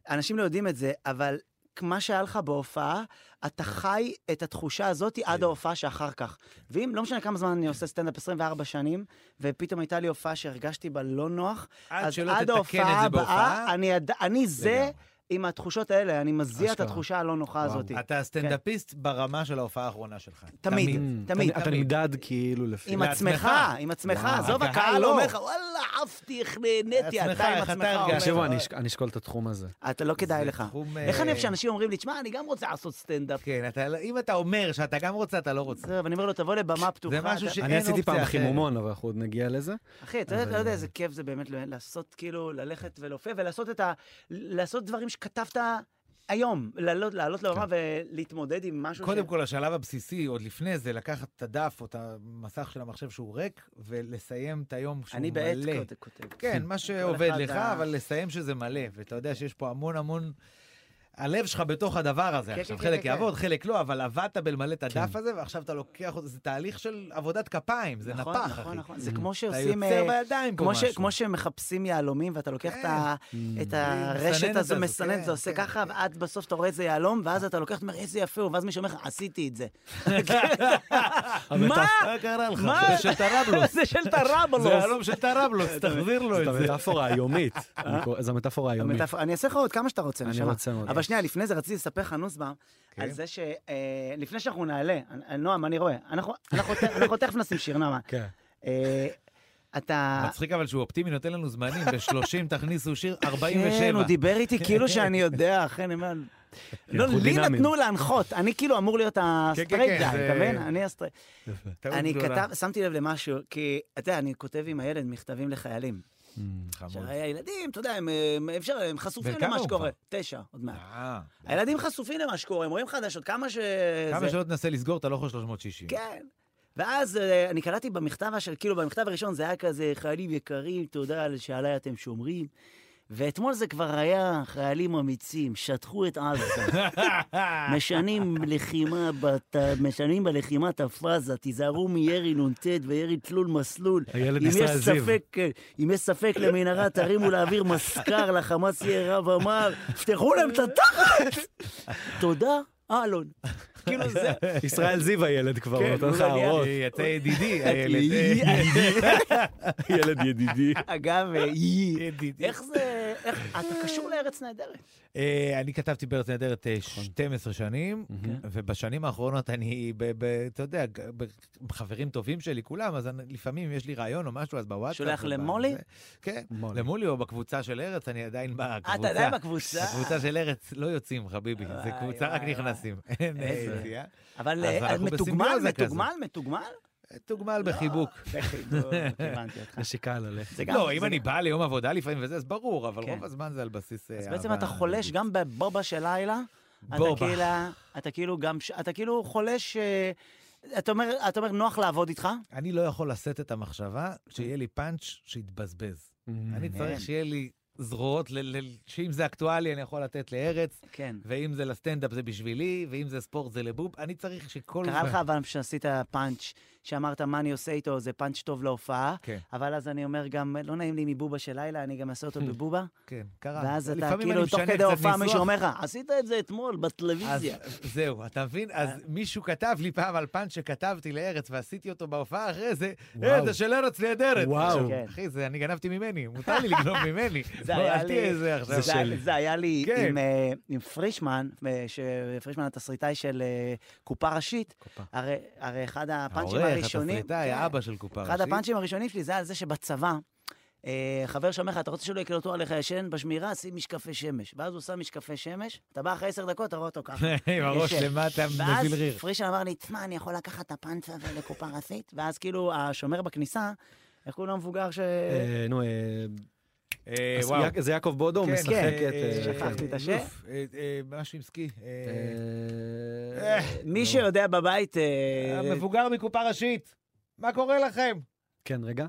Speaker 2: אנשים לא יודעים את זה, אבל מה שהיה לך בהופעה, אתה חי את התחושה הזאת
Speaker 4: כן.
Speaker 2: עד ההופעה שאחר כך. ואם, לא משנה כמה זמן אני עושה סטנדאפ, 24 שנים, ופתאום הייתה לי הופעה שהרגשתי בה לא נוח,
Speaker 4: עד
Speaker 2: אז
Speaker 4: שלא
Speaker 2: עד
Speaker 4: תתקן את
Speaker 2: ההופעה
Speaker 4: זה בהופעה?
Speaker 2: הבאה, אני עד- אני זה
Speaker 4: לגמרי.
Speaker 2: עם התחושות האלה, אני מזיע את
Speaker 3: אשכרה.
Speaker 2: התחושה הלא נוחה הזאת.
Speaker 4: אתה הסטנדאפיסט ברמה של ההופעה האחרונה שלך.
Speaker 2: כן. תמיד. תמיד,
Speaker 3: אתה
Speaker 4: תמיד.
Speaker 3: נמדד כאילו לפי...
Speaker 2: עם
Speaker 4: לעצמך.
Speaker 2: עצמך, עם עצמך,
Speaker 4: וואו,
Speaker 2: עזוב,
Speaker 4: הקהל
Speaker 2: הקהל
Speaker 4: לא.
Speaker 2: אומר לך, וואלה, עפתי, איך נהניתי,
Speaker 4: לעצמך,
Speaker 2: אתה עם
Speaker 4: איך אתה
Speaker 2: עצמך אומר.
Speaker 4: הרגשת?
Speaker 3: תחשבו, אני אש- אני אשקול את התחום הזה.
Speaker 2: אתה לא כדאי
Speaker 4: זה
Speaker 2: לך.
Speaker 4: תחום,
Speaker 2: איך אני
Speaker 4: אה,
Speaker 2: אוהב שאנשים אומרים לי, תשמע, אני גם רוצה לעשות סטנדאפ.
Speaker 4: כן, אתה- אם אתה אומר שאתה גם רוצה, אתה לא רוצה.
Speaker 2: ואני אומר לו, תבוא לבמה פתוחה.
Speaker 4: זה משהו
Speaker 2: אתה-
Speaker 4: ש-
Speaker 3: אני
Speaker 4: אין
Speaker 3: עשיתי
Speaker 4: אופציה
Speaker 3: פעם
Speaker 4: אחרת. אה.
Speaker 3: חימומון, אבל אנחנו עוד נגיע לזה.
Speaker 2: אחי, אתה יודע- אתה
Speaker 3: אבל-
Speaker 2: יודע איזה כיף זה באמת ל- לעשות, כאילו, ללכת ולהופיע ולעשות את ה... לעשות דברים שכתבת היום. לעלות לעלות לבמה ולהתמודד עם משהו
Speaker 4: כן. קודם כל, השלב הבסיסי, עוד לפני זה, לקחת את הדף או את המסך של המחשב שהוא ריק, ולסיים את היום שהוא מלא.
Speaker 2: אני בעט כות- כותב.
Speaker 4: כן, מה שעובד
Speaker 2: אחד
Speaker 4: לך,
Speaker 2: ה-
Speaker 4: אבל לסיים שזה מלא, ואתה יודע שיש פה המון המון... הלב שלך בתוך הדבר הזה.
Speaker 2: כן,
Speaker 4: עכשיו,
Speaker 2: כן,
Speaker 4: חלק
Speaker 2: כן,
Speaker 4: יעבוד, חלק לא, אבל עבדת בלמלא את
Speaker 3: כן.
Speaker 4: הדף הזה, ועכשיו אתה לוקח אותו, זה תהליך של עבודת כפיים, זה
Speaker 2: נכון,
Speaker 4: נפח,
Speaker 2: נכון,
Speaker 4: אחי.
Speaker 2: נכון. זה כמו
Speaker 4: אתה
Speaker 2: שעושים...
Speaker 4: יוצר
Speaker 2: אה,
Speaker 4: בידיים פה
Speaker 2: כמו, ש,
Speaker 4: משהו. כן. Mm.
Speaker 2: כמו שמחפשים יהלומים ואתה לוקח את, ה, את הרשת
Speaker 4: מסננת
Speaker 2: הזו,
Speaker 4: הזו,
Speaker 2: מסננת,
Speaker 4: כן,
Speaker 2: זה עושה
Speaker 4: כן,
Speaker 2: ככה,
Speaker 4: כן.
Speaker 2: ועד בסוף אתה רואה איזה יהלום, ואז אתה לוקח, אתה אומר, איזה יפה הוא, ואז מישהו אומר לך, עשיתי את זה. מה?
Speaker 4: מה קרה לך?
Speaker 2: מה?
Speaker 4: זה של טרבלוס.
Speaker 2: זה של
Speaker 4: זה לא-
Speaker 2: טרבלוס.
Speaker 4: יהלום של טרבלוס, תחזיר לו
Speaker 3: זאת
Speaker 4: את זה.
Speaker 3: המטאפורה היומית. אני קורא- זו המטאפורה היומית.
Speaker 2: אה? המטאפ- אני אעשה לך עוד כמה שאתה רוצה,
Speaker 3: אני
Speaker 2: נשמה.
Speaker 3: רוצה עוד.
Speaker 2: אבל שנייה, לפני זה רציתי לספר לך נוסבא,
Speaker 4: כן.
Speaker 2: על זה ש... אה, לפני שאנחנו נעלה, אה, נועם, אני רואה, אנחנו- אנחנו ת- אנחנו תכף נשים שיר, נעמה.
Speaker 3: כן.
Speaker 2: אה, אתה...
Speaker 4: מצחיק אבל שהוא אופטימי, נותן לנו זמנים, ב-30 תכניסו שיר, 47.
Speaker 2: כן, הוא דיבר איתי כאילו שאני יודע, אכן, אני אומר... לא,
Speaker 3: אנחנו
Speaker 2: לי
Speaker 3: דינאמיים.
Speaker 2: נתנו להנחות, אני כאילו אמור להיות
Speaker 4: כן,
Speaker 2: הסטרייט גאי,
Speaker 4: זה-
Speaker 2: אתה מבין? אני הסטרייט.
Speaker 4: טעות
Speaker 2: אני
Speaker 4: גדולה.
Speaker 2: כתב, שמתי לב למשהו, כי, אתה יודע, אני כותב עם הילד מכתבים לחיילים.
Speaker 4: Mm, חמוד.
Speaker 2: שהרי הילדים, אתה יודע, הם, הם- אפשר, הם חשופים
Speaker 4: וכמה
Speaker 2: למה
Speaker 4: הוא
Speaker 2: שקורה.
Speaker 4: כבר?
Speaker 2: תשע, עוד מעט.
Speaker 4: אה,
Speaker 2: הילדים חשופים למה שקורה, הם רואים חדשות, כמה ש...
Speaker 4: כמה
Speaker 2: זה-
Speaker 4: שלא תנסה לסגור, אתה לא יכול 360.
Speaker 2: כן. ואז אה, אני קלטתי במכתב אשר, כאילו במכתב הראשון זה היה כזה, חיילים יקרים, תודה על שעליי אתם שומרים. ואתמול זה כבר היה חיילים אמיצים, שטחו את עזה, משנים לחימה, בת... משנים בלחימה את הפאזה, תיזהרו מירי נ"ט וירי תלול מסלול.
Speaker 3: הילד
Speaker 2: אם
Speaker 3: ניסה
Speaker 2: יש
Speaker 3: להזיב.
Speaker 2: ספק, כן, אם יש ספק למנהרה, תרימו לאוויר מסקר, לחמאס יהיה רב אמר, פתחו להם את התחת! תודה, אלון. כאילו זה,
Speaker 3: ישראל זיו הילד כבר,
Speaker 2: כן,
Speaker 3: הוא נותן
Speaker 2: הוא
Speaker 3: לך
Speaker 2: לא נהיה-
Speaker 3: הערות.
Speaker 4: יצא ידידי, הילד. אה,
Speaker 3: ילד ידידי.
Speaker 2: אגב, אה, יי.
Speaker 4: ידידי.
Speaker 2: איך זה, איך, אתה קשור לארץ נהדרת.
Speaker 4: אה, אני כתבתי בארץ נהדרת אה,
Speaker 2: נכון.
Speaker 4: 12 שנים, ובשנים האחרונות אני, ב- ב- אתה יודע, ג- ב- חברים טובים שלי, כולם, אז אני- לפעמים יש לי רעיון או משהו, אז בוואטסאפ.
Speaker 2: שולח
Speaker 4: וב-
Speaker 2: למולי?
Speaker 4: זה- כן,
Speaker 3: מולי.
Speaker 4: למולי או בקבוצה של ארץ, אני עדיין בקבוצה.
Speaker 2: אה, אתה עדיין בקבוצה.
Speaker 4: הקבוצה של ארץ לא יוצאים, חביבי, זה
Speaker 2: וואי,
Speaker 4: קבוצה רק
Speaker 2: וואי,
Speaker 4: נכנסים. אין אה,
Speaker 2: איזה.
Speaker 4: יציאה.
Speaker 2: אבל
Speaker 4: אז
Speaker 2: אה,
Speaker 4: אנחנו
Speaker 2: מתוגמל,
Speaker 4: בסימביוזה כזאת.
Speaker 2: מתוגמל, מתוגמל?
Speaker 4: תוגמל לא, בחיבוק.
Speaker 2: בחיבור, הבנתי אותך.
Speaker 3: נשיקה על הלב.
Speaker 2: זה גם-
Speaker 4: לא, אם
Speaker 2: זה-
Speaker 4: אני בא ליום עבודה לפעמים וזה, אז ברור, אבל
Speaker 2: כן.
Speaker 4: רוב הזמן זה על בסיס... אה,
Speaker 2: אז בעצם אתה חולש גם בבובה של לילה. אתה
Speaker 4: בובה.
Speaker 2: כאילו- אתה כאילו גם, ש- אתה כאילו חולש, אה, אתה אומר, אתה אומר, נוח לעבוד איתך?
Speaker 4: אני לא יכול לשאת את המחשבה שיהיה לי פאנץ' שיתבזבז.
Speaker 3: Mm-hmm.
Speaker 4: אני
Speaker 2: כן.
Speaker 4: צריך שיהיה לי זרועות, ל- ל- שאם זה אקטואלי אני יכול לתת לארץ,
Speaker 2: כן.
Speaker 4: ואם זה לסטנדאפ זה בשבילי, ואם זה ספורט זה לבוב. אני צריך שכל...
Speaker 2: קרה לך אבל שעשית פאנץ', שאמרת מה אני עושה איתו, זה פאנץ' טוב להופעה,
Speaker 4: כן.
Speaker 2: אבל אז אני אומר גם, לא נעים לי מבובה של לילה, אני גם אעשה אותו בבובה.
Speaker 4: כן, קרה.
Speaker 2: ואז אתה
Speaker 4: לפעמים
Speaker 2: כאילו,
Speaker 4: אני
Speaker 2: תוך
Speaker 4: משנה
Speaker 2: כדי
Speaker 4: קצת
Speaker 2: הופעה
Speaker 4: ניסוח,
Speaker 2: מישהו אומר לך, עשית את זה אתמול
Speaker 4: אז אה,
Speaker 2: בטלוויזיה. אה.
Speaker 4: זהו, אתה מבין? אז מישהו כתב לי פעם על פאנץ' שכתבתי לארץ ועשיתי אותו בהופעה אחרי זה, אה,
Speaker 3: וואו.
Speaker 4: זה של ארץ נהדרת.
Speaker 3: וואו.
Speaker 4: עכשיו,
Speaker 2: כן.
Speaker 4: אחי, זה אני גנבתי ממני, מותר לי לגנוב ממני.
Speaker 2: זה
Speaker 4: בוא,
Speaker 2: היה
Speaker 4: לא, אל
Speaker 2: לי-
Speaker 4: תהיה איזה עכשיו.
Speaker 2: זה- זה היה לי
Speaker 4: כן.
Speaker 2: עם, אה, עם פרישמן, אה, ש- פרישמן התסריטאי של אה, קופה ראשית. הרי הרי אחד הפאנצ'ים
Speaker 4: העורך,
Speaker 2: הראשונים...
Speaker 4: התסריטאי,
Speaker 2: כן.
Speaker 4: האבא של קופה
Speaker 2: אחד
Speaker 4: ראשית.
Speaker 2: הפאנצ'ים הראשונים שלי זה על זה שבצבא, אה, חבר שאומר לך, אתה רוצה שלא יקלטו עליך ישן בשמירה, שים משקפי שמש. ואז הוא שם משקפי שמש, אתה בא אחרי עשר דקות, אתה רואה אותו ככה.
Speaker 4: עם הראש
Speaker 2: ישן.
Speaker 4: למטה,
Speaker 2: ואז
Speaker 4: מזיל ריר.
Speaker 2: פרישן אמר לי, תשמע, אני יכול לקחת את הפאנצ'ה הזה לקופה רסית? ואז כאילו, השומר בכניסה, איך קוראים למבוגר ש...
Speaker 3: אה, נו, אה,
Speaker 4: אה,
Speaker 3: אז
Speaker 4: וואו.
Speaker 3: יק- זה יעקב בודו, הוא
Speaker 4: כן,
Speaker 3: משחק
Speaker 4: אה,
Speaker 3: את...
Speaker 4: אה,
Speaker 3: אה,
Speaker 2: שכחתי את השם.
Speaker 4: אוף, אה, אה, משהו עם סקי. אה,
Speaker 3: אה,
Speaker 2: מי שיודע בבית... אה,
Speaker 4: המבוגר מקופה ראשית, מה קורה לכם?
Speaker 3: כן, רגע.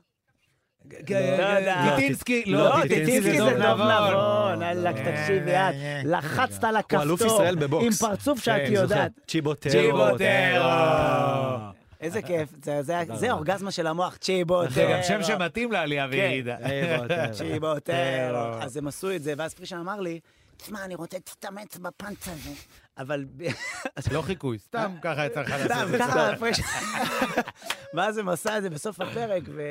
Speaker 2: יודע.
Speaker 4: טיטינסקי,
Speaker 2: לא,
Speaker 4: לא,
Speaker 2: טיטינסקי זה טוב נכון, נבון, אללה,
Speaker 4: אה,
Speaker 2: תקשיבי
Speaker 4: אה,
Speaker 2: את,
Speaker 4: אה.
Speaker 2: לחצת על הכפתור.
Speaker 3: הוא אלוף ישראל בבוקס.
Speaker 2: עם פרצוף שאת
Speaker 4: כן,
Speaker 3: זוכר.
Speaker 2: יודעת.
Speaker 3: צ'יבוטרו.
Speaker 4: צ'יבוטרו.
Speaker 2: איזה כיף, זה- זה- זה אורגזמה של המוח,
Speaker 3: כן.
Speaker 2: צ'יבוטרו.
Speaker 4: זה גם שם שמתאים לעלייה וירידה. אה, כן.
Speaker 2: צ'יבוטרו. אה, אז הם עשו את זה, ואז פרישן אמר לי, תשמע, אני רוצה להצטמץ בפאנץ הזה. אבל... אה,
Speaker 4: לא חיקוי, סתם ככה יצא לך לעשות
Speaker 2: סתם,
Speaker 4: את זה.
Speaker 2: ככה הפרש. ואז הם עשה את זה בסוף הפרק, ו...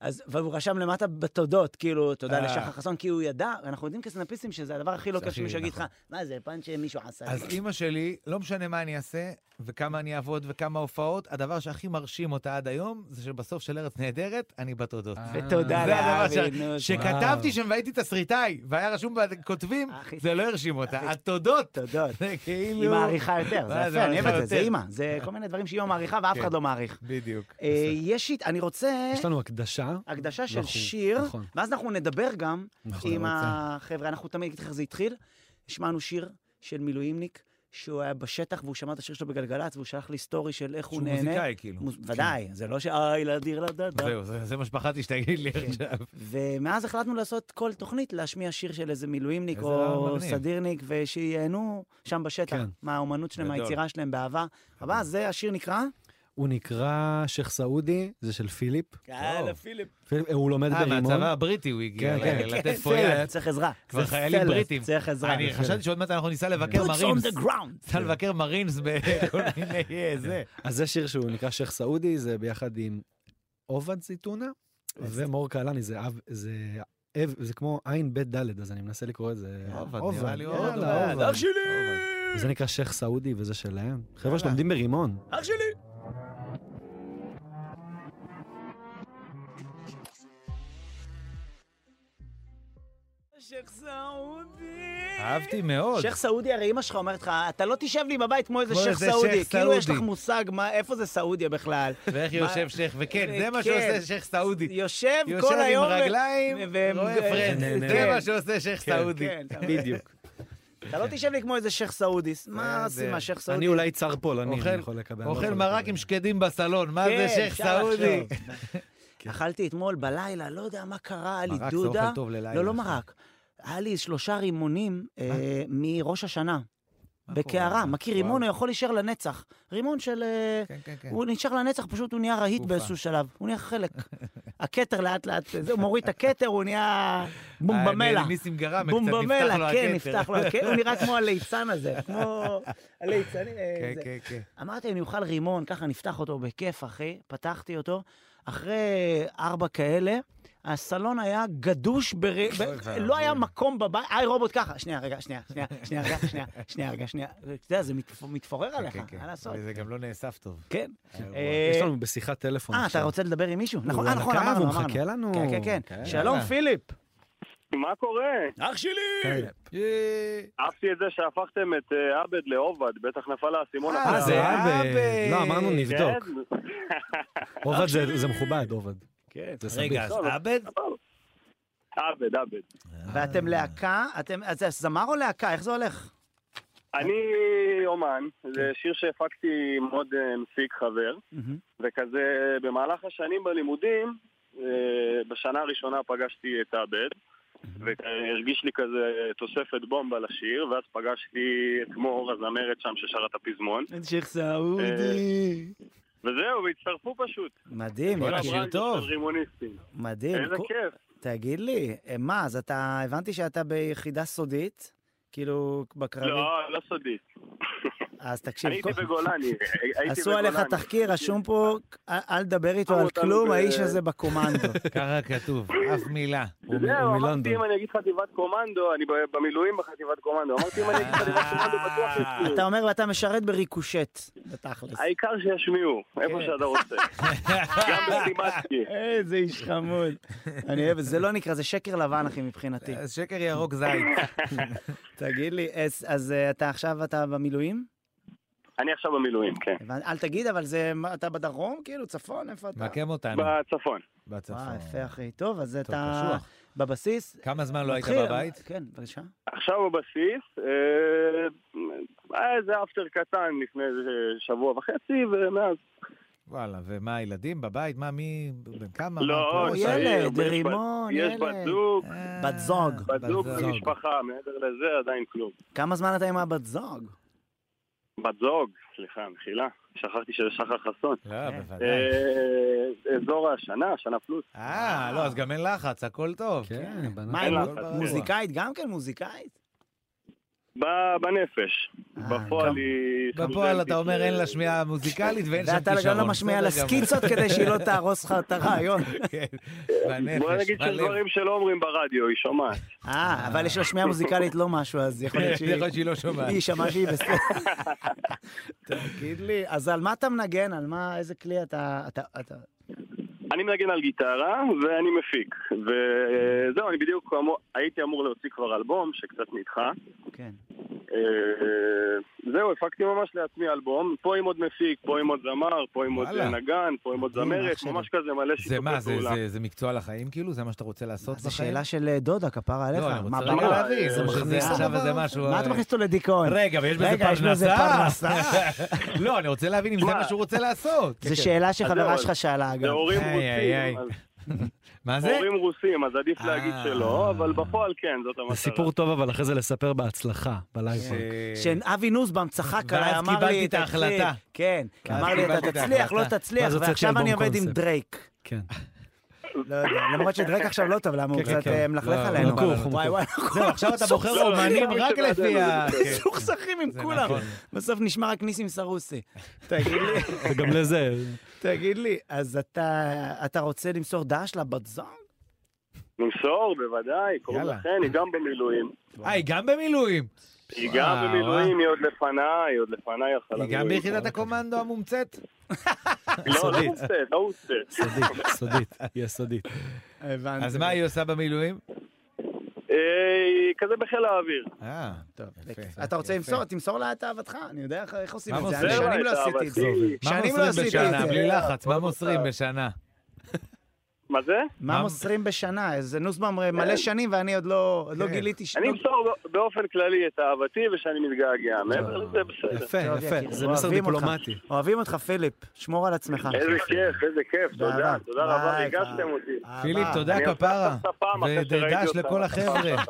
Speaker 2: אז... והוא רשם למטה בתודות, כאילו, תודה
Speaker 4: אה.
Speaker 2: לשחר חסון, כי הוא ידע, אנחנו יודעים כסנאפיסטים שזה הדבר הכי לא
Speaker 4: זה
Speaker 2: כיף
Speaker 4: הכי,
Speaker 2: שמישהו יגיד לך,
Speaker 4: נכון.
Speaker 2: מה זה, פאנץ' שמישהו עשה.
Speaker 4: אז
Speaker 2: לי."
Speaker 4: אימא שלי, לא משנה מה אני אעשה, וכמה אני אעבוד, וכמה הופעות, הדבר שהכי מרשים אותה עד היום, זה שבסוף של ארץ נהדרת, אני בתודות.
Speaker 2: אה, ותודה
Speaker 4: זה הדבר
Speaker 2: לאבי,
Speaker 4: ש-
Speaker 2: נו,
Speaker 4: שכתבתי שם והייתי תסריטאי, והיה רשום בכותבים,
Speaker 2: אחי.
Speaker 4: זה לא הרשים אותה. התודות.
Speaker 2: תודות.
Speaker 4: זה כאילו...
Speaker 2: היא מעריכה יותר, זה
Speaker 4: מה,
Speaker 2: יפה, אני אוהב
Speaker 4: מעריכה
Speaker 2: את זה, זה
Speaker 4: יותר.
Speaker 2: אימא, זה כל מיני דברים שהיא מעריכה ואף
Speaker 4: כן.
Speaker 2: אחד לא מעריך.
Speaker 4: בדיוק.
Speaker 2: אה, יש, אית- אני רוצה
Speaker 3: יש לנו הקדשה.
Speaker 2: הקדשה של
Speaker 3: נכון,
Speaker 2: שיר,
Speaker 3: נכון.
Speaker 2: ואז אנחנו נדבר גם
Speaker 3: נכון,
Speaker 2: עם
Speaker 3: אני רוצה.
Speaker 2: החבר'ה, אנחנו תמיד נגיד לך איך זה התחיל. שמענו שיר של מילואימניק, שהוא היה בשטח והוא שמע את השיר שלו בגלגלצ, והוא שלח לי סטורי של איך הוא
Speaker 4: שהוא
Speaker 2: נהנה.
Speaker 4: מוזיקאי, כאילו.
Speaker 2: מוז- ודאי, זה לא ש... איי, לדיר לדדה.
Speaker 4: זהו, זה- זה מה שפחדתי שתגיד
Speaker 2: כן.
Speaker 4: לי עכשיו.
Speaker 2: ומאז החלטנו לעשות כל תוכנית, להשמיע שיר של איזה מילואימניק
Speaker 4: איזה
Speaker 2: או
Speaker 4: מגניב.
Speaker 2: סדירניק, ושייהנו שם בשטח
Speaker 3: כן.
Speaker 2: מהאומנות שלהם,
Speaker 4: גדול.
Speaker 2: מהיצירה שלהם, באהבה. הבא, זה השיר נקרא?
Speaker 3: הוא נקרא שייח' סעודי, זה של פיליפ.
Speaker 2: יאללה, פיליפ.
Speaker 3: פיליפ- הוא לומד
Speaker 4: כן. אה,
Speaker 3: ברימון.
Speaker 4: מהצבא הבריטי הוא הגיע,
Speaker 3: כן, כן.
Speaker 4: לתת פה יד.
Speaker 2: צריך עזרה.
Speaker 4: כבר
Speaker 2: צריך
Speaker 4: חיילים
Speaker 2: סלף,
Speaker 4: בריטים.
Speaker 2: צריך עזרה.
Speaker 4: אני חשבתי שעוד מעט אנחנו ניסע לבקר
Speaker 2: Boots
Speaker 4: מרינס.
Speaker 2: on the ground. כן.
Speaker 4: ניסע לבקר מרינס בכל מיני אה, זה.
Speaker 3: אז זה שיר שהוא נקרא שייח' סעודי, זה ביחד עם עובד זיתונה
Speaker 4: אה,
Speaker 3: ומור קהלני, זה אב, זה אב, זה כמו עין בית דלת, אז אני מנסה לקרוא את זה.
Speaker 4: עובד, נראה לי עובד,
Speaker 3: יאללה,
Speaker 4: עובד. אה,
Speaker 3: עובד.
Speaker 2: אח שלי!
Speaker 3: וזה נקרא שייח' סעודי וזה שלהם. חבר'ה שלומדים ברימון.
Speaker 2: אח שלי! שייח' סעודי.
Speaker 4: אהבתי מאוד.
Speaker 2: שייח' סעודי, הרי אמא שלך אומרת לך, אתה לא תשב לי בבית כמו איזה
Speaker 4: כמו
Speaker 2: שייח'
Speaker 4: איזה
Speaker 2: סעודי.
Speaker 4: שייח'
Speaker 2: כאילו יש לך
Speaker 4: סעודי.
Speaker 2: מושג מה- איפה זה סעודיה בכלל.
Speaker 4: ואיך יושב שייח', וכן, זה מה
Speaker 2: כן.
Speaker 4: שעושה שייח' סעודי.
Speaker 2: יושב
Speaker 4: יושב
Speaker 2: כל היום...
Speaker 4: עם
Speaker 2: ו-
Speaker 4: רגליים,
Speaker 2: ו-
Speaker 4: רואה
Speaker 2: ו-
Speaker 4: פרנד. זה
Speaker 2: כן.
Speaker 4: מה שעושה שייח' סעודי.
Speaker 2: כן, אתה- אתה לא תשב לי כמו איזה שייח' סעודי. מה
Speaker 4: זה-
Speaker 2: עושים השייח'
Speaker 3: אני
Speaker 2: סעודי?
Speaker 3: אולי צר פולני, אני
Speaker 4: אוכל-
Speaker 3: יכול לקבל. אני לא
Speaker 4: אוכל
Speaker 3: יכול
Speaker 4: מרק
Speaker 3: לקבל.
Speaker 4: עם שקדים בסלון, מה זה
Speaker 2: כן,
Speaker 4: שייח'
Speaker 2: אפשר
Speaker 4: סעודי? כן.
Speaker 2: לחשוב. אכלתי אתמול בלילה, לא יודע מה קרה, היה לי
Speaker 4: מרק זה
Speaker 2: דודה.
Speaker 4: אוכל טוב ללילה.
Speaker 2: לא, לא מרק. היה לי שלושה רימונים אה, מראש השנה. בקערה.
Speaker 4: קורה?
Speaker 2: מכיר רימון,
Speaker 4: וואו.
Speaker 2: הוא יכול להישאר לנצח. רימון של... אה,
Speaker 4: כן, כן, כן.
Speaker 2: הוא נשאר לנצח, פשוט הוא נהיה רהיט
Speaker 4: תקופה.
Speaker 2: באיזשהו שלב. הוא נהיה חלק. הכתר לאט לאט, זה, הוא מוריד את הכתר, הוא נהיה בום
Speaker 4: אה,
Speaker 2: במלח.
Speaker 4: ניסים גרם,
Speaker 2: בום
Speaker 4: קצת נפתח לו
Speaker 2: במלח, כן,
Speaker 4: הכתר.
Speaker 2: נפתח לו הכתר. הוא נראה כמו הליצן הזה, כמו הליצנים. אה,
Speaker 4: כן,
Speaker 2: זה.
Speaker 4: כן, כן.
Speaker 2: אמרתי, אני אוכל רימון, ככה נפתח אותו בכיף, אחי. פתחתי אותו. אחרי ארבע כאלה, הסלון היה גדוש בר... ב...
Speaker 4: ואבוי.
Speaker 2: לא היה מקום בבית. היי, רובוט, ככה. שנייה, רגע, שנייה, שנייה, שנייה, רגע, שנייה, שנייה, רגע, שנייה. אתה יודע, זה מתפ- מתפורר עליך,
Speaker 4: כן, כן.
Speaker 2: מה לעשות?
Speaker 4: אבל זה גם לא נאסף טוב. אה,
Speaker 2: כן.
Speaker 3: יש לנו בשיחת טלפון
Speaker 2: אה, אתה
Speaker 3: עכשיו.
Speaker 2: רוצה לדבר עם מישהו? נכון,
Speaker 3: על
Speaker 2: אה, נכון,
Speaker 3: הקו,
Speaker 2: אמרנו,
Speaker 3: הוא
Speaker 2: אמרנו.
Speaker 3: מחכה לנו.
Speaker 2: כן, כן, כן.
Speaker 3: כן.
Speaker 2: שלום,
Speaker 4: יאללה.
Speaker 2: פיליפ.
Speaker 5: מה קורה?
Speaker 2: אח שלי!
Speaker 3: כן.
Speaker 5: אהבתי את זה שהפכתם את אה, עבד לעובד, בטח נפל האסימון.
Speaker 4: אה,
Speaker 5: אחרי
Speaker 3: אה, זה
Speaker 5: ה-
Speaker 3: עבד.
Speaker 4: עבד.
Speaker 3: לא, אמרנו
Speaker 5: כן?
Speaker 3: נבדוק. עובד זה- זה מכובד, עובד.
Speaker 2: כן.
Speaker 3: זה סביב.
Speaker 4: רגע, אז עבד?
Speaker 5: עבד, עבד.
Speaker 2: ואתם להקה? אתם, אז זה זמר או להקה? איך זה הולך?
Speaker 5: אני אומן,
Speaker 4: כן.
Speaker 5: זה שיר שהפקתי עם עוד אה, מפיק חבר,
Speaker 2: מהמם.
Speaker 5: וכזה במהלך השנים בלימודים, אה, בשנה הראשונה פגשתי את עבד, והרגיש לי כזה תוספת בומבה לשיר, ואז פגשתי את מור הזמרת שם ששרה את הפזמון,
Speaker 2: אין שייח' סעודי.
Speaker 5: וזהו, והצטרפו פשוט.
Speaker 2: אה, מדהים,
Speaker 4: וואלה,
Speaker 2: יקירי.
Speaker 4: שיר טוב.
Speaker 5: רימוניסטים.
Speaker 2: מדהים.
Speaker 5: איזה
Speaker 2: כו-
Speaker 5: כיף.
Speaker 2: תגיד לי, אה, מה, אז אתה, הבנתי שאתה ביחידה סודית, כאילו, בקרבי.
Speaker 5: לא, לא סודי.
Speaker 2: אז תקשיב,
Speaker 5: אני
Speaker 2: כל-
Speaker 5: הייתי בגולני, הייתי בגולני.
Speaker 2: עשו עליך תחקיר, רשום פה, אל אל תדבר איתו
Speaker 5: שמו
Speaker 2: על
Speaker 5: אותנו
Speaker 2: כלום,
Speaker 5: ב-
Speaker 2: האיש הזה בקומנדו.
Speaker 4: ככה כתוב, אף מילה.
Speaker 3: הוא מ-
Speaker 5: זהו,
Speaker 3: הוא
Speaker 5: אמרתי
Speaker 3: מלונדון.
Speaker 5: אם אני אגיד חטיבת קומנדו, אני ב- במילואים בחטיבת קומנדו, אמרתי אם אני אגיד חטיבת קומנדו בטוח
Speaker 2: אתה
Speaker 5: יצאו.
Speaker 2: אומר ואתה משרת בריקושט, בתכלס.
Speaker 5: העיקר שישמיעו, איפה שאתה רוצה. גם בסימצקי.
Speaker 2: איזה איש חמוד. אני אוהב, את זה לא נקרא, זה שקר לבן, אחי, מבחינתי.
Speaker 4: אז שקר ירוק זית.
Speaker 2: תגיד לי, אז- אז אה, אתה עכשיו, אתה במילואים?
Speaker 5: אני עכשיו במילואים, כן.
Speaker 2: הבנ- אל תגיד, אבל זה, מה, אתה בדרום? כאילו, צפון? איפה אתה?
Speaker 4: מקם אותנו.
Speaker 5: בצפון.
Speaker 2: וואי,
Speaker 4: בצפון.
Speaker 2: אה, יפה, אחי. טוב, אז אתה
Speaker 4: כן. קשוח.
Speaker 2: בבסיס.
Speaker 4: כמה זמן לא היית
Speaker 2: מתחיל-
Speaker 4: בבית?
Speaker 2: כן, בבקשה.
Speaker 5: עכשיו בבסיס, אה, היה איזה אפטר קטן לפני איזה שבוע וחצי, ומאז
Speaker 4: וואלה, ומה הילדים בבית? מה, מי, בן כמה? מה,
Speaker 5: לא,
Speaker 4: פה?
Speaker 5: צעיר,
Speaker 2: ילד,
Speaker 5: יש בת-
Speaker 2: רימון,
Speaker 5: יש
Speaker 2: ילד.
Speaker 5: בת זוג,
Speaker 4: אה,
Speaker 2: בת זוג.
Speaker 5: בת זוג
Speaker 4: בת
Speaker 5: ומשפחה, מעבר לזה עדיין כלום.
Speaker 2: כמה זמן אתה עם הבת זוג?
Speaker 5: בת זוג, סליחה, מחילה, שכחתי שזה שחר חסון.
Speaker 4: לא,
Speaker 2: כן.
Speaker 4: בוודאי.
Speaker 5: אה, אזור השנה, שנה פלוס.
Speaker 4: אה, לא, אז גם אין לחץ, הכל טוב.
Speaker 3: כן, בנות.
Speaker 2: מה, היא
Speaker 5: אין
Speaker 2: מוז-
Speaker 4: לה-
Speaker 2: מוזיקאית? גם כן מוזיקאית?
Speaker 5: ב- בנפש.
Speaker 2: אה,
Speaker 5: בפועל היא...
Speaker 4: בפועל אתה אומר אין לה שמיעה מוזיקלית ואין שם
Speaker 2: ואתה
Speaker 4: כישרון.
Speaker 2: גם לא משמיע
Speaker 4: בסדר
Speaker 2: לה
Speaker 4: גמור.
Speaker 2: סקיצות כדי שהיא לא תהרוס לך את הרעיון.
Speaker 4: כן,
Speaker 5: בוא
Speaker 4: בנפש,
Speaker 5: נגיד שיש
Speaker 4: בלב.
Speaker 5: דברים שלא אומרים ברדיו, היא שומעת.
Speaker 2: אה, אבל יש לה שמיעה מוזיקלית לא משהו, אז יכול להיות
Speaker 4: יכול
Speaker 2: שהיא...
Speaker 4: להיות שהיא לא שומעת.
Speaker 2: היא שמעה שהיא בסדר. תגיד לי, אז על מה אתה מנגן? על מה, איזה כלי אתה... אתה- אתה-
Speaker 5: אני מנגן על גיטרה ואני מפיק. וזהו, אני בדיוק כמו... הייתי אמור להוציא כבר אלבום שקצת נדחה.
Speaker 2: כן.
Speaker 5: אה, זהו, הפקתי ממש לעצמי אלבום. פה עם עוד מפיק, פה עם עוד זמר, פה עם עוד
Speaker 4: וואלה.
Speaker 5: אה, נגן, פה עם עוד
Speaker 2: מדהים,
Speaker 5: זמרת,
Speaker 2: אח שלי.
Speaker 5: ממש כזה מלא
Speaker 4: זה
Speaker 5: שיתופי
Speaker 4: מה, זה-
Speaker 5: פעולה.
Speaker 4: זה- זה מקצוע לחיים כאילו? זה מה שאתה רוצה לעשות בחיים?
Speaker 2: זו שאלה של אה, דודה, כפרה עליך.
Speaker 4: לא, אני רוצה
Speaker 2: מה,
Speaker 4: רגע
Speaker 2: ברור.
Speaker 5: במה?
Speaker 4: להבין.
Speaker 5: זה
Speaker 4: או שזה
Speaker 2: מכניס
Speaker 4: עכשיו
Speaker 2: אותו
Speaker 4: איזה
Speaker 2: בראש?
Speaker 4: משהו... אה,
Speaker 2: מה אתה מכניס אותו לדיכאון?
Speaker 4: רגע, ויש בזה
Speaker 2: רגע, יש בזה
Speaker 4: פרנסה? לא, אני רוצה להבין אם זה
Speaker 5: מה?
Speaker 4: מה שהוא רוצה לעשות. כן,
Speaker 2: זו
Speaker 4: כן.
Speaker 2: שאלה
Speaker 5: זהו,
Speaker 2: שחברה שלך
Speaker 5: אז-
Speaker 2: שאלה, אגב.
Speaker 5: זה הורים
Speaker 4: איי, איי,
Speaker 5: רוסים, אז
Speaker 4: מה זה?
Speaker 5: הורים רוסים, אז עדיף להגיד
Speaker 4: אה.
Speaker 5: שלא, אבל בפועל כן, זאת
Speaker 3: זה
Speaker 5: המטרה.
Speaker 3: סיפור טוב, אבל אחרי זה לספר בהצלחה, בלייב.
Speaker 4: ש-
Speaker 2: אה. שאבי נוסבאום צחק
Speaker 4: אה, ואז
Speaker 2: עליי, אמר לי,
Speaker 4: קיבלתי את
Speaker 2: "תתחיל."
Speaker 4: ההחלטה.
Speaker 2: כן,
Speaker 4: ואז
Speaker 2: אמר לי, אתה
Speaker 4: קיבלתי את
Speaker 2: תצליח, לא
Speaker 4: ההחלטה.
Speaker 2: תצליח,
Speaker 3: ואז הוצאתי
Speaker 2: ועכשיו
Speaker 3: אלבום
Speaker 2: אני עובד עם
Speaker 3: קונספט.
Speaker 2: דרייק.
Speaker 3: כן.
Speaker 2: לא יודע, למרות שדרייק עכשיו לא טוב, למה הוא
Speaker 4: כן,
Speaker 2: קצת
Speaker 4: כן.
Speaker 2: אה, מלכלך
Speaker 4: לא,
Speaker 2: עלינו.
Speaker 3: נקוב, הוא
Speaker 2: וואי וואי, נכון.
Speaker 4: זהו, עכשיו אתה בוחר
Speaker 5: לא,
Speaker 4: אומנים
Speaker 5: אני
Speaker 4: רק
Speaker 5: מבין
Speaker 4: לפי ה...
Speaker 5: שבעדינו,
Speaker 4: כן.
Speaker 2: סוכסכים עם
Speaker 4: זה
Speaker 2: כולם.
Speaker 4: נכון.
Speaker 2: בסוף נשמע רק ניסים סרוסי. תגיד לי,
Speaker 3: וגם לזה,
Speaker 2: תגיד לי, אז אתה אתה רוצה למסור דש לבת זוג?
Speaker 5: נמסור, בוודאי, קוראים
Speaker 4: יאללה.
Speaker 5: לכן, היא גם במילואים.
Speaker 4: אה, היא גם במילואים.
Speaker 5: היא
Speaker 4: וואו,
Speaker 5: גם במילואים,
Speaker 4: אה.
Speaker 5: היא עוד לפניי, היא עוד לפניי החלמים.
Speaker 4: היא גם ביחידת הקומנדו המומצאת.
Speaker 5: לא, לא
Speaker 3: הסודית.
Speaker 5: מוצאת, לא מוצאת.
Speaker 3: סודית, סודית, היא הסודית.
Speaker 2: הבנתי.
Speaker 4: אז מה היא עושה במילואים?
Speaker 5: אה, היא כזה בחיל האוויר.
Speaker 4: אה,
Speaker 2: טוב,
Speaker 4: יפה.
Speaker 2: יפה. אתה רוצה
Speaker 4: יפה.
Speaker 2: למסור, תמסור לה את אהבתך, אני יודע איך- איך עושים
Speaker 4: מה
Speaker 2: את זה,
Speaker 4: מוסר
Speaker 2: אני
Speaker 4: לה
Speaker 2: שנים
Speaker 5: את
Speaker 2: לא עשיתי את זה.
Speaker 5: אהבתי?
Speaker 4: מה
Speaker 2: שנים לא
Speaker 4: מוסרים
Speaker 2: עשיתי את
Speaker 4: בשנה?
Speaker 2: זה.
Speaker 4: בלי לחץ, מה
Speaker 5: עוד
Speaker 4: מוסרים
Speaker 5: מוסר.
Speaker 4: בשנה?
Speaker 5: מה זה? כן.
Speaker 2: מה
Speaker 4: מה-
Speaker 2: מוסרים בשנה? איזה נוסבאום הרי מלא שנים ואני עוד לא עוד לא
Speaker 4: כן.
Speaker 2: גיליתי ש...
Speaker 5: אני
Speaker 2: לא-
Speaker 5: אמסור באופן כללי את אהבתי ושאני מתגעגע. מעבר לזה, בסדר.
Speaker 3: יפה,
Speaker 2: טוב,
Speaker 3: יפה,
Speaker 2: יקיר,
Speaker 3: זה
Speaker 2: אוהבים
Speaker 3: מסר
Speaker 2: אותך.
Speaker 3: דיפלומטי.
Speaker 2: אוהבים אותך, פיליפ, שמור על עצמך.
Speaker 5: איזה כיף, איזה כיף, תודה,
Speaker 2: באהבה.
Speaker 5: תודה רבה,
Speaker 2: ביי,
Speaker 5: ריגשתם
Speaker 2: ביי.
Speaker 5: אותי.
Speaker 2: אהבה.
Speaker 4: פיליפ, תודה
Speaker 5: אני אוהב את
Speaker 4: כפרה.
Speaker 5: השפם אחרי שראיתי
Speaker 4: ודש
Speaker 5: אותה.
Speaker 4: לכל החבר'ה.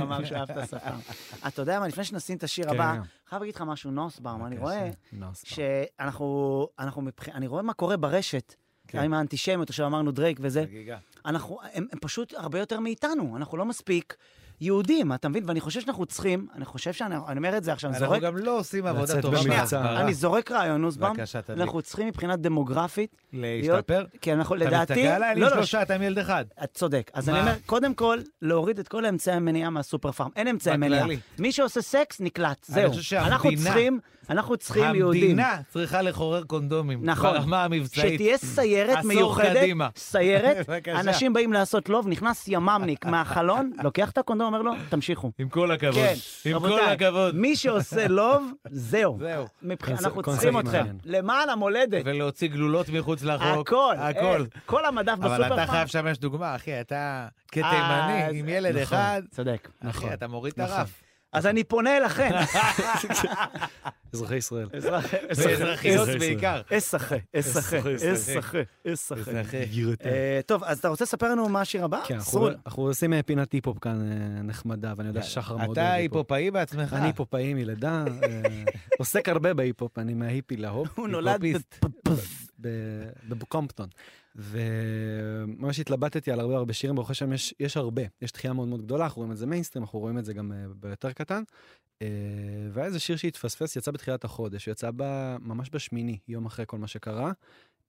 Speaker 2: ממש אהבת שכר. אתה יודע מה, לפני שנשים את השיר
Speaker 3: כן,
Speaker 2: הבא,
Speaker 3: כן.
Speaker 2: חייב להגיד לך משהו, נוסבאום, אני רואה
Speaker 3: נו, סתם.
Speaker 2: שאנחנו, אנחנו מבח- אני רואה מה קורה ברשת.
Speaker 4: כן.
Speaker 2: עם האנטישמיות, עכשיו אמרנו דרייק וזה,
Speaker 4: חגיגה.
Speaker 2: אנחנו, הם, הם פשוט הרבה יותר מאיתנו, אנחנו לא מספיק יהודים, אתה מבין? ואני חושב שאנחנו צריכים, אני חושב שאני אני אומר את זה עכשיו, אני
Speaker 4: אנחנו
Speaker 2: זורק,
Speaker 4: גם לא עושים עבודה
Speaker 3: לצאת
Speaker 4: טובה
Speaker 3: במבצע.
Speaker 4: בהסברה.
Speaker 2: אני זורק רעיון, נוסבאום,
Speaker 4: בבקשה, תביא.
Speaker 2: אנחנו צריכים מבחינה דמוגרפית,
Speaker 4: להשתפר?
Speaker 2: כי אנחנו לדעתי,
Speaker 4: אתה מסתכל עליי, אני
Speaker 2: לא,
Speaker 4: עם
Speaker 2: לא,
Speaker 4: שלושה, אתה עם ילד אחד.
Speaker 2: את צודק. אז
Speaker 4: מה?
Speaker 2: אני אומר, קודם כל, להוריד את כל אמצעי המניעה מהסופר פארם. אין אמצעי
Speaker 4: בכללי.
Speaker 2: מניעה. מי שעושה סקס, נקלט.
Speaker 4: אני
Speaker 2: זהו.
Speaker 4: חושב שהמדינה-
Speaker 2: אנחנו צריכים, אנחנו צריכים יהודים.
Speaker 4: המדינה צריכה לחורר קונדומים.
Speaker 2: נכון.
Speaker 4: ברמה המבצעית.
Speaker 2: שתהיה סיירת
Speaker 4: עשור
Speaker 2: מיוחדת,
Speaker 4: קדימה.
Speaker 2: סיירת,
Speaker 4: בבקשה.
Speaker 2: אנשים באים לעשות לוב, נכנס ימ"מניק מהחלון, לוקח את הקונדום, אומר לו, תמשיכו.
Speaker 4: עם כל הכבוד.
Speaker 2: כן,
Speaker 4: עם כל
Speaker 2: רבותיי,
Speaker 4: הכבוד.
Speaker 2: מי שעושה לוב, זהו.
Speaker 4: זהו.
Speaker 2: מבח-
Speaker 3: קונספט-
Speaker 2: אנחנו
Speaker 3: קונספט
Speaker 2: צריכים אתכם,
Speaker 3: מעניין.
Speaker 2: למען המולדת,
Speaker 4: ולהוציא גלולות מחוץ לחוק.
Speaker 2: הכל,
Speaker 4: הכל.
Speaker 2: אה, כל המדף בסופר
Speaker 4: אבל
Speaker 2: פארם.
Speaker 4: אתה חייב לשמש דוגמה, אחי, אתה
Speaker 2: אז-
Speaker 4: כתימני עם ילד
Speaker 2: נכון,
Speaker 4: אחד,
Speaker 2: צודק.
Speaker 3: נכון.
Speaker 2: נכון.
Speaker 4: אחי, אתה מוריד את הרף.
Speaker 2: אז אני פונה אליכם.
Speaker 3: אזרחי ישראל.
Speaker 4: ואזרחיות
Speaker 3: אזרחי
Speaker 4: בעיקר.
Speaker 2: אסחה, אסחה, אסחה, אסחה. אה, טוב, אז אתה רוצה לספר לנו מה השיר הבא?
Speaker 3: כן, אנחנו-
Speaker 2: סרול.
Speaker 3: אנחנו עושים אה, פינת היפ-הופ כאן אה, נחמדה, ואני יודע ששחר מאוד
Speaker 4: אתה
Speaker 3: אוהב היפ-הופ.
Speaker 4: היפופאי בעצמך.
Speaker 3: אני היפופאי מלידה, אה, עוסק הרבה בהיפ-הופ, אני מההיפי להופ.
Speaker 2: הוא נולד
Speaker 4: היפ-הופיסט.
Speaker 2: בפ-
Speaker 3: ב- בקומפטון. וממש התלבטתי על הרבה הרבה שירים, ברוך השם יש, יש הרבה, יש דחייה מאוד מאוד גדולה, אנחנו רואים את זה מיינסטרים, אנחנו רואים את זה גם אה, ביותר קטן. אה, והיה איזה שיר שהתפספס, יצא בתחילת החודש, הוא יצא ב, ממש בשמיני, יום אחרי כל מה שקרה.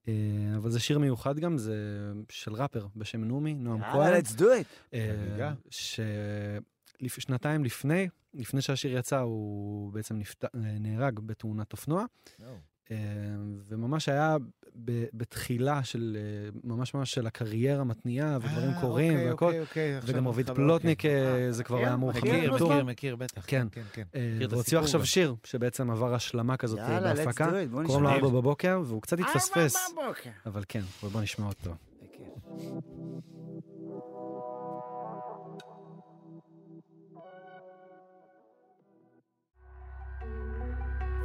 Speaker 3: אה, אבל זה שיר מיוחד גם, זה של ראפר בשם נומי, נועם
Speaker 2: יאללה,
Speaker 3: כהן.
Speaker 2: let's do it.
Speaker 4: חגיגה.
Speaker 3: ששנתיים לפני, לפני שהשיר יצא, הוא בעצם נפט... נהרג בתאונת אופנוע. אה, וממש היה ב- בתחילה של, אה, ממש ממש של הקריירה מתניעה, ודברים
Speaker 4: אה,
Speaker 3: קורים
Speaker 4: אוקיי,
Speaker 3: והכל.
Speaker 4: אוקיי, אוקיי, עכשיו
Speaker 3: וגם רביד
Speaker 4: מתחבר,
Speaker 3: פלוטניק,
Speaker 4: אוקיי.
Speaker 3: אה, זה כבר
Speaker 2: מכיר?
Speaker 3: היה מאוחר.
Speaker 2: מכיר,
Speaker 4: מכיר,
Speaker 3: יותר.
Speaker 4: מכיר,
Speaker 2: נוסבאום?
Speaker 4: מכיר, בטח.
Speaker 3: כן.
Speaker 4: כן, כן.
Speaker 3: אה,
Speaker 4: מכיר את
Speaker 3: והוציאו
Speaker 4: הסיפור
Speaker 3: עכשיו
Speaker 4: גם.
Speaker 3: שיר, שבעצם עבר השלמה כזאת אה,
Speaker 2: יאללה, let's
Speaker 3: בהפקה.
Speaker 2: do it. בוא
Speaker 3: קוראים לו
Speaker 2: נשמע.
Speaker 3: ארבע בבוקר, והוא קצת התפספס,
Speaker 2: ארבע בבוקר.
Speaker 3: אבל כן, אבל בוא נשמע אותו.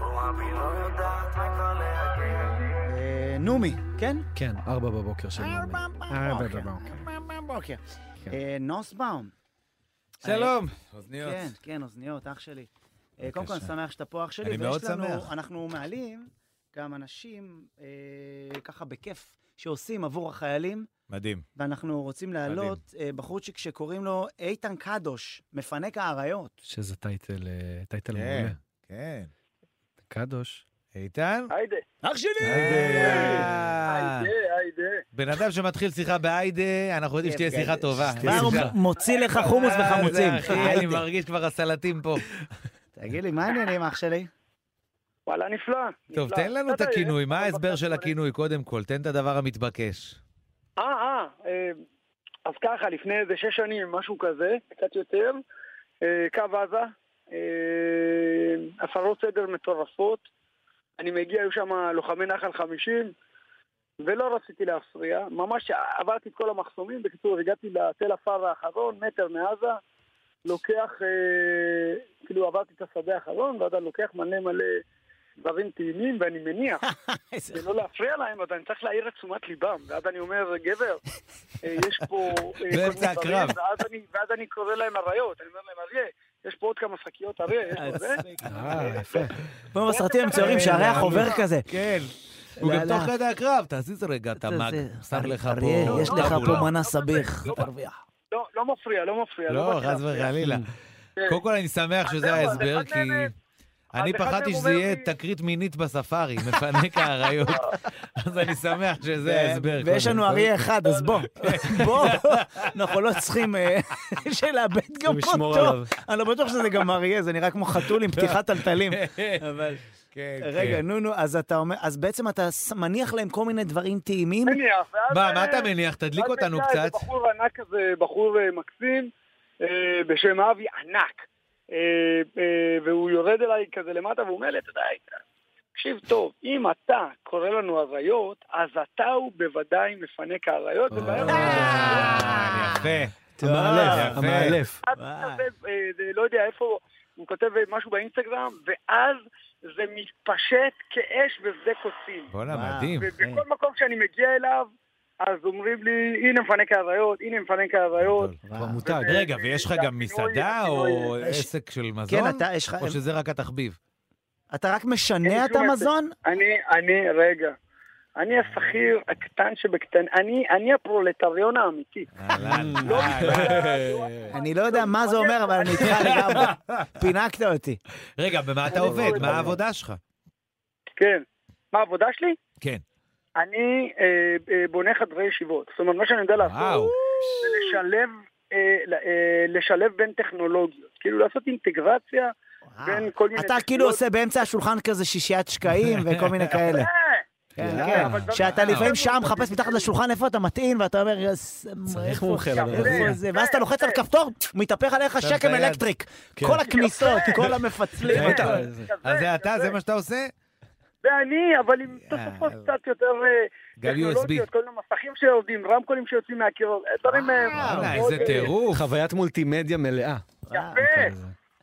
Speaker 2: אה, נומי, כן?
Speaker 3: כן, ארבע בבוקר של נעמי.
Speaker 2: ארבע
Speaker 3: ארבע
Speaker 2: בבוקר.
Speaker 3: בבוקר.
Speaker 2: ארבע בבוקר.
Speaker 3: כן.
Speaker 2: אה, נוסבאום.
Speaker 4: שלום. אוזניות.
Speaker 2: כן, כן, אוזניות, אח שלי. אה, קודם כל,
Speaker 4: בבקשה.
Speaker 2: אני שמח שאתה פה, אח שלי.
Speaker 4: אני מאוד
Speaker 2: ויש לנו-
Speaker 4: שמח.
Speaker 2: אנחנו מעלים גם אנשים, אה, ככה בכיף, שעושים עבור החיילים,
Speaker 4: מדהים.
Speaker 2: ואנחנו רוצים להעלות אה, בחורצ'יק שקוראים לו איתן קדוש, מפנק האריות.
Speaker 3: שזה טייטל, אה, טייטל
Speaker 4: כן.
Speaker 3: מעולה.
Speaker 4: כן.
Speaker 3: קדוש.
Speaker 4: איתן?
Speaker 6: היידה,
Speaker 2: אח שלי!
Speaker 4: היידה.
Speaker 6: היידה, היידה.
Speaker 4: בן אדם שמתחיל שיחה בהיידה, אנחנו יודעים שתהיה
Speaker 2: כן,
Speaker 4: שיחה
Speaker 2: כן.
Speaker 4: טובה.
Speaker 2: כבר הוא מוציא לך חומוס
Speaker 4: אה, זה,
Speaker 2: וחמוצים.
Speaker 4: אחי, אני מרגיש כבר הסלטים פה.
Speaker 2: תגיד לי, מה העניינים, אח שלי?
Speaker 6: וואלה, נפלא.
Speaker 4: טוב,
Speaker 6: נפלא.
Speaker 4: תן לנו את
Speaker 6: אתה יודע,
Speaker 4: הכינוי,
Speaker 6: לא, יש
Speaker 4: מה
Speaker 6: פה
Speaker 4: ההסבר
Speaker 6: בבקשה
Speaker 4: של
Speaker 6: דברים.
Speaker 4: הכינוי, קודם כל, תן את הדבר המתבקש.
Speaker 6: אה, אה, אה, אז ככה, לפני איזה שש שנים, משהו כזה, קצת יותר, אה, קו עזה, אה, הפרות סדר מטורפות, אני מגיע, היו שם לוחמי נחל 50, ולא רציתי להפריע, ממש עברתי את כל המחסומים, בקיצור, הגעתי לתל עפר האחרון, מטר מעזה, לוקח, אה, כאילו עברתי את השדה האחרון, ואתה לוקח מלא מלא דברים טעימים, ואני מניח
Speaker 2: איזה-
Speaker 6: לא להפריע להם, אז אני צריך להעיר את תשומת ליבם. ואז אני אומר, גבר, אה, יש פה... אה, כל מיני
Speaker 4: באמצע
Speaker 6: דברים",
Speaker 4: הקרב.
Speaker 6: ואז אני- ואז אני קורא להם אריות, אני אומר להם, אריה, יש פה עוד כמה שקיות אריה, יש פה זה.
Speaker 3: אה, יפה. אה,
Speaker 2: כמו בסרטים המצוירים שהריח עובר כזה.
Speaker 4: כן. הוא
Speaker 2: לא,
Speaker 4: גם
Speaker 2: לא.
Speaker 4: תוך כדי הקרב, תזיז רגע את
Speaker 2: זה-
Speaker 4: המאג,
Speaker 2: זה-
Speaker 4: שם לך פה...
Speaker 2: אריה, יש לך
Speaker 6: טאבולה.
Speaker 2: פה מנה סביך, תרוויח.
Speaker 6: לא, לא מפריע, לא מפריע.
Speaker 4: לא,
Speaker 6: באתי
Speaker 4: חס
Speaker 6: להפריע.
Speaker 4: וחלילה.
Speaker 6: כן.
Speaker 4: קודם כל, אני שמח
Speaker 6: אז
Speaker 4: שזה
Speaker 6: זהו, אז
Speaker 4: ההסבר,
Speaker 6: אחד
Speaker 4: כי...
Speaker 6: מהם- אז
Speaker 4: אני
Speaker 6: אחד
Speaker 4: פחדתי
Speaker 6: מהם
Speaker 4: שזה
Speaker 6: אומר
Speaker 4: יהיה
Speaker 6: לי-
Speaker 4: תקרית מינית בספארי, מפנק האריות. אז אני שמח שזה ההסבר.
Speaker 2: כן. ויש
Speaker 4: קודם
Speaker 2: לנו
Speaker 4: כל.
Speaker 2: אריה אחד, אז בוא, בוא, אנחנו לא צריכים אה, שלאבד גם
Speaker 3: לשמור
Speaker 2: אותו.
Speaker 3: עליו.
Speaker 2: אני לא בטוח שזה גם אריה, זה נראה כמו חתול
Speaker 3: אה,
Speaker 2: עם פתיחת טלטלים. אבל,
Speaker 4: כן,
Speaker 2: רגע,
Speaker 4: כן.
Speaker 2: נו, נו, אז אתה אומר, אז בעצם אתה ס- מניח להם כל מיני דברים טעימים?
Speaker 6: מניח, ואז- אה,
Speaker 4: מה, מה אתה מניח? תדליק
Speaker 6: ואז
Speaker 4: אותנו
Speaker 6: מגיע
Speaker 4: קצת.
Speaker 6: איזה בחור ענק כזה, בחור אה, מקסים, אה, בשם אבי, ענק. אה, אה, והוא יורד אליי כזה למטה, והוא אומר לי, אתה יודע, איתן, תקשיב טוב, אם אתה קורא לנו אריות, אז אתה הוא בוודאי מפנק האריות. ובערב
Speaker 4: אה, יפה.
Speaker 3: המאלף,
Speaker 4: יפה.
Speaker 3: המאלף.
Speaker 6: אחד כותב, אה, זה לא יודע איפה, הוא כותב אה, משהו באינסטגרם, ואז זה מתפשט כאש בשדה קוצים.
Speaker 4: בואנה,
Speaker 2: וואו.
Speaker 4: מדהים. כן.
Speaker 6: ובכל מקום שאני מגיע אליו, אז אומרים לי, הנה מפנק האריות, הנה מפנק האריות.
Speaker 3: כבר מותג.
Speaker 4: רגע, ויש לך גם מסעדה או
Speaker 2: יש-
Speaker 4: עסק של מזון?
Speaker 2: כן, אתה, יש לך,
Speaker 4: או שזה רק התחביב?
Speaker 2: אתה רק
Speaker 6: אין
Speaker 2: משנע
Speaker 6: לי
Speaker 2: את
Speaker 6: שום
Speaker 2: המזון?
Speaker 6: אני, אני, רגע. אני השכיר הקטן שבקטן, אני, אני הפרולטריון האמיתי.
Speaker 4: אהלן.
Speaker 6: לא
Speaker 4: אה,
Speaker 2: אני לא יודע מה זה אומר, אבל אני איתך לגמרי. פינקת אותי.
Speaker 4: רגע, במה אתה
Speaker 6: אני
Speaker 4: עובד?
Speaker 6: לא
Speaker 4: מה העבודה שלך?
Speaker 6: כן. מה העבודה שלי?
Speaker 4: כן.
Speaker 6: אני אה, אה, בונה חדרי ישיבות. זאת אומרת, מה שאני יודע
Speaker 4: וואו.
Speaker 6: לעשות זה לשלב, אה, ל- אה, לשלב בין טכנולוגיות. כאילו לעשות אינטגרציה בין כל מיני...
Speaker 2: אתה כאילו
Speaker 6: טכנולוגיות.
Speaker 2: עושה באמצע השולחן כזה שישיית שקעים וכל מיני כאלה.
Speaker 6: אה,
Speaker 2: כן,
Speaker 3: יאללה.
Speaker 2: כן. שאתה לפעמים שם מחפש מתחת לשולחן איפה אתה מטעין, ואתה אומר, "יס, איפה-
Speaker 3: מומחה לדבר
Speaker 2: איפה
Speaker 6: הזה."
Speaker 2: זה?" ואז אתה לוחץ על
Speaker 6: כן.
Speaker 2: כפתור, מתהפך עליך
Speaker 4: שם את
Speaker 2: שקם
Speaker 4: היד.
Speaker 2: אלקטריק.
Speaker 3: כן.
Speaker 2: כל הכניסות, כל המפצלים.
Speaker 4: רגע,
Speaker 2: אתה-
Speaker 6: כזה,
Speaker 4: אז אה, זה אתה,
Speaker 6: כזה.
Speaker 4: זה מה שאתה עושה?
Speaker 6: ואני, אבל עם תוספות
Speaker 4: יאללה.
Speaker 6: קצת יותר אה,
Speaker 4: גם
Speaker 6: טכנולוגיות,
Speaker 4: USB.
Speaker 6: כל מיני מסכים שיורדים, רמקולים שיוצאים מהקירות, אה, דברים... אה,
Speaker 4: וואלה,
Speaker 6: מאוד,
Speaker 4: איזה
Speaker 6: אה,
Speaker 4: טירוף.
Speaker 3: חוויית מולטימדיה מלאה.
Speaker 6: יפה,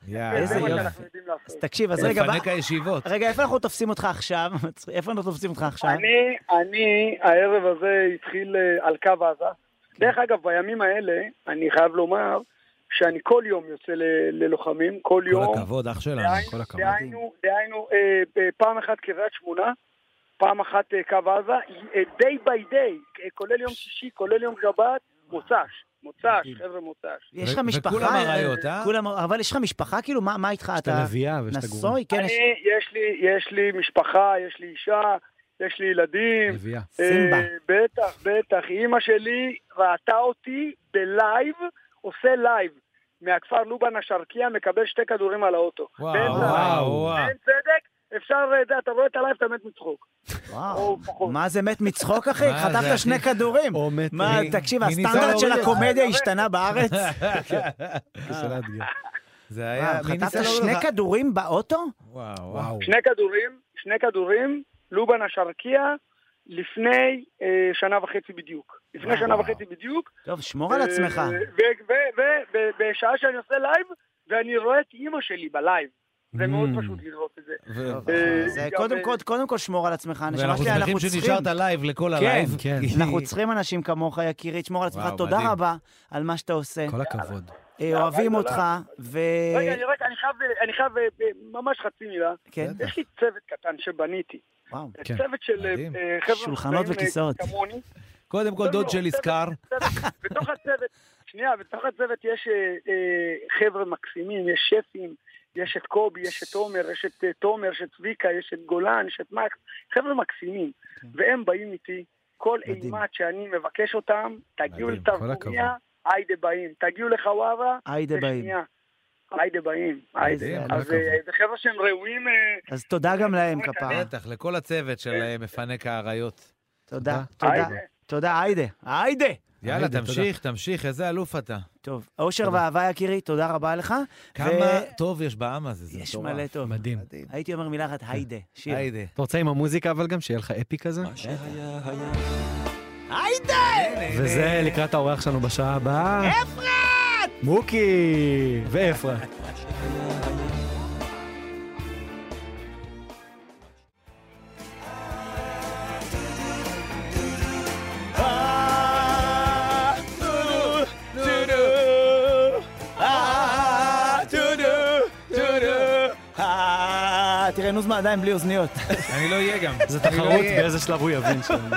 Speaker 4: יאללה.
Speaker 6: זה
Speaker 2: איזה
Speaker 6: מה
Speaker 2: יופי.
Speaker 6: שאנחנו יודעים לעשות.
Speaker 2: אז תקשיב, אז רגע,
Speaker 4: לפנק
Speaker 2: מה-
Speaker 4: הישיבות.
Speaker 2: רגע, איפה אנחנו תופסים אותך עכשיו? איפה אנחנו תופסים אותך עכשיו?
Speaker 6: אני, אני, הערב הזה התחיל אה, על קו עזה.
Speaker 4: כן.
Speaker 6: דרך אגב, בימים האלה, אני חייב לומר, שאני כל יום יוצא ל- ללוחמים, כל
Speaker 4: כל
Speaker 6: יום.
Speaker 4: הכבוד, אח שלנו,
Speaker 6: דהיינו-
Speaker 4: כל הכבוד.
Speaker 6: דהיינו, דהיינו, אה, אה, פעם אחת קריית שמונה, פעם אחת אה, קו עזה, אה, day by day, אה, כולל יום שישי, כולל יום שבת, מוצ"ש, מוצ"ש, חבר'ה מוצ"ש.
Speaker 2: יש לך
Speaker 4: אוקיי. ו-
Speaker 2: משפחה?
Speaker 4: וכולם אריות, אה?
Speaker 2: כולם- אבל יש לך משפחה? כאילו, מה מה איתך?
Speaker 3: יש את
Speaker 2: אתה
Speaker 3: הנביאה ויש את הגורים.
Speaker 2: נשוי? כן, יש...
Speaker 6: אני, יש לי, יש לי משפחה, יש לי אישה, יש לי ילדים,
Speaker 3: נביאה.
Speaker 2: סימבה.
Speaker 6: אה, בטח, בטח. אימא שלי ראתה אותי בלייב, עושה לייב, מהכפר לובן השרקייה, מקבל שתי כדורים על האוטו.
Speaker 4: וואו,
Speaker 6: באמצע-
Speaker 4: וואו, וואו.
Speaker 6: אין צדק, אפשר, אה, זה, אתה רואה את הלייב, אתה מת מצחוק.
Speaker 2: וואו.
Speaker 6: או פחות.
Speaker 2: מה זה מת מצחוק, אחי?
Speaker 4: מה זה,
Speaker 2: חטפת
Speaker 4: אחי?
Speaker 2: שני כדורים.
Speaker 3: או מת
Speaker 2: מה,
Speaker 4: מי-
Speaker 2: תקשיב,
Speaker 4: מי ניסה
Speaker 2: הסטנדרט של
Speaker 4: להוריד את זה?
Speaker 2: הקומדיה השתנה בארץ?
Speaker 3: כסלט גר.
Speaker 4: כן. זה
Speaker 2: אה,
Speaker 4: היה... מי ניסה
Speaker 2: חטפת
Speaker 4: להוריד
Speaker 2: שני
Speaker 4: אותך?
Speaker 2: כדורים באוטו?
Speaker 4: לא וואו, וואו.
Speaker 3: וואו.
Speaker 6: שני כדורים, שני כדורים, לובן השרקייה, לפני אה, שנה וחצי בדיוק. לפני
Speaker 2: וואו.
Speaker 6: שנה וחצי בדיוק.
Speaker 2: טוב, שמור
Speaker 7: אה,
Speaker 2: על עצמך.
Speaker 6: ובשעה שאני עושה לייב, ואני רואה את אימא שלי בלייב.
Speaker 7: זה מאוד
Speaker 3: Mm.
Speaker 7: פשוט לדרוס את זה.
Speaker 4: ו-
Speaker 2: טוב,
Speaker 7: אה,
Speaker 2: אז, אה,
Speaker 7: גם,
Speaker 2: קודם
Speaker 7: אה,
Speaker 2: כל, קודם כל שמור על עצמך, נשמה
Speaker 4: ואנחנו
Speaker 2: שלי,
Speaker 4: שמחים
Speaker 2: אנחנו צריכים,
Speaker 4: שנשארת לייב לכל
Speaker 2: כן,
Speaker 4: הלייב.
Speaker 3: כן.
Speaker 4: כי-
Speaker 2: אנחנו צריכים אנשים כמוך, יקירי, תשמור על עצמך,
Speaker 4: וואו,
Speaker 2: תודה
Speaker 4: מדהים.
Speaker 2: רבה על מה שאתה עושה,
Speaker 3: כל הכבוד.
Speaker 2: אה, אוהבים
Speaker 7: תודה.
Speaker 2: אותך, ו...
Speaker 7: רגע, אני- רגע, אני חייב, אה, אני חייב אה, ב- ממש חצי מילה.
Speaker 2: כן,
Speaker 7: יש לי צוות קטן שבניתי.
Speaker 2: וואו,
Speaker 3: כן.
Speaker 7: צוות של אה,
Speaker 4: מדהים.
Speaker 7: אה, חבר'ה...
Speaker 2: שולחנות
Speaker 7: מופלאים, אה,
Speaker 2: וכיסאות.
Speaker 7: כמוני.
Speaker 4: קודם כל
Speaker 7: לא,
Speaker 4: דוד
Speaker 7: לא,
Speaker 4: שלי
Speaker 7: בסדר.
Speaker 4: סקר.
Speaker 7: צוות- בתוך הצוות, שנייה, בתוך הצוות יש אה, אה, חבר'ה מקסימים, יש שפים, יש את קובי, יש את תומר, יש את אה, תומר, יש את צביקה, יש את גולן, יש את מקס, חבר'ה מקסימים. והם באים איתי, כל
Speaker 2: מדהים.
Speaker 7: אימת שאני מבקש אותם, תגיעו
Speaker 4: מדהים, כל
Speaker 7: לתרבוריה, היידה באים. תגיעו לחווארה,
Speaker 2: היידה באים.
Speaker 7: בשנייה. היידה באים. היידה.
Speaker 2: איזה
Speaker 7: אז
Speaker 4: כל
Speaker 7: אה, זה חבר'ה שהם ראויים... אה,
Speaker 2: אז תודה גם להם, כפרה.
Speaker 4: בטח, לכל הצוות של אה, מפנק האריות.
Speaker 2: תודה,
Speaker 7: תודה.
Speaker 2: תודה, תודה, היידה, היידה.
Speaker 4: יאללה,
Speaker 3: היידה,
Speaker 4: תמשיך, תמשיך, איזה אלוף אתה.
Speaker 2: טוב, אושר ואהבה, יקירי, תודה רבה לך.
Speaker 4: כמה טוב יש בעם הזה, זה
Speaker 2: יש
Speaker 4: מטורף. כן.
Speaker 2: מלא טוב.
Speaker 3: מדהים.
Speaker 2: הייתי אומר מילה אחת, היידה, שיר.
Speaker 4: היידה.
Speaker 3: אתה רוצה עם המוזיקה אבל גם שיהיה לך אפי כזה?
Speaker 2: היידה!
Speaker 3: וזה לקראת האורח שלנו בשעה הבאה. אפרת! מוקי! ואפרת.
Speaker 2: אה, תראה, נוזמה עדיין בלי אוזניות.
Speaker 4: אני לא אהיה גם.
Speaker 3: זה
Speaker 4: אני לא
Speaker 3: תחרות
Speaker 4: אהיה.
Speaker 3: באיזה שלב הוא יבין שם.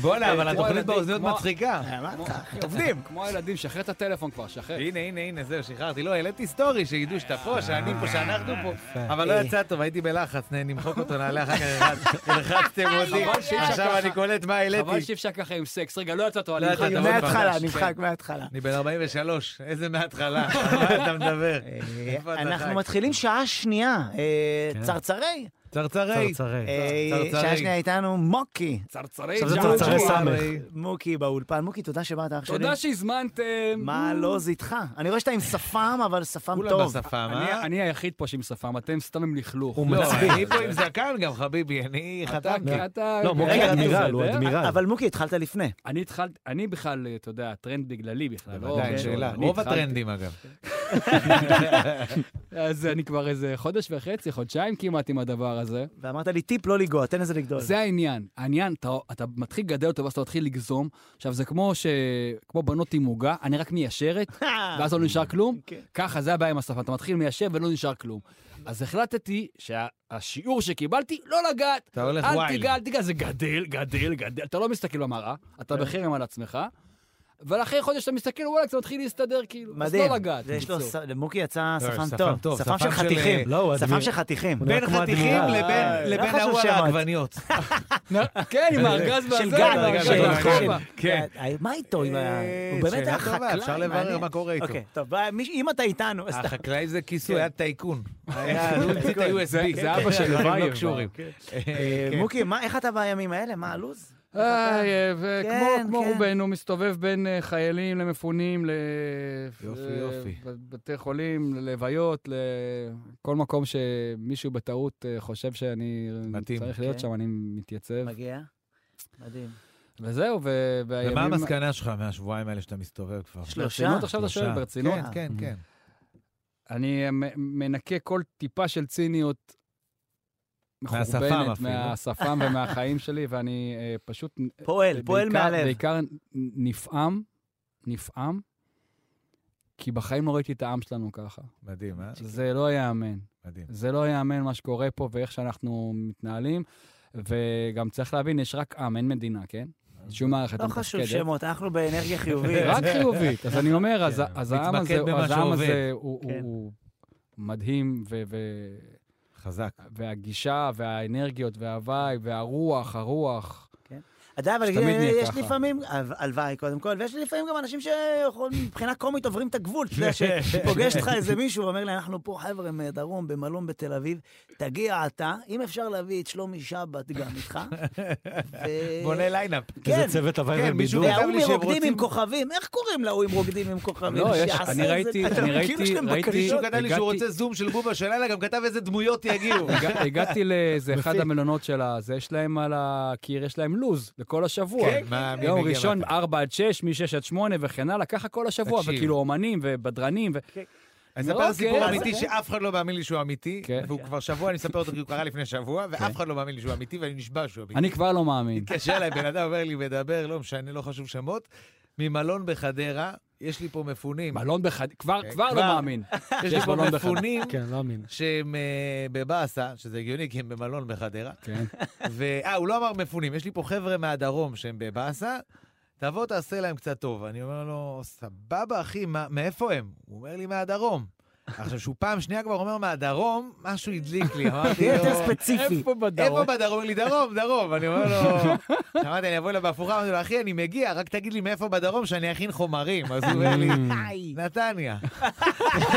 Speaker 4: בואנה, אבל
Speaker 8: אה,
Speaker 4: התוכנית
Speaker 8: כמו-
Speaker 4: באוזניות
Speaker 8: כמו-
Speaker 4: מצחיקה.
Speaker 2: אה, מה אתה, אחי, עובדים.
Speaker 8: כמו הילדים, שחרר את הטלפון כבר, שחרר.
Speaker 4: הנה, הנה, הנה, זהו, שחררתי. לא, העליתי סטורי, שידעו שאתה פה, שאני פה, שאנחנו פה. אבל לא יצא טוב, הייתי בלחץ, נ- נמחוק אותו, נעלה אחר כך. אחד. הלחצתם אותי,
Speaker 8: חבל שאי אפשר
Speaker 4: עכשיו
Speaker 8: ככה.
Speaker 4: אני קולט מה
Speaker 8: חבל
Speaker 4: העליתי.
Speaker 8: שאי אפשר ככה עם סקס. רגע, לא יצא טוב,
Speaker 4: לא
Speaker 8: אני
Speaker 4: יצא טוב.
Speaker 2: מההתחלה,
Speaker 4: חדש,
Speaker 2: נמחק
Speaker 4: כן.
Speaker 2: מההתחלה.
Speaker 4: אני בן 43, איזה מההתחלה, על מה אתה מדבר? איפה אתה
Speaker 2: אה, אנחנו
Speaker 4: חי?
Speaker 2: מתחילים שעה שנייה, אה, צרצרי.
Speaker 4: צרצרי.
Speaker 3: כן. צרצרי.
Speaker 2: אה,
Speaker 4: צרצרי.
Speaker 2: שעה שנייה איתנו מוקי.
Speaker 8: צרצרי.
Speaker 3: עכשיו זה
Speaker 8: ג'אנג'י.
Speaker 3: צרצרי סמך.
Speaker 4: צרצרי.
Speaker 2: מוקי באולפן. מוקי, תודה שבאת אח שלי.
Speaker 8: תודה שהזמנתם.
Speaker 2: מה לא זה איתך? אני רואה שאתה עם שפם, אבל שפם
Speaker 4: כולם
Speaker 2: טוב.
Speaker 4: בשפם,
Speaker 8: אני-
Speaker 4: אה?
Speaker 8: אני היחיד פה שעם שפם, אתם סתם עם לכלוך.
Speaker 3: הוא
Speaker 4: לא,
Speaker 3: מצביע.
Speaker 4: אני פה עם זקן גם, חביבי, אני
Speaker 8: אתה,
Speaker 4: חתן.
Speaker 8: כי אתה...
Speaker 3: לא, מוקי
Speaker 8: רגע,
Speaker 3: אדמירל,
Speaker 8: אתה
Speaker 3: הוא
Speaker 8: יודע?
Speaker 3: אדמירל.
Speaker 2: אבל מוקי, התחלת לפני.
Speaker 8: אני התחלתי, אני בכלל, אתה יודע, הטרנד בגללי בכלל. לא
Speaker 4: עדיין
Speaker 8: קשור,
Speaker 4: שאלה.
Speaker 8: אני
Speaker 4: רוב
Speaker 8: התחלתי.
Speaker 4: הטרנדים אגב.
Speaker 8: אז אני כבר איזה חודש וחצי, חודשיים כמעט עם הדבר הזה.
Speaker 2: ואמרת לי, טיפ לא לגוע, תן לזה לגדול.
Speaker 8: זה העניין. העניין, אתה, אתה מתחיל לגדל אותו, ואז אתה מתחיל לגזום. עכשיו, זה כמו, ש... כמו בנות עם עוגה, אני רק מיישרת, ואז לא נשאר כלום.
Speaker 2: כן.
Speaker 8: ככה, זה הבעיה עם השפה. אתה מתחיל מיישר ולא נשאר כלום. אז החלטתי שהשיעור שקיבלתי, לא לגעת.
Speaker 4: אתה הולך
Speaker 8: אל
Speaker 4: ווילד.
Speaker 8: תיגע, אל תיגע, זה גדל, גדל, גדל. אתה לא מסתכל במראה, אתה
Speaker 2: אה.
Speaker 8: בחרם על עצמך. אבל אחרי חודש אתה מסתכל, וואלה, זה מתחיל להסתדר כאילו. אז
Speaker 2: מדהים.
Speaker 8: לא לגעת.
Speaker 2: זה יש לו
Speaker 8: בקיצור.
Speaker 2: ס- למוקי יצא
Speaker 8: אה,
Speaker 4: לא, שפם
Speaker 2: אה, שפם טוב.
Speaker 4: טוב,
Speaker 2: שפם של
Speaker 4: שפם של, אה,
Speaker 2: חתיכים.
Speaker 3: לא, הוא
Speaker 2: שפם
Speaker 3: אדמיר-
Speaker 2: של חתיכים.
Speaker 3: הוא נראה
Speaker 4: בין
Speaker 3: כמו
Speaker 4: חתיכים
Speaker 3: אדמירל.
Speaker 4: לבין-
Speaker 2: לא
Speaker 4: לבין
Speaker 2: חשוב
Speaker 4: ההוא על
Speaker 2: שמות.
Speaker 4: העגבניות.
Speaker 8: כן, עם הארגז והזה.
Speaker 2: אה, של
Speaker 8: עם
Speaker 2: גל,
Speaker 8: הארגז
Speaker 2: של
Speaker 8: והכובע.
Speaker 2: גל.
Speaker 4: כן.
Speaker 2: אה,
Speaker 4: אה,
Speaker 2: מה איתו עם ה... הוא באמת
Speaker 4: שאלה
Speaker 2: היה
Speaker 4: טובה,
Speaker 2: חקלאי.
Speaker 4: אפשר לברר
Speaker 2: מעניין.
Speaker 4: מה קורה איתו.
Speaker 2: אוקיי, טוב, ביי, מי- אם אתה איתנו, אז אתה... כן.
Speaker 4: החקלאי זה כיסוי, היה טייקון. היה
Speaker 2: לא
Speaker 4: הוציא את ה-USB.
Speaker 8: זה אבא של
Speaker 4: הם
Speaker 8: לוייב.
Speaker 4: לא קשורים.
Speaker 2: אה,
Speaker 4: כן.
Speaker 2: מוקי, מה- איך אתה בימים האלה? מה הלו"ז?
Speaker 8: איי, אה, וכמו
Speaker 2: כן,
Speaker 8: כמו
Speaker 2: כן.
Speaker 8: רובנו, מסתובב בין אה, חיילים למפונים, ל...
Speaker 4: יופי,
Speaker 8: ל-
Speaker 4: יופי.
Speaker 8: ב- בתי חולים, ללוויות, לכל מקום שמישהו בטעות אה, חושב שאני
Speaker 4: מתאים.
Speaker 8: צריך להיות
Speaker 2: כן.
Speaker 8: שם, אני מתייצב.
Speaker 2: מגיע? מדהים.
Speaker 8: וזהו, ו- והימים...
Speaker 4: ומה המסקנה שלך מהשבועיים האלה שאתה מסתובב כבר? לא,
Speaker 2: שלושה?
Speaker 8: ברצינות עכשיו אתה שואל,
Speaker 4: שלושה.
Speaker 8: ברצינות?
Speaker 4: כן, כן, כן.
Speaker 8: אני אה, מ- מנקה כל טיפה של ציניות
Speaker 4: מהשפם
Speaker 8: מחורבנת
Speaker 4: אפילו.
Speaker 8: מהשפם ומהחיים שלי, ואני אה, פשוט אה,
Speaker 2: פועל, פועל
Speaker 8: בעיקר-
Speaker 2: מהלב.
Speaker 8: בעיקר נפעם, נפעם, כי בחיים לא ראיתי את העם שלנו ככה.
Speaker 4: מדהים, אה?
Speaker 8: זה לא ייאמן.
Speaker 4: מדהים.
Speaker 8: זה לא ייאמן מה שקורה פה ואיך שאנחנו מתנהלים. וגם צריך להבין, יש רק עם, אין מדינה, כן?
Speaker 4: אה,
Speaker 8: שום מערכת
Speaker 2: לא
Speaker 8: מתפקדת.
Speaker 2: חשוב שמות, אנחנו באנרגיה חיובית.
Speaker 8: רק חיובית. אז אני אומר, אז-
Speaker 4: כן,
Speaker 8: אז העם
Speaker 4: מתמקד
Speaker 8: הזה-
Speaker 4: במה
Speaker 8: אז העם
Speaker 4: שעובד.
Speaker 8: הזה הוא- הוא
Speaker 2: כן.
Speaker 8: הוא מדהים, ו- ו-
Speaker 4: חזק.
Speaker 8: והגישה, והאנרגיות, והוואי, והרוח, הרוח.
Speaker 2: אתה יודע, אבל אה,
Speaker 8: שתמיד נהיה
Speaker 2: יש
Speaker 8: ככה.
Speaker 2: לפעמים, הל- הלוואי קודם כל, ויש לפעמים גם אנשים שמבחינה קומית עוברים את הגבול, אתה יודע, שפוגש אותך איזה מישהו ואומר לי, אנחנו פה חבר'ה מדרום, במלון בתל אביב, תגיע אתה, אם אפשר להביא את שלומי שבת גם איתך. ו-
Speaker 4: בונה ליינאפ.
Speaker 2: כן,
Speaker 3: איזה צוות הוואי
Speaker 4: כן,
Speaker 3: והם
Speaker 4: מישהו-
Speaker 3: בידור.
Speaker 2: וההוא
Speaker 4: כתב לי שהם
Speaker 2: מרוקדים עם
Speaker 4: רוצים-
Speaker 2: כוכבים, איך קוראים להוא עם רוקדים עם כוכבים?
Speaker 8: לא, יש-
Speaker 2: שיעשה
Speaker 8: אני
Speaker 2: את זה,
Speaker 8: ראיתי-
Speaker 2: אתה
Speaker 8: אני
Speaker 2: מכיר
Speaker 8: ראיתי-
Speaker 2: שלהם
Speaker 8: ראיתי-
Speaker 2: בקריות?
Speaker 4: מישהו כתב לי שהוא
Speaker 8: הגעתי-
Speaker 4: רוצה זום של בובה של לילה, גם כתב איזה דמויות יגיעו.
Speaker 8: הגע- הגעתי לאיזה אחד המלונות של הזה, יש להם על הקיר, יש להם לו"ז לכל השבוע.
Speaker 4: כן, מה, מי
Speaker 8: יום
Speaker 4: מגיע
Speaker 8: ראשון,
Speaker 4: מתי?
Speaker 8: 4 עד 6, מ-6 עד 8 וכן הלאה, ככה כל השבוע,
Speaker 4: תקשיב.
Speaker 2: כן.
Speaker 8: וכאילו אומנים ובדרנים. ו-
Speaker 4: אני אספר סיפור
Speaker 8: אוקיי.
Speaker 4: אמיתי שאף אחד לא מאמין לי שהוא אמיתי,
Speaker 8: כן.
Speaker 4: והוא כבר שבוע, אני מספר אותו כי הוא קרה לפני שבוע, ואף אחד לא מאמין לי שהוא אמיתי, ואני נשבע שהוא אמיתי.
Speaker 8: אני כבר לא מאמין.
Speaker 4: התקשר אליי, בן אדם אומר לי, מדבר, לא משנה, לא חשוב שמות, ממלון בחדרה, יש לי פה מפונים.
Speaker 8: מלון בחד... כבר,
Speaker 4: כן,
Speaker 8: כבר לא
Speaker 4: כבר.
Speaker 8: מאמין.
Speaker 4: יש לי
Speaker 8: שיש
Speaker 4: פה
Speaker 8: מלון בחדרה.
Speaker 4: מפונים
Speaker 3: כן, לא אמין.
Speaker 4: שהם אה, בבאסה, שזה הגיוני, כי הם במלון בחדרה.
Speaker 8: כן.
Speaker 4: ו- אה, הוא לא אמר מפונים, יש לי פה חבר'ה מהדרום שהם בבאסה, תבוא תעשה להם קצת טוב. אני אומר לו, סבבה אחי, מה, מאיפה הם? הוא אומר לי, מהדרום. עכשיו, שהוא פעם שנייה כבר אומר מהדרום, משהו הדליק לי, אמרתי
Speaker 2: יותר
Speaker 4: לו...
Speaker 2: ספציפי.
Speaker 8: איפה
Speaker 4: איפה
Speaker 8: בדרום?
Speaker 4: בדרום? הוא אומר לי, דרום, דרום. אני אומר לו... אמרתי, אני אבוא אליו בהפוכה, אמרתי לו, אחי, אני מגיע, רק תגיד לי מאיפה בדרום שאני אכין חומרים. אז הוא אומר לי,
Speaker 2: Mm.
Speaker 4: נתניה.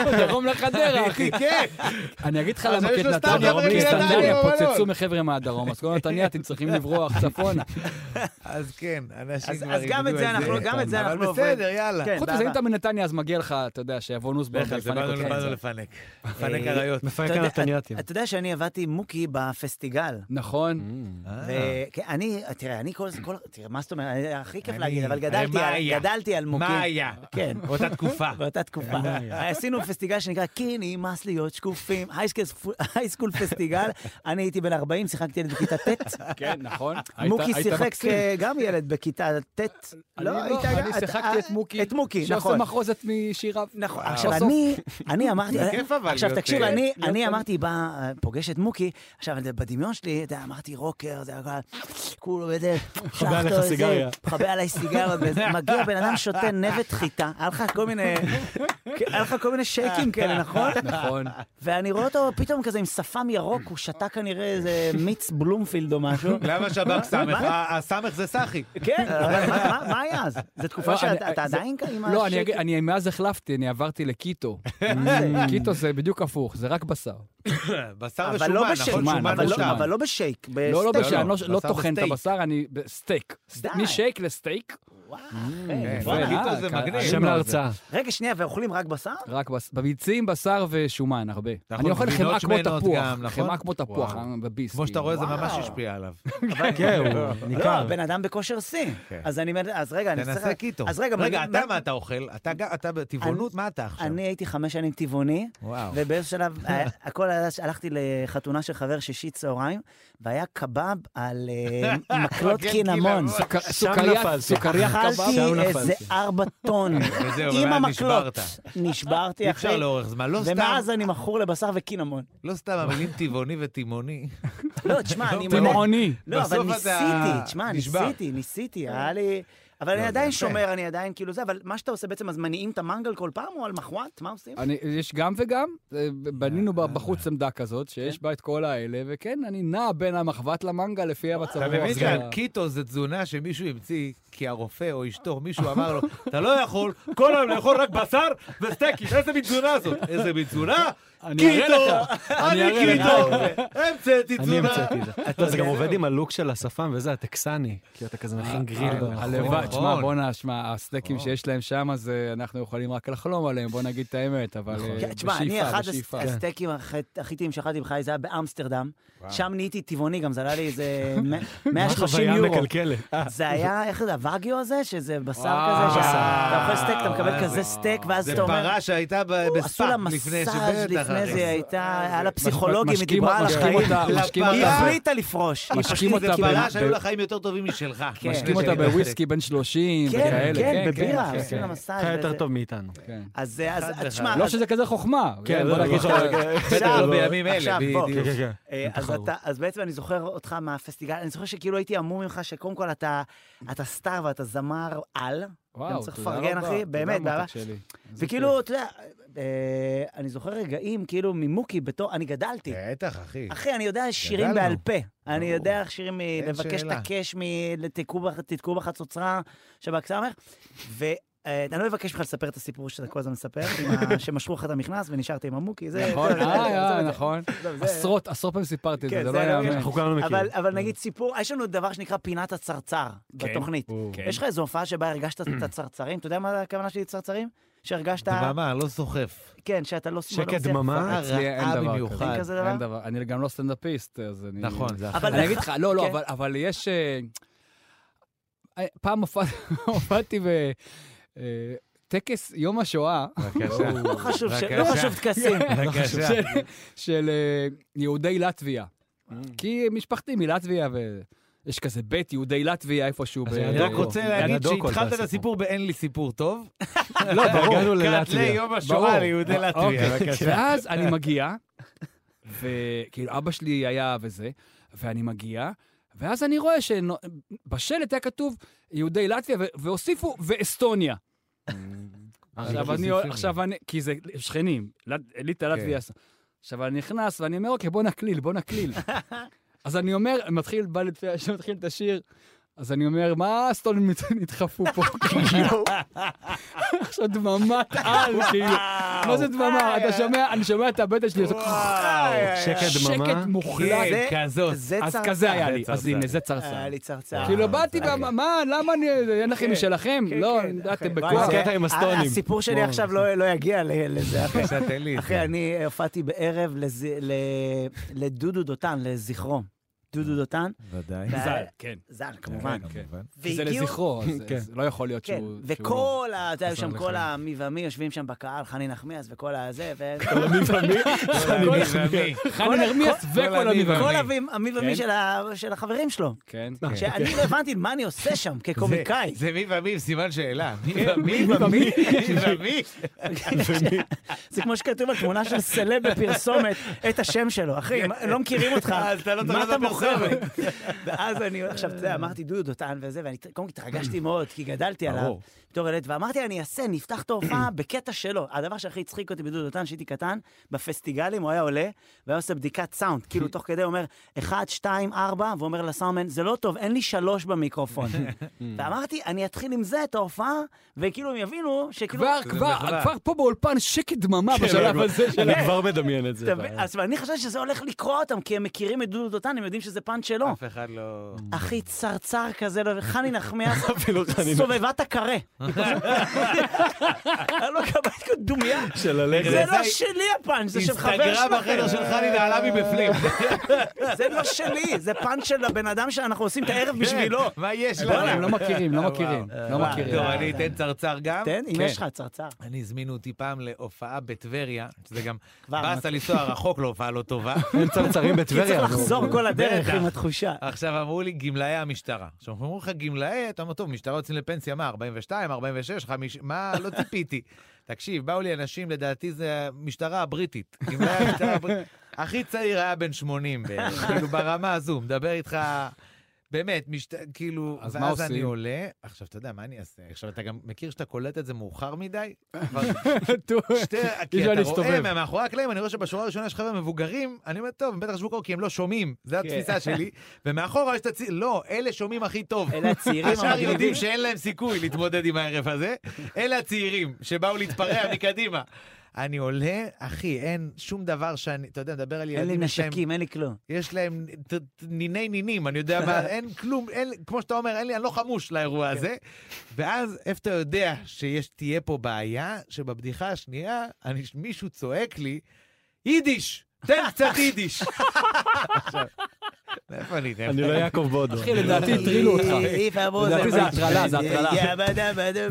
Speaker 8: בדרום לחדרה, אחי.
Speaker 4: אחי, כן.
Speaker 8: אני אגיד לך
Speaker 4: אז
Speaker 8: למה,
Speaker 4: יש
Speaker 8: כי את
Speaker 4: לו סתם
Speaker 8: נתניה,
Speaker 4: חבר'ה
Speaker 8: כי את
Speaker 4: מנתניה
Speaker 8: נתניה
Speaker 2: לא
Speaker 4: במלון.
Speaker 8: פוצצו מחבר'ה מהדרום, אז כל נתניה אתם צריכים לברוח צפונה.
Speaker 4: אז כן, אנשים
Speaker 2: אז-
Speaker 4: כבר
Speaker 2: אז גם את
Speaker 4: איבדו
Speaker 2: זה אנחנו, לא- גם את זה
Speaker 4: אבל
Speaker 2: אנחנו עוברים.
Speaker 4: בסדר, יאללה.
Speaker 2: כן,
Speaker 8: חוץ מזה, אם
Speaker 2: באהבה.
Speaker 8: אתה מנתניה, אז מגיע לך, אתה יודע, שיבוא נוסבאום
Speaker 4: בטח, זה
Speaker 8: ויפנק
Speaker 4: באנו
Speaker 8: אותך.
Speaker 4: באנו לפנק.
Speaker 2: כן.
Speaker 4: לפנק אריות.
Speaker 3: מפרק
Speaker 2: אה, אתה יודע-
Speaker 3: הנתניאתים.
Speaker 2: אתה יודע שאני עבדתי עם מוקי בפסטיגל.
Speaker 8: נכון.
Speaker 2: ואני, תראה, אני כל כל- תראה, מה זאת אומרת, היה הכי כיף
Speaker 4: אני-
Speaker 2: להגיד, אבל
Speaker 4: הרי
Speaker 2: גדלתי
Speaker 4: מה
Speaker 2: על-
Speaker 4: היה?
Speaker 2: לא, גדלתי על מוקי.
Speaker 4: מה היה?
Speaker 2: כן.
Speaker 4: באותה תקופה.
Speaker 2: באותה תקופה. אה, עשינו פסטיגל שנקרא כי נמאס להיות שקופים, הייסקול פסטיגל. אני הייתי בן 40, שיחקתי ילד בכיתה ט'.
Speaker 8: כן, נכון. היית-
Speaker 2: מוקי
Speaker 8: היית
Speaker 2: שיחק
Speaker 8: מקסים.
Speaker 2: אה, גם ילד בכיתה ט'.
Speaker 8: אני לא,
Speaker 2: היית גם-
Speaker 8: אני
Speaker 2: אתה-
Speaker 8: שיחקתי את מוקי.
Speaker 2: את מוקי, נכון.
Speaker 8: שעושה מחרוזת משיריו.
Speaker 2: נכון,
Speaker 4: וואו.
Speaker 2: עכשיו
Speaker 8: בסוף.
Speaker 2: אני, אני אמרתי,
Speaker 4: אה, זה כיף אבל
Speaker 2: עכשיו
Speaker 4: להיות,
Speaker 2: תקשיב,
Speaker 4: אה,
Speaker 2: אני-
Speaker 8: להיות
Speaker 2: אני
Speaker 8: כזה.
Speaker 2: אמרתי, בא, אה, פוגש את מוקי, עכשיו אני- בדמיון שלי, אתה יודע, אמרתי רוקר, זה הכל, כולו וזה, שלח
Speaker 3: עליך
Speaker 2: אותו איזה,
Speaker 3: סיגריה.
Speaker 2: מכבה עליי סיגריות, וזה, מגיע בן אדם שותה נבט חיטה, היה לך כל מיני, היה לך כל מיני שייקים כאלה, נכון?
Speaker 8: נכון.
Speaker 2: ואני רואה אותו פתאום כזה עם שפם ירוק, הוא שתה כנראה איזה מיץ בלומפילד או משהו.
Speaker 4: למה שב"כ סמך? ה- הסמך זה סאחי.
Speaker 2: כן, אבל מה- מה- מה היה אז? כן, זו
Speaker 8: לא,
Speaker 2: תקופה שאתה
Speaker 8: אני-
Speaker 2: אתה
Speaker 8: זה-
Speaker 2: עדיין עם
Speaker 8: לא, אני אגיד-
Speaker 2: השייקים?
Speaker 8: אני מאז החלפתי, אני עברתי לקיטו. Mm, קיטו זה בדיוק הפוך, זה רק בשר.
Speaker 4: בשר
Speaker 2: אבל
Speaker 4: ושומן,
Speaker 2: לא
Speaker 4: נכון?
Speaker 2: בשייק,
Speaker 8: שומן,
Speaker 4: שומן
Speaker 2: אבל לא-
Speaker 8: שומן.
Speaker 4: ושומן.
Speaker 2: אבל לא בשייק, בסטייק.
Speaker 8: לא, לא
Speaker 4: לא,
Speaker 8: בשל, אני לא-
Speaker 4: בשר
Speaker 8: לא טוחן את
Speaker 4: בסטייק.
Speaker 8: הבשר, אני... ב- סטייק.
Speaker 2: די.
Speaker 8: משייק לסטייק. Mm,
Speaker 2: וואי,
Speaker 4: כן,
Speaker 2: בואנה.
Speaker 4: קיטו
Speaker 8: אה,
Speaker 4: זה
Speaker 8: כ-
Speaker 4: מגניב.
Speaker 8: עלינו
Speaker 3: שם
Speaker 8: על זה.
Speaker 3: להרצאה.
Speaker 2: רגע, שנייה, ואוכלים רק בשר?
Speaker 8: רק בס- בביצים, בשר ושומן, הרבה.
Speaker 4: נכון,
Speaker 8: אני אוכל
Speaker 4: גבינות
Speaker 8: חמאה כמו
Speaker 4: שמנות
Speaker 8: תפוח.
Speaker 4: גם, נכון?
Speaker 8: חמאה כמו תפוח,
Speaker 4: וואו.
Speaker 8: אה, בביס.
Speaker 4: כמו שאתה
Speaker 8: כאילו.
Speaker 4: רואה, זה
Speaker 2: וואו.
Speaker 4: ממש השפיע עליו.
Speaker 3: כן, הוא
Speaker 2: לא,
Speaker 3: ניכר.
Speaker 2: הבן אדם בכושר שיא.
Speaker 4: כן.
Speaker 2: אז אני אומר, אז רגע, אני צריך...
Speaker 4: תנסה קיטו.
Speaker 2: אז רגע,
Speaker 4: רגע,
Speaker 2: מה-
Speaker 4: אתה
Speaker 2: מה-
Speaker 4: מה אתה אוכל? אתה גם- אתה בטבעונות, מה אתה עכשיו?
Speaker 2: אני הייתי חמש שנים טבעוני,
Speaker 4: וואו.
Speaker 2: ובאיזשהו שלב, אה, הכל היה, הלכתי לחתונה של חבר שישי צהריים, והיה קבב על אה, מקלות
Speaker 4: מגן
Speaker 2: קינמון.
Speaker 4: קינמון.
Speaker 8: סוכר-
Speaker 3: שם
Speaker 8: סוכריה,
Speaker 3: נפלתי.
Speaker 8: סוכריה
Speaker 2: אכלתי
Speaker 8: קבב.
Speaker 3: שם
Speaker 2: איזה
Speaker 3: נפלתי.
Speaker 2: ארבע טון
Speaker 4: וזהו,
Speaker 2: עם
Speaker 4: ואז
Speaker 2: המקלות.
Speaker 4: נשברת.
Speaker 2: נשברתי
Speaker 4: אי אפשר
Speaker 2: אחרי,
Speaker 4: לאורך זמן. לא סתם,
Speaker 2: ומאז אני מכור לבשר וקינמון.
Speaker 4: לא סתם המילים טבעוני וטימוני.
Speaker 2: לא, תשמע, אני... מודה-
Speaker 8: תימעוני.
Speaker 2: לא, אבל
Speaker 4: בסוף אתה
Speaker 2: ניסיתי, תשמע,
Speaker 4: נשבר.
Speaker 2: ניסיתי, ניסיתי, היה לי... אבל אני
Speaker 4: זה
Speaker 2: עדיין
Speaker 4: יפה.
Speaker 2: שומר, אני עדיין כאילו זה, אבל מה שאתה עושה בעצם, אז מניעים את המנגל כל פעם או על מחוואט? מה עושים?
Speaker 8: אני, יש גם וגם, אה, בנינו בחוץ
Speaker 3: אה.
Speaker 8: עמדה כזאת,
Speaker 3: כן.
Speaker 8: שיש בה את כל האלה, וכן, אני נע בין המחבת למנגה לפי המצב
Speaker 4: אתה
Speaker 8: רוח. אה,
Speaker 4: מבין
Speaker 8: זה ה-
Speaker 4: שהקיטו זה תזונה שמישהו המציא, כי הרופא או אשתו, מישהו אמר לו, אתה לא יכול כל היום לאכול רק בשר וסטייקים, איזה מין תזונה זאת? איזה מין תזונה?
Speaker 8: אני אראה
Speaker 4: קיטו!
Speaker 8: לך. אני
Speaker 4: לא, אני
Speaker 8: אראה
Speaker 4: קיטו! המצאתי
Speaker 3: אני
Speaker 4: תזונה!
Speaker 3: המצאתי את זה. לא, זה גם עובד עם הלוק של השפם וזה, הטקסני. כי אתה כזה מכין גריל. ברחוב.
Speaker 8: אה,
Speaker 3: נכון.
Speaker 8: הלוואי, תשמע,
Speaker 4: נכון.
Speaker 8: בואנה, שמע, הסטייקים שיש להם שם, אז אה, אנחנו יכולים רק לחלום עליהם, בוא נגיד את האמת, אבל
Speaker 3: נכון.
Speaker 4: נכון.
Speaker 8: אה,
Speaker 2: כן, תשמע, אני
Speaker 8: בשאיפה,
Speaker 2: אחד
Speaker 8: בשאיפה.
Speaker 4: כן.
Speaker 2: הס- הסטייקים הכי- הכי טעים שאכלתי בחיי, זה היה באמסטרדם. שם נהייתי טבעוני גם, זה עלה לי איזה מ- 130
Speaker 3: חוויה
Speaker 2: יורו.
Speaker 3: מקלקלת.
Speaker 2: זה היה, איך זה, הוואגיו הזה? שזה בשר
Speaker 8: וואו.
Speaker 2: כזה, שאתה אוכל סטייק, אתה
Speaker 4: וואו,
Speaker 2: מקבל כזה
Speaker 4: איזה-
Speaker 2: סטייק, ואז
Speaker 4: אה, זה
Speaker 2: אתה אומר...
Speaker 4: פרה שהייתה ב-
Speaker 2: עשו
Speaker 4: בספאק
Speaker 2: לה
Speaker 4: לפני
Speaker 2: מסאז'
Speaker 4: שבטח. אה,
Speaker 2: לפני
Speaker 4: הרי.
Speaker 2: זה, היא
Speaker 8: אה,
Speaker 2: הייתה, היה לה פסיכולוגים, היא
Speaker 8: משקים-
Speaker 2: דיברה על
Speaker 8: משקים
Speaker 2: החיים.
Speaker 8: אותה, משקים
Speaker 2: היא
Speaker 8: אותה-
Speaker 2: החליטה לפרוש. היא
Speaker 8: משקים
Speaker 2: פשוט-
Speaker 8: אותה
Speaker 4: זה
Speaker 8: ב-
Speaker 4: פרה שהיו
Speaker 8: ב-
Speaker 4: לה חיים יותר טובים משלך.
Speaker 2: כן.
Speaker 8: משקים
Speaker 4: משני
Speaker 8: אותה
Speaker 4: שלי
Speaker 8: בוויסקי בן 30
Speaker 2: כן, כן,
Speaker 8: וכאלה, כן,
Speaker 2: בבירה,
Speaker 8: כן,
Speaker 2: עושים לה
Speaker 8: כן.
Speaker 2: מסאז'.
Speaker 3: חי
Speaker 2: וזה.
Speaker 3: יותר טוב מאיתנו.
Speaker 8: כן.
Speaker 2: אז אה, אז,
Speaker 4: אחד
Speaker 2: תשמע,
Speaker 4: אחד.
Speaker 8: לא
Speaker 2: אז-
Speaker 8: שזה כזה חוכמה, כן, בוא
Speaker 3: זה
Speaker 8: נגיד,
Speaker 3: נכון.
Speaker 8: שאתה-
Speaker 4: בטח
Speaker 2: עכשיו,
Speaker 4: לא בימים אלה,
Speaker 2: עכשיו, בוא.
Speaker 4: בדיוק.
Speaker 3: כן, כן.
Speaker 2: אה, אז
Speaker 3: תחרות.
Speaker 2: אתה- אז בעצם אני זוכר אותך מהפסטיגל, אני זוכר שכאילו הייתי המום ממך, שקודם כל אתה אתה סטאר ואתה זמר על,
Speaker 8: וואו,
Speaker 2: צריך
Speaker 8: תודה
Speaker 2: לפרגן,
Speaker 8: רבה,
Speaker 2: אחי,
Speaker 8: תודה,
Speaker 2: באמת,
Speaker 8: מותק
Speaker 2: באהבה.
Speaker 8: שלי. איזה
Speaker 2: וכאילו, אתה יודע, אה, אני זוכר רגעים כאילו ממוקי בתור, אני גדלתי.
Speaker 4: בטח, אחי.
Speaker 2: אחי, אני יודע שירים
Speaker 4: גדלנו.
Speaker 2: בעל פה. אני
Speaker 4: ברור.
Speaker 2: יודע איך שירים
Speaker 4: אין
Speaker 2: מלבקש את
Speaker 4: שאלה.
Speaker 2: הקש, מלתקעו בחצוצרה שבאקסמך, ואני לא אבקש ממך לספר את הסיפור שאתה כל הזמן מספר, עם ה- שמשכו לך את המכנס ונשארתי עם המוקי, זה...
Speaker 8: נכון,
Speaker 2: זה- זה-
Speaker 8: אה,
Speaker 2: זה-
Speaker 8: אה,
Speaker 2: זה-
Speaker 8: נכון.
Speaker 2: עזוב, זה-
Speaker 8: עשרות, עשרות פעמים סיפרתי את
Speaker 2: כן,
Speaker 8: זה, זה
Speaker 2: זה
Speaker 8: לא
Speaker 2: לא-
Speaker 8: יאמן.
Speaker 3: אנחנו כולנו מכירים. Mm.
Speaker 2: אבל, אבל נגיד סיפור, יש לנו דבר שנקרא פינת הצרצר בתוכנית.
Speaker 8: כן.
Speaker 2: יש לך איזו הופעה שבה הרגשת את הצרצרים? אתה יודע מה הכוונה שלי צרצרים? שהרגשת,
Speaker 4: דממה, לא סוחף.
Speaker 2: כן, שאתה לא... לא
Speaker 3: שקט
Speaker 2: עושה-
Speaker 3: דממה.
Speaker 8: אצלי אין
Speaker 4: רעה
Speaker 8: דבר
Speaker 4: במיוחד.
Speaker 8: כזה.
Speaker 2: אין כזה
Speaker 8: אין
Speaker 2: דבר?
Speaker 8: דבר, אני גם לא סטנדאפיסט, אז אני...
Speaker 4: נכון, זה
Speaker 2: אבל-
Speaker 4: אחר.
Speaker 8: אני אגיד לך, לא, לא,
Speaker 2: כן.
Speaker 8: אבל- אבל יש... אה, אה, פעם הופע- הופעתי ב... אה, טקס יום השואה לא
Speaker 4: בבקשה.
Speaker 2: לא חשוב ש- לא
Speaker 4: בבקשה.
Speaker 2: חשוב טקסים.
Speaker 4: בבקשה.
Speaker 8: של- של אה, יהודי לטביה. כי משפחתי מלטביה, ויש כזה בית יהודי לטביה איפשהו. ב-
Speaker 3: אז אני
Speaker 4: אני רק
Speaker 3: הדוקו.
Speaker 4: רוצה להגיד
Speaker 3: הדוקו על
Speaker 4: שהתחלת את
Speaker 3: הסיפור.
Speaker 4: הסיפור באין לי סיפור טוב.
Speaker 3: לא, ברור.
Speaker 4: הגענו
Speaker 3: ללטביה.
Speaker 4: ליום
Speaker 8: ברור.
Speaker 4: השואה ליהודי לטביה,
Speaker 8: אוקיי.
Speaker 4: בבקשה.
Speaker 8: ואז אני מגיע, וכאילו אבא שלי היה וזה, ואני מגיע, ואז אני רואה שבשלט היה כתוב יהודי לטביה, ו- והוסיפו ואסטוניה.
Speaker 2: אה,
Speaker 3: אה,
Speaker 8: עכשיו אני, עכשיו אני, כי זה שכנים, לט- ליטא
Speaker 2: כן.
Speaker 8: לטביה. עכשיו אני נכנס ואני אומר, אוקיי, בוא נקליל, בוא נקליל. אז אני אומר, מתחיל, בא לפני השיר, מתחיל את השיר, אז אני אומר, מה הסטונים נת- נדחפו פה? כאילו, עכשיו דממת על, כאילו, מה זה דממה? אתה שומע, אני שומע את הבטן שלי, עושה
Speaker 3: שקט דממה.
Speaker 8: שקט מוחלט.
Speaker 2: זה-
Speaker 4: כזאת.
Speaker 2: זה
Speaker 8: כן, אז
Speaker 2: צרצר.
Speaker 8: כזה היה לי,
Speaker 4: צרצר.
Speaker 8: אז הנה, זה צרצר.
Speaker 2: היה לי צרצר.
Speaker 8: כאילו, באתי, ואמר, מה, למה אני, אין לכם משלכם?
Speaker 2: אוקיי. כן,
Speaker 8: לא, אה,
Speaker 2: כן,
Speaker 8: אתם
Speaker 2: אחי.
Speaker 8: בכוח.
Speaker 2: וואי,
Speaker 3: קטע עם הסטונים.
Speaker 2: ה- הסיפור שלי
Speaker 3: וואו.
Speaker 2: עכשיו לא לא יגיע ל- לזה, אחי.
Speaker 4: בבקשה, תן לי את
Speaker 2: אחי,
Speaker 4: זה.
Speaker 2: אני הופעתי בערב לז- ל- לדודו דותן, לזכרו. דודו דותן.
Speaker 4: ודאי.
Speaker 8: ז"ל, כן.
Speaker 2: ז"ל, כמובן.
Speaker 4: כן, כמובן.
Speaker 8: כי זה
Speaker 2: והגיעו-
Speaker 8: לזכרו, אז-
Speaker 3: כן.
Speaker 8: אז לא יכול להיות
Speaker 2: כן,
Speaker 8: שהוא... שהוא-
Speaker 2: וכל ה... אתה יודע, היו שם
Speaker 3: חזר
Speaker 2: כל
Speaker 3: לחיים.
Speaker 2: המי ומי יושבים שם בקהל, חני נחמיאס וכל הזה, ו...
Speaker 4: כל המזרמי.
Speaker 8: חני נרמיאס וכל כן.
Speaker 4: המי
Speaker 8: המי
Speaker 2: כל
Speaker 8: ומי.
Speaker 2: המי- המי ומי של ה- של החברים שלו.
Speaker 8: כן.
Speaker 2: שאני לא הבנתי מה אני עושה שם כקומיקאי. כן,
Speaker 4: זה- זה מי ומי עם סימן שאלה. מי ומי? מי
Speaker 2: ומי?
Speaker 4: ומי?
Speaker 2: זה כמו שכתוב על תמונה של סלב בפרסומת, את השם שלו. אחי, הם לא מכירים אותך,
Speaker 4: כן. אז אתה לא
Speaker 2: מה
Speaker 4: תורד
Speaker 2: אתה מוכר? לי?
Speaker 4: לפרסומת.
Speaker 2: ואז אני, עכשיו, אתה יודע, אמרתי דודו דותן וזה, ואני קודם כל התרגשתי מאוד, כי גדלתי עליו
Speaker 4: ברור.
Speaker 2: בתור ילד, ואמרתי, אני אעשה, נפתח את ההופעה בקטע שלו. הדבר שהכי הצחיק אותי בדודו דותן, כשהייתי קטן, בפסטיגלים הוא היה עולה, והיה עושה בדיקת סאונד, כאילו תוך כדי הוא אומר, 1, 2, 4, ואומר לסאונדמן, זה לא טוב, אין לי שלוש במיקרופון.
Speaker 4: Mm.
Speaker 2: ואמרתי, אני אתחיל עם זה את ההופעה, וכאילו הם יבינו שכאילו...
Speaker 8: כבר, כבר,
Speaker 4: מחווה.
Speaker 8: כבר פה באולפן שקט דממה בשלב הזה של...
Speaker 3: כן, אני כבר מדמיין את זה.
Speaker 2: אתה מבין? אז אני חשבתי שזה הולך לקרוע אותם, כי הם מכירים את דודו דותן, הם יודעים שזה פאנץ' שלו.
Speaker 4: אף אחד לא...
Speaker 2: אחי צרצר כזה, לא- חני נחמיאס
Speaker 3: אפילו חני
Speaker 2: סובבה את הקרה. אני לא קבלתי דומייה.
Speaker 3: של הלחם.
Speaker 2: זה לא שלי הפאנץ', זה של חבר
Speaker 4: אינסטגרם
Speaker 2: שלכם.
Speaker 4: החדר שלך ננעלה מבפנים.
Speaker 2: זה לא שלי, זה פאנץ' של הבן אדם שאנחנו עושים את הערב בשבילו.
Speaker 4: כן. מה יש
Speaker 8: לא,
Speaker 4: להם?
Speaker 8: הם לא מכירים, לא
Speaker 4: וואו.
Speaker 8: מכירים, לא
Speaker 2: וואו.
Speaker 8: מכירים.
Speaker 4: טוב, אני אתן צרצר גם.
Speaker 2: תן, אם
Speaker 4: כן.
Speaker 2: יש לך צרצר.
Speaker 4: אני הזמינו אותי פעם להופעה בטבריה, שזה גם
Speaker 2: כבר,
Speaker 4: באסה לנסוע רחוק להופעה לא טובה.
Speaker 3: אין צרצרים
Speaker 2: כי צריך
Speaker 3: בטבריה.
Speaker 2: לחזור כל הדרך
Speaker 4: בטח.
Speaker 2: עם התחושה.
Speaker 4: עכשיו אמרו לי גמלאי המשטרה. עכשיו אמרו לך גמלאי, אתה אומר, טוב, משטרה יוצאים לפנסיה, מה, 42, 46, 50, מה, לא ציפיתי. תקשיב, באו לי אנשים, לדעתי זה המשטרה הבריטית. גמלאי המשטרה הבריטית. הכי צעיר היה בן 80 בערך, כאילו ברמה הזו, מדבר איתך... באמת, משת... כאילו,
Speaker 8: אז מה
Speaker 4: ואז אני
Speaker 8: עושים?
Speaker 4: עולה, עכשיו, אתה יודע, מה אני אעשה? עכשיו, אתה גם מכיר שאתה קולט את זה מאוחר מדי? כבר שתי...
Speaker 8: אי
Speaker 4: כי אתה
Speaker 8: אפשר להסתובב.
Speaker 4: רואה מה- מאחורי הקלעים, אני רואה שבשורה הראשונה יש חבר'ה מבוגרים, אני אומר, טוב, הם בטח ישבו קרוב כי הם לא שומעים, זו
Speaker 8: כן.
Speaker 4: התפיסה שלי, ומאחורה יש את הצי... לא, אלה שומעים הכי טוב.
Speaker 2: אלה הצעירים
Speaker 4: השאר
Speaker 2: המגניבים.
Speaker 4: יודעים שאין להם סיכוי להתמודד עם הערב הזה, אלה הצעירים שבאו להתפרע מקדימה. אני עולה, אחי, אין שום דבר שאני, אתה יודע, מדבר על ילדים.
Speaker 2: אין לי
Speaker 4: יש להם-
Speaker 2: נשקים, אין לי כלום.
Speaker 4: יש להם ת- ת- ניני נינים, אני יודע מה, אין כלום, אין, כמו שאתה אומר, אין לי, אני לא חמוש לאירוע
Speaker 2: כן.
Speaker 4: הזה. ואז איפה אתה יודע שתהיה פה בעיה, שבבדיחה השנייה, אני, מישהו צועק לי, יידיש, תן קצת יידיש. עכשיו, מאיפה אני אתן?
Speaker 3: אני לא יעקב בודו. לא-
Speaker 8: אחי, לדעתי הטרילו אותך. לדעתי זה הטרלה, זה הטרלה.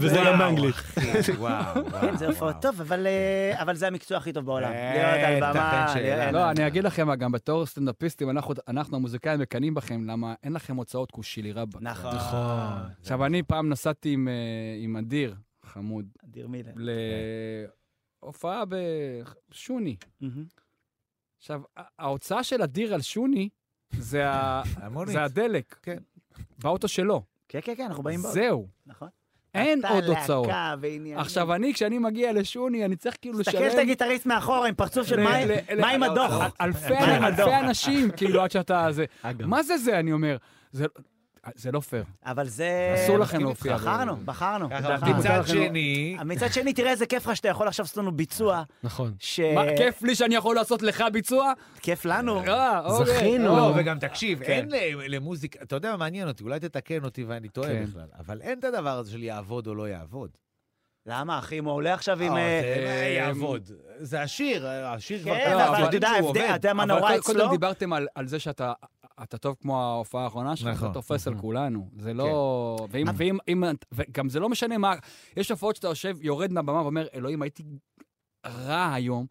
Speaker 3: וזה
Speaker 2: הטרלה.
Speaker 3: גם באנגלית.
Speaker 4: אחי, וואו, וואו.
Speaker 2: כן, זה הופעות טוב, אבל, אה, אבל זה המקצוע הכי טוב בעולם.
Speaker 4: אה,
Speaker 2: להיות על
Speaker 3: כן,
Speaker 2: במה,
Speaker 4: ייתכן שאלה.
Speaker 2: להיות-
Speaker 8: לא, אני אגיד לכם מה, גם בתור סטנדאפיסטים, אנחנו- אנחנו המוזיקאים מקנאים בכם, למה אין לכם הוצאות כושילי רבאק.
Speaker 2: נכון.
Speaker 8: עכשיו, אני פעם נסעתי עם, אה, עם אדיר, חמוד,
Speaker 2: אדיר מילר.
Speaker 8: להופעה בשוני.
Speaker 2: מהמם.
Speaker 8: עכשיו, ה- ההוצאה של אדיר על שוני זה ה-
Speaker 4: המונית.
Speaker 8: זה הדלק.
Speaker 4: כן.
Speaker 8: באוטו שלו.
Speaker 2: כן, כן, כן, אנחנו באים בעוד.
Speaker 8: זהו.
Speaker 2: נכון.
Speaker 8: אין עוד הוצאות.
Speaker 2: אתה להקה ועניינים.
Speaker 8: עכשיו, אני, כשאני מגיע לשוני, אני צריך כאילו לשלם...
Speaker 2: תסתכל את הגיטריסט מאחורה עם פרצוף של
Speaker 8: ל-
Speaker 2: מים-
Speaker 8: ל- ל-
Speaker 2: מים הדוח.
Speaker 8: אלפי
Speaker 2: מה עם הדוח?
Speaker 8: אלפי אנשים, כאילו, עד שאתה... זה- מה זה זה, אני אומר? זה- זה לא פייר.
Speaker 2: אבל זה...
Speaker 8: אסור לכם להופיע.
Speaker 2: בחרנו, בחרנו.
Speaker 4: ככה,
Speaker 2: בחרנו.
Speaker 4: מצד שני,
Speaker 2: מצד שני, תראה איזה כיף לך שאתה יכול עכשיו לעשות לנו ביצוע,
Speaker 3: נכון.
Speaker 2: ש...
Speaker 8: מה, כיף לי שאני יכול לעשות לך ביצוע?
Speaker 2: כיף לנו.
Speaker 8: אה, אוקיי.
Speaker 3: זכינו.
Speaker 8: לא,
Speaker 4: לא, וגם תקשיב, אין ל- למוזיקה, אתה יודע מה מעניין אותי, אולי תתקן אותי ואני טועה
Speaker 8: כן.
Speaker 4: בכלל, אבל אין את הדבר הזה של יעבוד או לא יעבוד.
Speaker 2: למה, אחי, אם הוא עולה עכשיו עם...
Speaker 4: אה,
Speaker 2: אה,
Speaker 4: זה יעבוד. זה השיר, השיר כבר
Speaker 2: כן,
Speaker 4: כתב,
Speaker 2: אבל
Speaker 4: יודעים
Speaker 2: אתה יודע,
Speaker 4: שהוא
Speaker 2: ההבדל-
Speaker 4: עובד.
Speaker 2: אתה יודע מה
Speaker 8: אבל
Speaker 2: נורא
Speaker 8: קודם- קודם
Speaker 2: אצלו?
Speaker 8: דיברתם על, על זה שאתה,
Speaker 9: אתה טוב כמו ההופעה האחרונה שלך,
Speaker 4: נכון,
Speaker 9: אתה תופס על
Speaker 4: נכון.
Speaker 9: כולנו. זה לא... ואם-
Speaker 2: אה.
Speaker 9: ואם- אם- וגם זה לא משנה מה... יש הופעות שאתה יושב, יורד מהבמה ואומר, אלוהים, הייתי רע היום,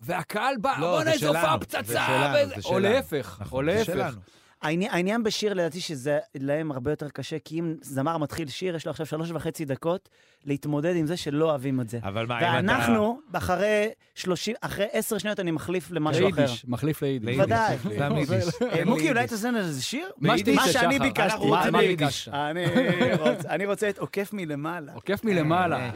Speaker 9: והקהל בא,
Speaker 4: לא,
Speaker 9: בוא'נה,
Speaker 4: זה
Speaker 9: איזה הופעה
Speaker 4: שלנו, זה
Speaker 9: פצצה!
Speaker 4: שלנו,
Speaker 9: וזה-"
Speaker 4: זה שלנו.
Speaker 9: או
Speaker 4: נכון,
Speaker 9: להפך, או
Speaker 4: זה
Speaker 9: להפך.
Speaker 4: שלנו.
Speaker 2: העני- העניין בשיר לדעתי שזה להם הרבה יותר קשה, כי אם זמר מתחיל שיר, יש לו עכשיו שלוש וחצי דקות להתמודד עם זה שלא אוהבים את זה.
Speaker 4: אבל מה, אם אתה...
Speaker 2: ואנחנו, אחרי שלושים, אחרי עשר שניות אני מחליף למשהו אחר.
Speaker 9: ליידיש, מחליף ליידיש.
Speaker 4: ליידיש, כן.
Speaker 2: ודאי.
Speaker 4: סתם יידיש.
Speaker 2: אה, מוקי, אולי תזמן איזה שיר? מה
Speaker 9: ביידיש
Speaker 2: מה
Speaker 9: זה
Speaker 2: שאני
Speaker 9: שחר.
Speaker 2: ביקשתי.
Speaker 9: אנחנו רוצים
Speaker 2: מה- מה
Speaker 9: ביידיש.
Speaker 2: ביקשת? אני רוצ- אני רוצה את עוקף מלמעלה.
Speaker 9: עוקף מלמעלה.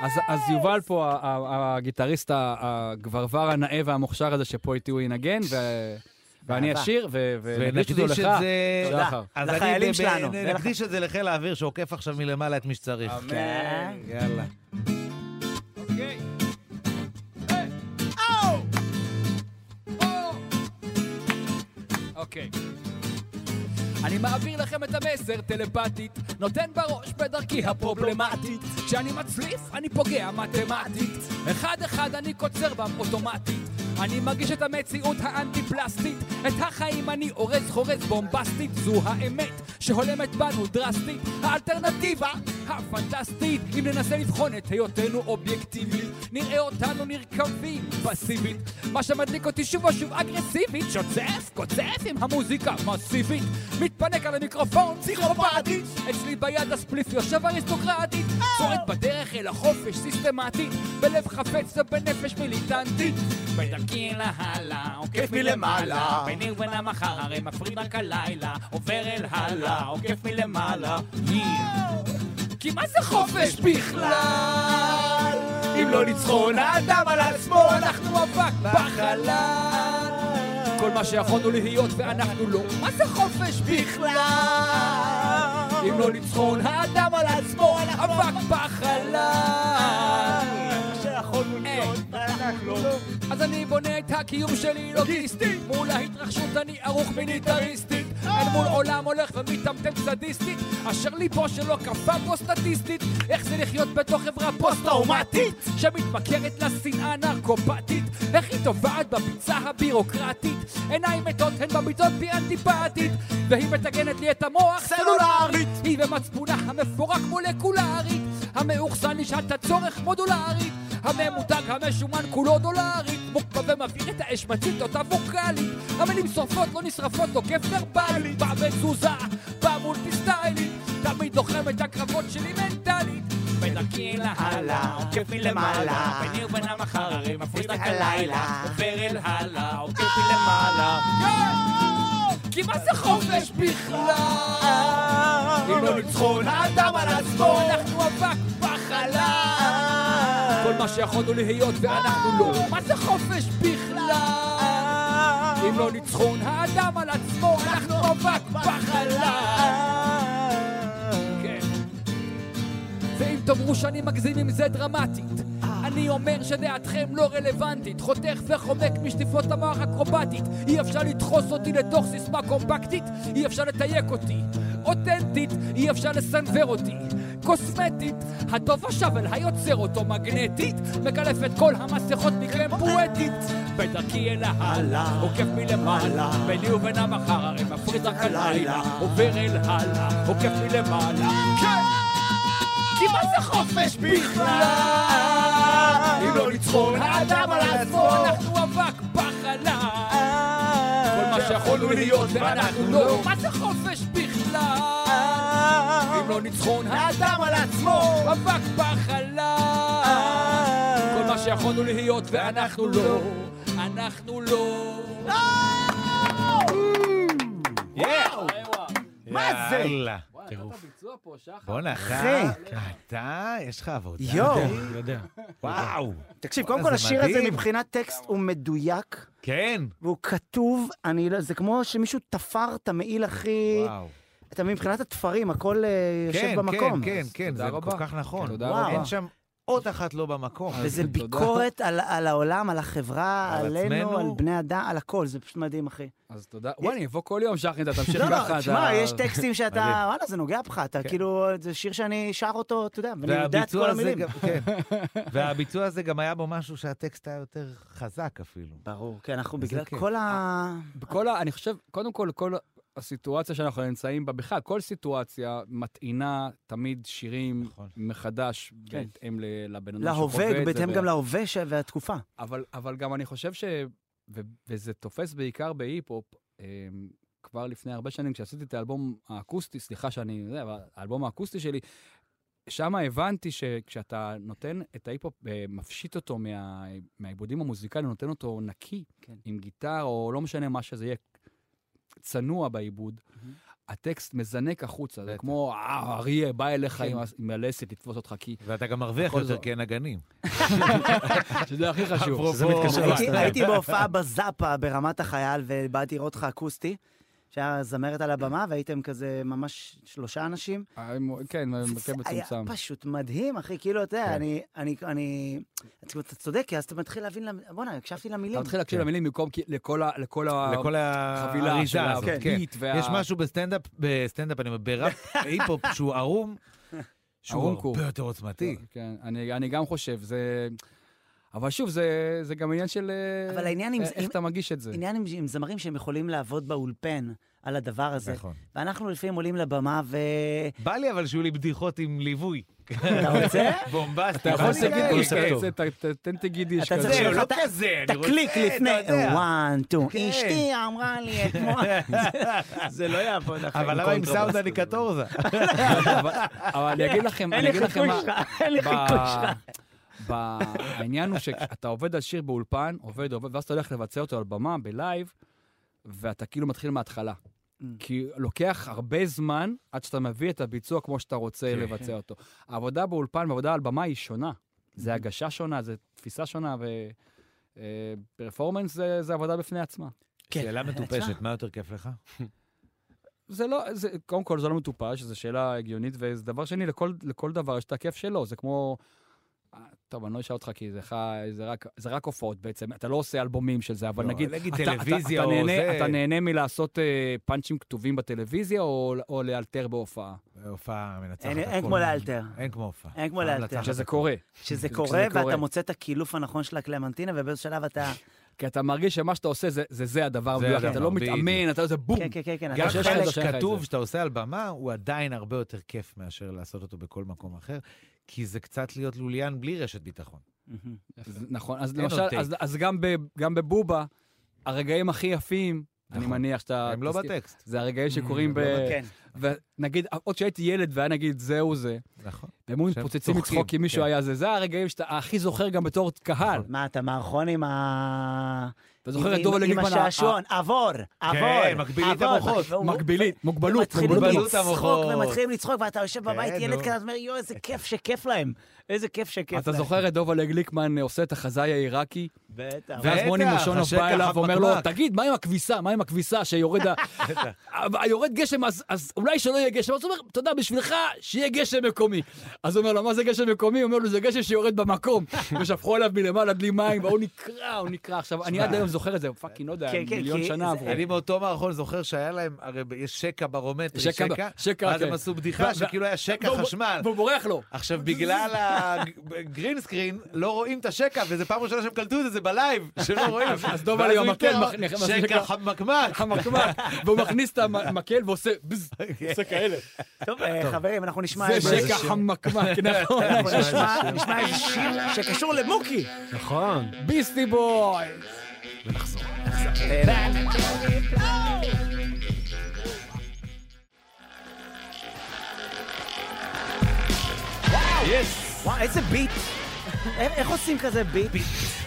Speaker 9: אז, אז יובל פה, ה- ה- הגיטריסט ה- הגברבר הנאה והמוכשר הזה שפה איתי הוא ינגן, ו... ואני
Speaker 2: באהבה.
Speaker 9: אשיר, ו- ונקדיש אותו
Speaker 4: ונקדיש
Speaker 9: לך.
Speaker 4: את זה...
Speaker 9: תודה. שחר.
Speaker 4: אז
Speaker 2: לחיילים
Speaker 4: אני ב-
Speaker 2: שלנו,
Speaker 4: נ-
Speaker 2: ולח-
Speaker 4: נקדיש את זה לחיל האוויר שעוקף עכשיו מלמעלה את מי שצריך.
Speaker 2: כן.
Speaker 4: יאללה.
Speaker 9: אוקיי. אני מעביר לכם את המסר טלפתית, נותן בראש בדרכי הפרובלמטית. כשאני מצליף, אני פוגע מתמטית. אחד-אחד אני קוצר בם אוטומטית. אני מרגיש את המציאות האנטי-פלסטית. את החיים אני אורז חורז בומבסטית. זו האמת שהולמת בנו דרסטית. האלטרנטיבה הפנטסטית. אם ננסה לבחון את היותנו אובייקטיבית, נראה אותנו נרקבים פסיבית. מה שמדליק אותי שוב ושוב אגרסיבית, שוצף, קוצף עם המוזיקה מסיבית. מתפנק על המיקרופון, פסיכופטית. אצלי ביד הספליף יושב אריסטוקרטית. צועד בדרך אל החופש סיסטמטית, בלב חפץ ובנפש מיליטנטית. בדרכי אל ההלה, עוקף מלמעלה, ביני ובין המחר הרי מפריד רק הלילה, עובר אל הלה, עוקף מלמעלה. כי מה זה חופש בכלל? אם לא ניצחון האדם על עצמו, אנחנו אבק בחלל. כל מה שיכולנו להיות ואנחנו לא, מה זה חופש בכלל? אם לא ניצחון האדם על עצמו, אנחנו אבק בחלל. אה, אז אני בונה את הקיום שלי לוגיסטי מול ההתרחשות אני ערוך מיליטריסטית אל מול עולם הולך ומטמטם סדיסטית אשר ליבו שלו קפא בו סטטיסטית איך זה לחיות בתוך חברה פוסט-טראומטית שמתמכרת לשנאה נרקופטית איך היא טובעת בביצה הבירוקרטית עיניים מתות הן במיטות בי אנטיפטית והיא מטגנת לי את המוח סלולרית היא ומצפונה המפורק מולקולרית המאוחסן לשעת הצורך מודולרית הממותג המשומן כולו דולרית מוקפא ומבעיר את האש מצית אותה ווקאלית המילים שורפות לא נשרפות תוקף ורבלית בא בתזוזה בא מולטי סטיילית תמיד לוחם את הקרבות שלי מנטלית בדרכי אל ההלה, עוקף מלמעלה, ביני ובין המחר, הרי מפריד רק הלילה, עובר אל הלה, עוקף מלמעלה. כי מה זה חופש בכלל? אם לא ניצחון האדם על עצמו, אנחנו אבק בחלל. כל מה שיכולנו להיות ואנחנו לא. מה זה חופש בכלל? אם לא ניצחון האדם על עצמו, אנחנו אבק בחלל. כן. ואם תאמרו שאני מגזים עם זה דרמטית אני אומר שדעתכם לא רלוונטית חותך וחומק משטיפות המוח אקרובטית אי אפשר לדחוס אותי לתוך סיסמה קומפקטית אי אפשר לתייק אותי אותנטית אי אפשר לסנוור אותי קוסמטית הטוב השבל היוצר אותו מגנטית מקלף את כל המסכות מכם פואטית בדרכי אל ההלה עוקף מלמעלה ביני ובין המחר הרי מפריד רק הלילה עובר אל הלה עוקף מלמעלה כן כי מה זה חופש בכלל? אם לא ניצחון האדם על עצמו, אנחנו אבק בחלל. כל מה שיכולנו להיות ואנחנו לא. מה זה חופש בכלל? אם לא ניצחון האדם על עצמו, אבק בחלל. כל מה שיכולנו להיות ואנחנו לא. אנחנו לא.
Speaker 4: מה
Speaker 2: זה?
Speaker 4: יאללה. בואנה, אתה,
Speaker 2: אחי.
Speaker 4: אתה, יש לך עבודה.
Speaker 2: אה, יואו.
Speaker 3: יודע.
Speaker 4: וואו.
Speaker 2: תקשיב, קודם
Speaker 4: וואלה,
Speaker 2: כל
Speaker 4: אה, זה
Speaker 2: השיר הזה
Speaker 4: מדהים.
Speaker 2: מבחינת טקסט הוא מדויק,
Speaker 4: כן.
Speaker 2: והוא כתוב, אני לא- זה כמו שמישהו תפר את המעיל הכי...
Speaker 4: וואו.
Speaker 2: אתה מבין, מבחינת התפרים, הכל אה,
Speaker 4: כן,
Speaker 2: יושב במקום.
Speaker 4: כן, כן, כן, זה
Speaker 9: תודה רבה.
Speaker 4: כל כך נכון.
Speaker 9: תודה
Speaker 2: וואו.
Speaker 4: אין שם אות אחת לא במקום.
Speaker 2: וזה
Speaker 9: תודה.
Speaker 2: ביקורת על, על העולם, על החברה,
Speaker 4: על
Speaker 2: עלינו,
Speaker 4: עצמנו.
Speaker 2: על בני אדם, על הכל, זה פשוט מדהים, אחי.
Speaker 9: אז תודה. וואי, אני אבוא כל יום, שחר, אתה תמשיך
Speaker 2: לא,
Speaker 9: ככה.
Speaker 2: לא, תשמע,
Speaker 9: אתה-
Speaker 2: יש טקסטים שאתה,
Speaker 4: מדהים.
Speaker 2: וואלה, זה נוגע בך, אתה כאילו, זה שיר שאני שר אותו, אתה יודע, ואני יודע את
Speaker 4: והביצוע
Speaker 2: כל
Speaker 4: הזה
Speaker 2: המילים.
Speaker 4: גם- כן. והביצוע הזה גם היה בו משהו שהטקסט היה יותר חזק אפילו.
Speaker 2: ברור, כן, אנחנו בגלל
Speaker 4: כיף.
Speaker 2: כל ה...
Speaker 9: אה, בכל ה... אני חושב, קודם כל, כל...
Speaker 8: הסיטואציה שאנחנו נמצאים בה בכלל, כל סיטואציה מטעינה תמיד שירים
Speaker 4: נכון.
Speaker 8: מחדש
Speaker 2: כן.
Speaker 8: בהתאם ל- לבן אדם שחווה את
Speaker 2: להווה,
Speaker 8: זה.
Speaker 2: בהתאם
Speaker 8: ו-
Speaker 2: גם להווה ש- והתקופה.
Speaker 8: אבל, אבל גם אני חושב ש... ו- וזה תופס בעיקר בהיפ-הופ, אמ, כבר לפני הרבה שנים, כשעשיתי את האלבום האקוסטי, סליחה שאני, זה, אבל האלבום האקוסטי שלי, שם הבנתי שכשאתה נותן את ההיפ-הופ, אה, מפשיט אותו מה, מהעיבודים המוזיקליים, נותן אותו נקי,
Speaker 2: כן.
Speaker 8: עם גיטר, או לא משנה מה שזה יהיה, צנוע בעיבוד, הטקסט מזנק החוצה, זה
Speaker 4: בטח. כן.
Speaker 8: כמו "אה, אריה בא אליך עם ה- עם הלסת לתפוס אותך, כי...
Speaker 4: ואתה גם מרוויח
Speaker 8: בכל
Speaker 4: יותר
Speaker 8: זאת.
Speaker 4: כי אין נגנים.
Speaker 8: שזה הכי חשוב.
Speaker 3: שזה מתקשר
Speaker 2: הייתי-
Speaker 3: לסטנדרט.
Speaker 2: הייתי בהופעה בזאפה ברמת החייל, ובאתי לראות אותך אקוסטי, שהיה זמרת על הבמה, והייתם כזה ממש שלושה אנשים.
Speaker 8: אה, כן,
Speaker 2: זה
Speaker 8: מכה מצומצם.
Speaker 2: היה פשוט מדהים, אחי, כאילו, אתה יודע, אני, אני, אני, כאילו, אתה צודק, כי אז אתה מתחיל להבין, למ- בואנה, הקשבתי למילים.
Speaker 8: אתה מתחיל להקשיב למילים במקום כי- לכל ה- לכל ה-
Speaker 4: כן. לכל
Speaker 8: לא, החבילה של
Speaker 4: האריזה הזאת, כן.
Speaker 8: הביט וה...
Speaker 4: יש משהו בסטנדאפ, בסטנדאפ, אני אומר, בראפ היפ-הופ שהוא ערום, שהוא
Speaker 8: ערום קור.
Speaker 4: הרבה יותר עוצמתי.
Speaker 8: כן, אני אני גם חושב, זה... אבל שוב, זה זה גם עניין של... אה,
Speaker 2: אבל העניין עם-
Speaker 8: איך-
Speaker 2: אם-
Speaker 8: איך אתה מגיש
Speaker 4: כן.
Speaker 8: את זה.
Speaker 2: עניין עם, עם זמרים שהם יכולים לעבוד באולפן על הדבר הזה.
Speaker 4: נכון.
Speaker 2: ואנחנו לפעמים עולים לבמה ו...
Speaker 4: בא לי אבל שיהיו לי בדיחות עם ליווי.
Speaker 2: אתה רוצה?
Speaker 4: בומבסטי.
Speaker 8: אתה יכול
Speaker 4: בא לי
Speaker 8: לעשות
Speaker 4: כאלה.
Speaker 8: גידיש
Speaker 4: כן.
Speaker 8: כזה, ת- ת- תן תגידיש
Speaker 2: אתה
Speaker 8: כזה.
Speaker 2: צריך
Speaker 4: זהו, לא
Speaker 2: אתה-
Speaker 4: כזה, אני רוצה,
Speaker 2: תקליק לפני,
Speaker 4: אתה יודע.
Speaker 2: one, two,
Speaker 4: כן.
Speaker 2: אשתי אמרה לי אתמול. זה לא יעבוד, אחי.
Speaker 4: אבל למה עם סאודה אני קטורזה?
Speaker 8: אבל אבל אני אגיד לכם,
Speaker 2: אין
Speaker 8: אני
Speaker 2: לי
Speaker 8: אגיד לכם
Speaker 2: חיקוי
Speaker 8: מה...
Speaker 2: שלך, אין לי
Speaker 8: ב-
Speaker 2: חיקוי שלך.
Speaker 8: ב- העניין הוא שאתה עובד על שיר באולפן, עובד, עובד, ואז אתה הולך לבצע אותו על במה, בלייב, ואתה כאילו מתחיל מההתחלה. כי לוקח הרבה זמן עד שאתה מביא את הביצוע כמו שאתה רוצה לבצע אותו. העבודה באולפן ועבודה על במה היא שונה. זה הגשה שונה, זה תפיסה שונה, ופרפורמנס זה, זה עבודה בפני עצמה.
Speaker 2: כן.
Speaker 4: שאלה מטופשת, מה יותר כיף לך?
Speaker 8: כן, זה לא, זה, קודם כל, זה לא מטופש, זו שאלה הגיונית, וזה דבר שני, לכל, לכל דבר יש את הכיף שלו, זה כמו... אה, טוב, אני לא אשאל אותך, כי זה, ח... זה, רק, זה רק הופעות בעצם, אתה לא עושה אלבומים של זה, אבל
Speaker 4: לא,
Speaker 8: נגיד,
Speaker 4: נגיד
Speaker 8: אתה,
Speaker 4: טלוויזיה
Speaker 8: אתה, אתה
Speaker 4: או
Speaker 8: נהנה,
Speaker 4: זה.
Speaker 8: אתה נהנה מלעשות אה, פאנצ'ים כתובים בטלוויזיה, או, או לאלתר בהופעה,
Speaker 4: הופעה מנצחת.
Speaker 2: אין- אין
Speaker 4: הכל.
Speaker 2: כמו לאלתר.
Speaker 4: אין כמו הופעה. אה,
Speaker 2: אין כמו לאלתר.
Speaker 4: מנצחת
Speaker 8: שזה
Speaker 4: הכל.
Speaker 8: קורה.
Speaker 2: שזה
Speaker 8: כשזה
Speaker 2: קורה,
Speaker 8: קורה.
Speaker 2: ואתה מוצא את הקילוף הנכון של הקלמנטינה, ובאיזשהו שלב אתה...
Speaker 8: כי אתה מרגיש שמה שאתה עושה זה זה, זה הדבר
Speaker 4: זה
Speaker 8: המדויק,
Speaker 4: הדבר,
Speaker 8: אתה לא
Speaker 4: בדיוק.
Speaker 8: מתאמן, אתה עושה בום.
Speaker 2: כן, כן, כן, כן.
Speaker 4: גם
Speaker 2: אתה
Speaker 8: שיש לך
Speaker 2: חלק-
Speaker 8: את זה.
Speaker 4: חלק כתוב שאתה עושה על במה, הוא עדיין הרבה יותר כיף מאשר לעשות אותו בכל מקום אחר, כי זה קצת להיות לוליין בלי רשת ביטחון.
Speaker 2: מהמם.
Speaker 8: אז- נכון, אז
Speaker 4: אין
Speaker 8: למשל,
Speaker 4: עוד טייק.
Speaker 8: אז- אז גם ב- גם בבובה, הרגעים הכי יפים, אני
Speaker 4: נכון.
Speaker 8: מניח שאתה...
Speaker 4: הם לא
Speaker 8: תסכים-
Speaker 4: בטקסט. לא
Speaker 8: זה הרגעים שקורים ב...
Speaker 2: כן.
Speaker 8: ונגיד, עוד שהייתי ילד והיה נגיד זהו זה,
Speaker 4: נכון.
Speaker 8: והם היו
Speaker 4: שהם
Speaker 8: מתפוצצים
Speaker 4: צוחקים,
Speaker 8: מצחוק כי מישהו
Speaker 4: כן. נכון.
Speaker 8: היה זה, זה הרגעים שאתה הכי זוכר גם בתור קהל.
Speaker 2: מה, אתה מערכון עם ה...
Speaker 8: אתה זוכר את
Speaker 2: עם-
Speaker 8: דובל
Speaker 2: עם
Speaker 8: לגיגמן?
Speaker 2: השעשועון, עבור, עבור.
Speaker 9: כן.
Speaker 4: מגבילים את
Speaker 2: עבור.
Speaker 4: המוחות.
Speaker 2: והוא-
Speaker 8: מגבילית, מוגבלות,
Speaker 2: מתחילים
Speaker 8: מוגבלות.
Speaker 4: מוגבלות
Speaker 2: לצחוק,
Speaker 4: המוחות.
Speaker 2: ומתחילים לצחוק, ואתה יושב בבית,
Speaker 4: כן,
Speaker 2: ילד
Speaker 4: נו.
Speaker 2: קטן, ואומר, יואו, איזה כיף שכיף להם. איזה כיף שכיף להם.
Speaker 8: אתה זוכר את דובל גליקמן עושה את החזאי העיראקי,
Speaker 2: בטח.
Speaker 8: ואז
Speaker 4: בטח,
Speaker 8: מוני מושונוב
Speaker 4: השקע
Speaker 8: בא אליו ואומר לו,
Speaker 4: החמקמק.
Speaker 8: תגיד, מה עם הכביסה? מה עם הכביסה שיורד ה- אבל יורד גשם, אז- אז אולי שלא יהיה גשם. אז הוא אומר, אתה יודע, בשבילך, שיהיה גשם מקומי. אז הוא אומר לו, מה זה גשם מקומי? הוא אומר לו, זה גשם שיורד במקום. ושפכו עליו מלמעלה בלי מים, והוא נקרע, הוא נקרע. עכשיו, אני עד היום זוכר את זה, פאקינג, לא יודע,
Speaker 2: כן, כן,
Speaker 8: מיליון
Speaker 2: כי
Speaker 8: שנה
Speaker 2: זה-
Speaker 8: עברו.
Speaker 4: אני מאותו מערכון זוכר שהיה להם, הרי ב- יש שקע ברומטרי,
Speaker 8: שקע ב-
Speaker 4: שקע,
Speaker 8: שקע,
Speaker 4: ואז הם
Speaker 8: כן.
Speaker 4: עשו
Speaker 8: ו-
Speaker 4: בדיחה
Speaker 8: ו-
Speaker 4: שכאילו היה שקע
Speaker 8: והוא-
Speaker 4: חשמל.
Speaker 8: והוא בורח לו.
Speaker 4: עכשיו, בגלל הגרינסקרין, לא רואים את השקע, וזו פעם ראשונה שהם קלטו את זה בלייב, שלא רואים.
Speaker 8: אז דוב
Speaker 4: ואז
Speaker 8: עלי
Speaker 4: הוא
Speaker 8: המקל
Speaker 4: איתר,
Speaker 8: מכ- נכנס
Speaker 4: שקע
Speaker 8: לשקע.
Speaker 4: חמקמק.
Speaker 8: חמקמק, והוא מכניס את המקל ועושה בז,
Speaker 4: כן.
Speaker 8: עושה כאלה.
Speaker 2: טוב, אה, חברים, אנחנו נשמע...
Speaker 8: זה
Speaker 2: איזה-
Speaker 8: שקע חמקמק, נכון.
Speaker 2: אנחנו נשמע נשמע איזה שיר שקשור למוקי.
Speaker 3: נכון.
Speaker 8: ביסטי בוי.
Speaker 2: וואי, איזה ביט. איך איך עושים כזה ביט?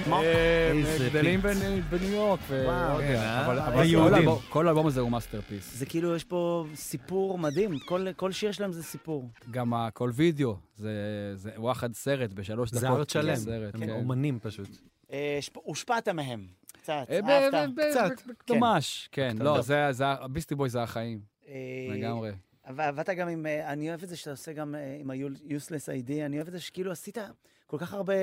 Speaker 2: מה?
Speaker 8: אה, גדלים בני- בניו יורק, ו-
Speaker 2: וואו. כן,
Speaker 8: לא יודע,
Speaker 2: אה,
Speaker 8: אבל- אבל כל
Speaker 4: ויהודים.
Speaker 8: האלבום- כל האלבום הזה הוא מאסטרפיס.
Speaker 2: זה כאילו, יש פה סיפור מדהים. כל- כל שיר שלהם זה סיפור.
Speaker 8: גם הכל וידאו, זה זה וואחד סרט בשלוש דקות.
Speaker 3: זה ארט
Speaker 8: כאילו,
Speaker 3: שלם.
Speaker 8: סרט,
Speaker 3: הם
Speaker 8: כן.
Speaker 3: אומנים פשוט.
Speaker 2: אה, השפ- הושפעת מהם. קצת,
Speaker 8: אה, ב-
Speaker 2: אהבת.
Speaker 8: ב- ב-
Speaker 2: קצת. כן.
Speaker 8: ממש, כן, לא,
Speaker 2: טוב.
Speaker 8: זה, זה, ביסטי בוי זה החיים,
Speaker 2: אה,
Speaker 8: לגמרי.
Speaker 2: אבל עבדת גם עם, אה, אני אוהב את זה שאתה עושה גם אה, עם ה-useless ID, אני אוהב את זה שכאילו עשית כל כך הרבה,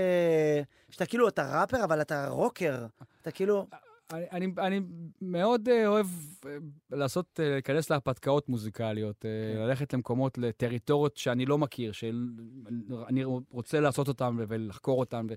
Speaker 2: שאתה כאילו, אתה ראפר, אבל אתה רוקר. אתה כאילו,
Speaker 8: אני, אה, אני, אני מאוד אה, אוהב אה, לעשות, אה, להיכנס להרפתקאות מוזיקליות, אה,
Speaker 2: כן.
Speaker 8: ללכת למקומות, לטריטוריות שאני לא מכיר, שאני רוצה לעשות אותן ו- ולחקור אותן. ו...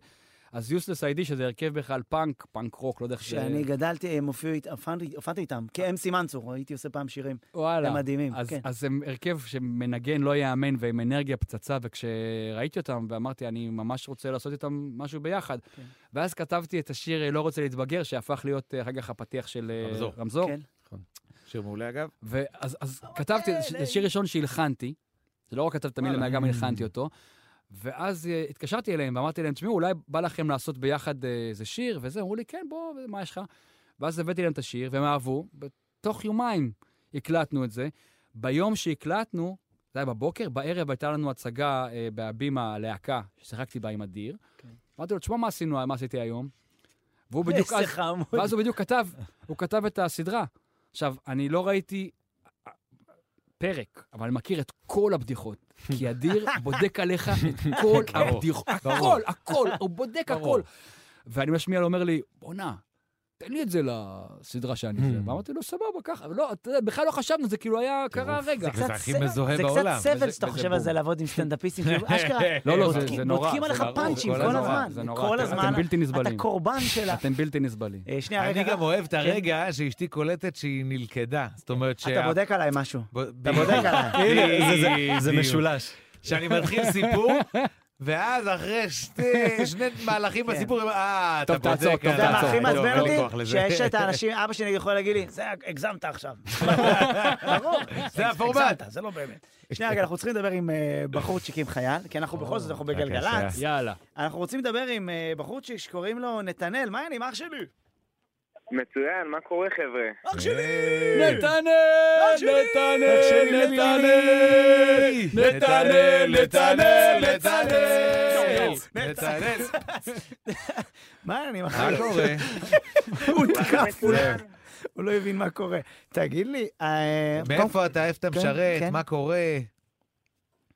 Speaker 8: אז יוסלס איי-די, שזה הרכב בכלל פאנק, פאנק רוק, לא יודע איך זה...
Speaker 2: כשאני גדלתי, אה, הם הופיעו, אית- הופעתי- הופעתי איתם, כ-MC מנצור, הייתי עושה פעם שירים.
Speaker 8: וואלה.
Speaker 2: הם מדהימים,
Speaker 8: אז,
Speaker 2: כן.
Speaker 8: אז הם הרכב שמנגן לא ייאמן והם אנרגיה פצצה, וכשראיתי אותם ואמרתי, אני ממש רוצה לעשות איתם משהו ביחד.
Speaker 2: כן.
Speaker 8: ואז כתבתי את השיר אה, "לא רוצה להתבגר", שהפך להיות אה, אחר כך הפתיח של אה,
Speaker 4: רמזור. נכון.
Speaker 8: רמזור.
Speaker 2: כן.
Speaker 4: שיר מעולה אגב.
Speaker 8: ואז אז כתבתי,
Speaker 2: אה,
Speaker 8: זה ש- זה שיר ראשון שהלחנתי, זה לא רק כתבתי את המילים, אלא גם
Speaker 2: אה.
Speaker 8: הלחנתי אותו. ואז אה, התקשרתי אליהם ואמרתי להם, תשמעו, אולי בא לכם לעשות ביחד אה, איזה שיר וזה, אמרו לי, כן, בוא, מה יש לך? ואז הבאתי להם את השיר, והם אהבו, בתוך יומיים הקלטנו את זה. ביום שהקלטנו, זה היה בבוקר, בערב הייתה לנו הצגה אה, בהבימה, להקה, ששיחקתי בה עם אדיר.
Speaker 2: כן.
Speaker 8: אמרתי לו, תשמע, מה עשינו, מה עשיתי היום? והוא בדיוק אז...
Speaker 2: איזה חמוד.
Speaker 8: ואז הוא בדיוק כתב, הוא כתב את הסדרה. עכשיו, אני לא ראיתי פרק, אבל אני מכיר את כל הבדיחות. כי אדיר בודק עליך את כל
Speaker 4: כן, ברור,
Speaker 8: הבדיחות,
Speaker 4: ברור.
Speaker 8: הכל, הכל, הוא בודק
Speaker 4: ברור.
Speaker 8: הכל. ואני משמיע לו, אומר לי, בואנה, תן לי את זה לסדרה שאני זה.
Speaker 4: Hmm.
Speaker 8: ואמרתי לו, סבבה, ככה. אבל לא, אתה יודע, בכלל לא חשבנו, זה כאילו היה, קרה הרגע.
Speaker 4: זה הכי
Speaker 2: סבל-
Speaker 4: מזוהה
Speaker 2: זה
Speaker 4: בעולם,
Speaker 2: קצת סבל
Speaker 4: וזה-
Speaker 2: שאתה
Speaker 4: וזה
Speaker 2: חושב על זה
Speaker 4: בום.
Speaker 2: לעבוד עם סטנדאפיסטים, כאילו, אשכרה,
Speaker 8: לא, לא,
Speaker 2: בודקים-
Speaker 8: זה- זה נורא,
Speaker 2: בודקים
Speaker 8: זה
Speaker 2: עליך
Speaker 8: ברור,
Speaker 2: פאנצ'ים
Speaker 4: זה
Speaker 2: כל
Speaker 4: נורא,
Speaker 2: הזמן,
Speaker 8: זה נורא,
Speaker 2: כל
Speaker 8: אתם-
Speaker 2: הזמן,
Speaker 8: אתם בלתי
Speaker 2: אתה
Speaker 8: נסבלים.
Speaker 2: קורבן שלה.
Speaker 8: אתם בלתי נסבלים.
Speaker 2: אה, שנייה,
Speaker 4: אני
Speaker 2: רגע,
Speaker 4: גם אוהב את
Speaker 2: כן.
Speaker 4: הרגע שאשתי קולטת שהיא נלכדה. זאת אומרת שה...
Speaker 2: אתה בודק עליי משהו.
Speaker 4: אתה
Speaker 2: בודק עליי.
Speaker 3: זה משולש.
Speaker 4: שאני מתחיל סיפור, ואז אחרי שתי- שני מהלכים
Speaker 2: כן.
Speaker 4: בסיפור, אה, אתה
Speaker 8: טוב,
Speaker 4: בודק עליי.
Speaker 8: תעצור, טוב,
Speaker 2: אתה יודע מה הכי
Speaker 4: טוב, אין
Speaker 2: מעצבן
Speaker 4: לי כוח
Speaker 2: אותי?
Speaker 4: לזה.
Speaker 2: שיש את האנשים, אבא שלי יכול להגיד לי, זה הגזמת עכשיו. ברור.
Speaker 4: זה הפורמט.
Speaker 2: הגזמת, זה לא באמת. שנייה, רגע, אנחנו צריכים לדבר עם אה, בחורצ'יק עם חייל, כי אנחנו בכל זאת, אנחנו בגלגלצ.
Speaker 4: בבקשה.
Speaker 8: יאללה.
Speaker 2: אנחנו רוצים לדבר עם אה, בחורצ'יק שקוראים לו נתנאל, מה העניינים, אח שלי?
Speaker 6: מצוין, מה קורה חבר'ה?
Speaker 2: אח שלי!
Speaker 8: נתנאל, נתנאל, נתנאל, נתנאל, נתנאל, נתנאל.
Speaker 4: נתנאל,
Speaker 2: מה העניינים, אחי?
Speaker 4: מה קורה?
Speaker 2: הוא תקף, הוא לא- הוא לא הבין מה קורה. תגיד לי, אה, קודם כל-
Speaker 4: מאיפה אתה, איפה אתה
Speaker 2: כן,
Speaker 4: משרת,
Speaker 2: כן.
Speaker 4: מה קורה?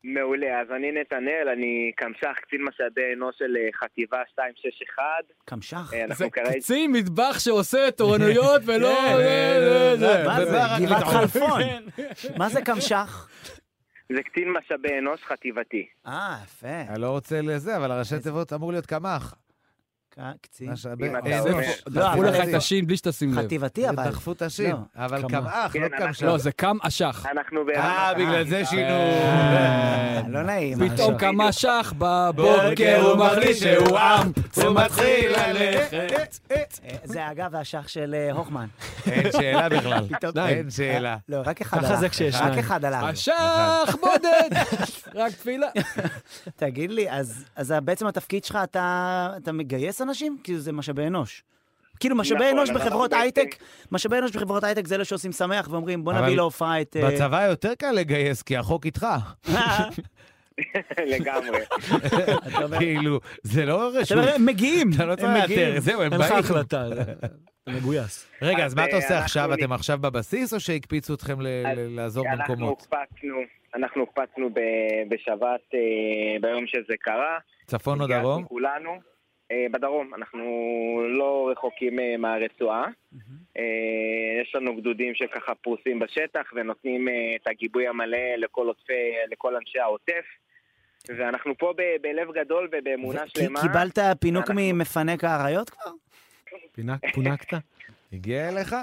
Speaker 6: מעולה, אז אני נתנאל, אני קמצ"ח, קצין משאבי אנוש של אה, חטיבה 261.
Speaker 2: קמשח?
Speaker 6: אה,
Speaker 8: זה
Speaker 6: אנחנו כרגע...
Speaker 8: קצין מטבח שעושה תורנויות ולא... לא,
Speaker 4: כן,
Speaker 2: אה,
Speaker 6: לא,
Speaker 8: זה, זה, זה.
Speaker 2: מה זה,
Speaker 4: וברק
Speaker 2: גבעת
Speaker 4: לטעום.
Speaker 2: חלפון?
Speaker 4: כן.
Speaker 2: מה זה קמשח?
Speaker 6: זה קצין משאבי אנוש חטיבתי.
Speaker 2: אה, יפה.
Speaker 4: אני לא רוצה לזה, אבל הראשי תיבות אמרו להיות קמ"ח.
Speaker 2: ק- קצין.
Speaker 4: משאבי-
Speaker 6: אם אתה
Speaker 4: אה,
Speaker 6: אומר.
Speaker 4: דחפו-
Speaker 2: לא,
Speaker 8: דחפו
Speaker 2: אבל
Speaker 8: לך
Speaker 2: זה-
Speaker 8: את השין בלי שתשים לב.
Speaker 2: חטיבתי, אבל...
Speaker 4: דחפו את השין,
Speaker 2: לא.
Speaker 4: אבל
Speaker 8: קמ"ח.
Speaker 4: קמ"ח,
Speaker 6: כן,
Speaker 4: לא
Speaker 6: אנחנו-
Speaker 4: קמש"ח.
Speaker 8: לא, זה קם אשך.
Speaker 6: אנחנו בערב...
Speaker 4: אה, בגלל זה שינו.
Speaker 2: אה, לא נעים.
Speaker 8: פתאום
Speaker 2: עכשיו.
Speaker 8: קם אשך בבוקר, הוא מחליט שהוא עם, הוא מתחיל ללכת.
Speaker 2: אה, זה אגב השח של אה, הוכמן.
Speaker 4: אין שאלה בכלל.
Speaker 2: פתאום-
Speaker 4: אין שאלה.
Speaker 2: לא, רק אחד עלה.
Speaker 3: ככה זה כשיש
Speaker 2: רק
Speaker 3: שניים.
Speaker 2: אחד עלה.
Speaker 8: אשך בודד, רק תפילה.
Speaker 2: תגיד לי, אז אז בעצם התפקיד שלך, אתה אתה מגייס אנשים? כאילו זה משאבי אנוש. כאילו משאבי
Speaker 6: נכון,
Speaker 2: אנוש
Speaker 6: אז אנחנו
Speaker 2: בחברות
Speaker 6: בעצם-
Speaker 2: הייטק, משאבי אנוש בחברות הייטק זה אלה שעושים שמח ואומרים, בוא
Speaker 4: אבל
Speaker 2: נביא להופעה את... אה,
Speaker 4: בצבא יותר קל לגייס, כי החוק איתך.
Speaker 6: לגמרי.
Speaker 4: כאילו, זה לא
Speaker 2: אתה
Speaker 4: רשות.
Speaker 2: אומר, הם מגיעים.
Speaker 4: אתה לא צריך
Speaker 2: הם
Speaker 4: לאתר,
Speaker 2: מגיעים.
Speaker 4: זהו, הם
Speaker 3: אין לך
Speaker 4: באים.
Speaker 3: החלטה, זה- זה מגויס.
Speaker 4: רגע, אז מה אתה
Speaker 6: אז,
Speaker 4: עושה
Speaker 6: אה,
Speaker 4: עכשיו?
Speaker 6: אנחנו-
Speaker 4: אתם עכשיו בבסיס, או שהקפיצו אתכם ל-
Speaker 6: אז
Speaker 4: ל- לעזור
Speaker 6: אנחנו
Speaker 4: במקומות?
Speaker 6: הוקפצנו, אנחנו הוקפצנו ב- בשבת, אה, ביום שזה קרה.
Speaker 4: צפון או
Speaker 6: התגייסנו
Speaker 4: דרום?
Speaker 6: כולנו. אה, בדרום, אנחנו לא רחוקים אה, מהרצועה. אה, יש לנו גדודים שככה פרוסים בשטח ונותנים אה, את הגיבוי המלא לכל עוטפי, לכל אנשי העוטף. ואנחנו פה ב- בלב גדול ובאמונה
Speaker 2: כי-
Speaker 6: שלמה.
Speaker 2: קיבלת פינוק
Speaker 6: אנחנו-
Speaker 2: ממפנק האריות כבר?
Speaker 3: פינה- פונקת?
Speaker 4: הגיע אליך?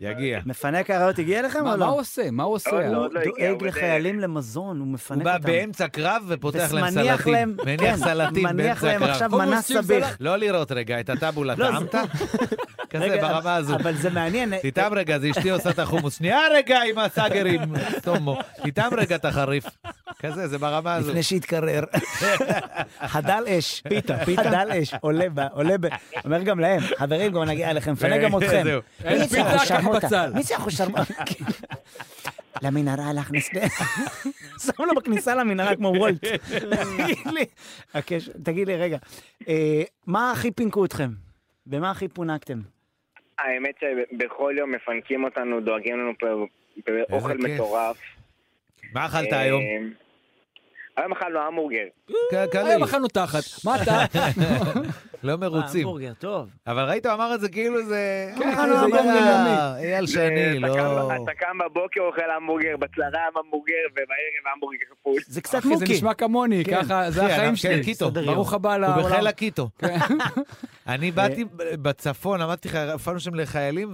Speaker 4: יגיע.
Speaker 2: מפנק האריות הגיע אליכם
Speaker 8: מה
Speaker 2: או
Speaker 8: מה הוא
Speaker 2: לא?
Speaker 8: עושה? מה הוא עושה?
Speaker 6: עוד לא,
Speaker 2: הוא
Speaker 6: עוד לא הגיע,
Speaker 2: דואג
Speaker 6: הוא בדרך.
Speaker 2: לחיילים למזון, הוא מפנק
Speaker 4: הוא
Speaker 2: אותם.
Speaker 4: בא באמצע קרב ופותח להם
Speaker 2: מניח
Speaker 4: סלטים.
Speaker 2: להם-
Speaker 4: מניח
Speaker 2: כן,
Speaker 4: סלטים
Speaker 2: מניח
Speaker 4: באמצע
Speaker 2: להם
Speaker 4: הקרב.
Speaker 2: עכשיו
Speaker 8: חומוס,
Speaker 2: מנה
Speaker 8: צ'יפס,
Speaker 2: סביך.
Speaker 8: סלט.
Speaker 4: לא לראות רגע את הטאבולה,
Speaker 2: לא, זה-
Speaker 4: טעמת? כזה
Speaker 2: רגע,
Speaker 4: ברמה הזו.
Speaker 2: אבל זה מעניין.
Speaker 4: תטעם רגע, זה אשתי עושה את החומוס. שנייה רגע עם הסאגרים, סתומו. תטעם רגע את החריף. כזה, זה ברמה הזו.
Speaker 2: לפני שיתקרר. חדל אש. פיתה, פיתה. חדל אש, עולה ב... עולה ב... אומר גם להם, חברים, גם נגיע אליכם, נפנה גם אתכם.
Speaker 4: זהו.
Speaker 8: אין
Speaker 2: מי זה
Speaker 8: פיתה, קח
Speaker 2: החושרמוטה?
Speaker 8: בצל.
Speaker 2: מי זה החושרמוטה? למנהרה להכניס... שם לו בכניסה למנהרה כמו וולט. תגיד לי, הקש- תגיד לי, רגע, אה, מה הכי פינקו אתכם? במה הכי פונקתם?
Speaker 6: האמת שבכל יום מפנקים אותנו, דואגים לנו פה באוכל אה,
Speaker 4: כיף.
Speaker 6: מטורף.
Speaker 4: מה אכלת היום?
Speaker 6: אמ,
Speaker 10: היום אכלנו המבורגר.
Speaker 4: ק- כן, קליל.
Speaker 9: היום אכלנו תחת, מה אתה?
Speaker 4: לא מרוצים.
Speaker 2: המבורגר, טוב.
Speaker 4: אבל ראית, הוא אמר את זה כאילו זה...
Speaker 9: כן,
Speaker 4: אה,
Speaker 9: כאילו זה
Speaker 4: מה,
Speaker 9: יום יומי.
Speaker 4: אייל שני,
Speaker 10: אתה
Speaker 4: לא...
Speaker 10: קם- אתה קם בבוקר, אוכל המבורגר, בצהריים המבורגר, ובערב המבורגר כפול.
Speaker 2: זה קצת
Speaker 9: אחי, זה
Speaker 2: מוקי.
Speaker 9: נשמע כמוני,
Speaker 4: כן,
Speaker 9: ככה, זה
Speaker 4: אחי,
Speaker 9: החיים
Speaker 4: אנחנו-
Speaker 9: שלי.
Speaker 4: כן, קיטו.
Speaker 2: סדר יום.
Speaker 9: ברוך הבא
Speaker 4: הוא
Speaker 9: לעולם.
Speaker 4: בחיל הקיטו. אני באתי בצפון, עמדתי, ח- הופענו שם לחיילים,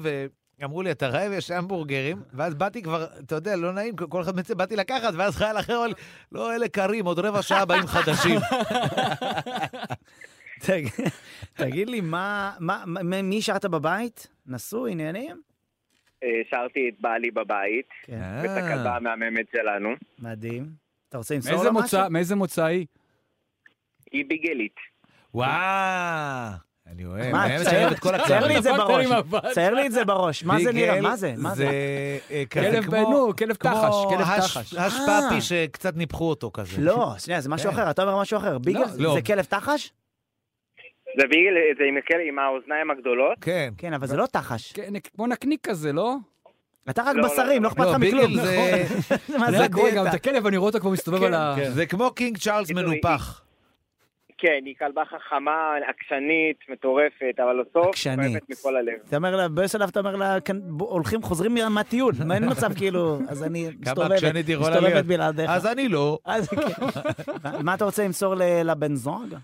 Speaker 4: ואמרו לי, אתה רעב? יש המבורגרים. ואז באתי כבר, אתה יודע, לא נעים, כל אחד מצא, באתי לקחת, ואז חייל אחר אומר לי, לא, אלה קרים, עוד רבע שעה באים חדשים.
Speaker 2: תג- תגיד לי, מה, מה, מה- מי שרת בבית? נשוי, עניינים?
Speaker 10: אה, שרתי את בעלי בבית,
Speaker 2: כן.
Speaker 10: ואת הכלבה המהממת שלנו.
Speaker 2: מדהים. אתה רוצה למסור
Speaker 9: מאיזה
Speaker 2: לו משהו?
Speaker 9: מוצא- מאיזה מוצא היא?
Speaker 10: היא ביגלית.
Speaker 4: וואו, אני אוהב,
Speaker 2: מה,
Speaker 4: אני אוהב
Speaker 2: צייר-
Speaker 4: שאני אוהב את כל
Speaker 2: צייר לי
Speaker 4: הכלבים.
Speaker 2: את זה
Speaker 9: נפלת
Speaker 2: בראש.
Speaker 9: עם הבת.
Speaker 2: צייר לי את זה בראש. מה זה נראה?
Speaker 4: ביגל
Speaker 2: מה זה? מה זה?
Speaker 4: אה, כזה
Speaker 9: כלב,
Speaker 4: כמו-
Speaker 9: נו, כלב תחש, כלב תחש.
Speaker 4: כמו הש- השפעתי שקצת ניפחו אותו כזה.
Speaker 2: אה. לא, שנייה, זה משהו
Speaker 4: כן.
Speaker 2: אחר, אתה אומר משהו אחר. ביגל, זה-
Speaker 4: לא.
Speaker 2: זה כלב תחש?
Speaker 10: זה ביגל, זה עם הכל- עם האוזניים הגדולות.
Speaker 4: כן.
Speaker 2: כן, אבל זה לא תחש.
Speaker 9: כן, כמו נקניק כזה, לא?
Speaker 2: אתה רק
Speaker 10: לא, לא,
Speaker 2: בשרים,
Speaker 10: לא.
Speaker 2: לא אכפת
Speaker 4: לא,
Speaker 2: לך מכלום. נכון.
Speaker 4: ביגל זה...
Speaker 2: מה
Speaker 9: זה
Speaker 2: זה כן,
Speaker 9: קורה גם
Speaker 2: דיאטה?
Speaker 9: את הכלב, אני רואה אותו כבר מסתובב על ה...
Speaker 4: זה כמו קינג צ'ארלס
Speaker 10: קיצור,
Speaker 4: מנופח.
Speaker 10: כן, היא כלבה חכמה, עקשנית, מטורפת, אבל בסוף,
Speaker 2: עקשנית.
Speaker 10: אוהבת מכל הלב.
Speaker 2: אתה אומר לה, באיזה שלב אתה אומר לה, "כן, ב- הולכים, חוזרים מה- מהטיול, מה, אין מצב כאילו, אז אני
Speaker 4: כמה
Speaker 2: מסתובבת,
Speaker 4: עקשנית היא יכולה
Speaker 2: מסתובבת
Speaker 4: להיות.
Speaker 2: בלעדיך.
Speaker 4: אז אני לא.
Speaker 2: אז כן. מה- מה אתה רוצה למסור ל- לבן זוג?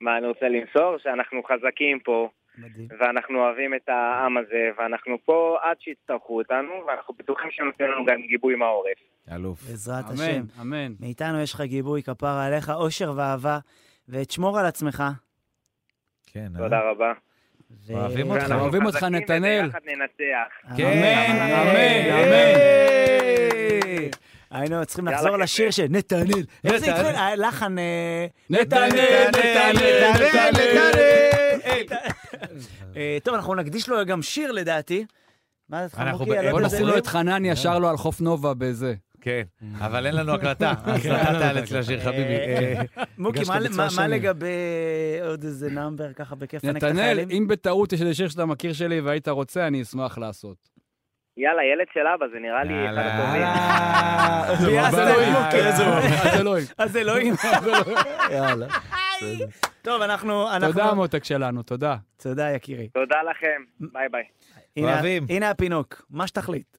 Speaker 10: מה אני רוצה למסור? שאנחנו חזקים פה,
Speaker 2: מדהים.
Speaker 10: ואנחנו אוהבים את העם הזה, ואנחנו פה עד שיצטרכו אותנו, ואנחנו בטוחים שהם נותנים לנו גם גיבוי מהעורף.
Speaker 4: אלוף.
Speaker 2: בעזרת השם.
Speaker 9: אמן, אמן.
Speaker 2: מאיתנו יש לך גיבוי, כפרה עליך, אושר ואהבה, ותשמור על עצמך.
Speaker 4: כן, אה?
Speaker 10: תודה רבה.
Speaker 2: ו-
Speaker 4: אוהבים אותך.
Speaker 10: ואנחנו
Speaker 9: אוהבים אותך,
Speaker 10: חזקים
Speaker 9: נתנאל.
Speaker 10: וביחד ננצח.
Speaker 2: אמן,
Speaker 4: כן,
Speaker 2: אמן,
Speaker 4: אמן.
Speaker 2: אמן. היינו צריכים
Speaker 10: יאללה,
Speaker 2: לחזור
Speaker 10: חבר'ה.
Speaker 2: לשיר של נתנאל. איך זה
Speaker 4: כן, נתנאל.
Speaker 2: התחיל? הלחן... אה,
Speaker 9: נתנאל, נתנאל,
Speaker 4: נתנאל, נתנאל.
Speaker 2: אה, טוב, אנחנו נקדיש לו גם שיר לדעתי. מה דעתך,
Speaker 4: אנחנו
Speaker 2: מוקי? לא
Speaker 4: ב-
Speaker 2: על
Speaker 9: בוא
Speaker 2: עוד
Speaker 4: בוא
Speaker 2: איזה
Speaker 9: נשים לו
Speaker 2: ליר?
Speaker 9: את חנניה, שר לו על חוף נובה בזה.
Speaker 4: כן, אבל אין לנו הקלטה, אז אתה תאלץ לשיר חביבי.
Speaker 2: אה, מוקי,
Speaker 4: הגשת
Speaker 2: מה-
Speaker 4: ביצוע
Speaker 2: מה- מה
Speaker 4: שני.
Speaker 2: לגבי עוד איזה נאמבר ככה בכיף לנק את
Speaker 9: נתנאל,
Speaker 2: החיילים?
Speaker 9: אם בטעות יש איזה שיר שאתה מכיר שלי והיית רוצה, אני אשמח לעשות.
Speaker 10: יאללה, ילד של אבא, זה נראה לי אחד הטובים.
Speaker 2: ביאסת את מוקי, אז הוא-
Speaker 9: אז אלוהים.
Speaker 2: אז אלוהים. היי. טוב, אנחנו... אנחנו-
Speaker 9: תודה, מותק שלנו, תודה.
Speaker 2: תודה, יקירי.
Speaker 10: תודה לכם, ביי ביי.
Speaker 2: הנה-
Speaker 4: אוהבים.
Speaker 2: הנה הפינוק, מה שתחליט.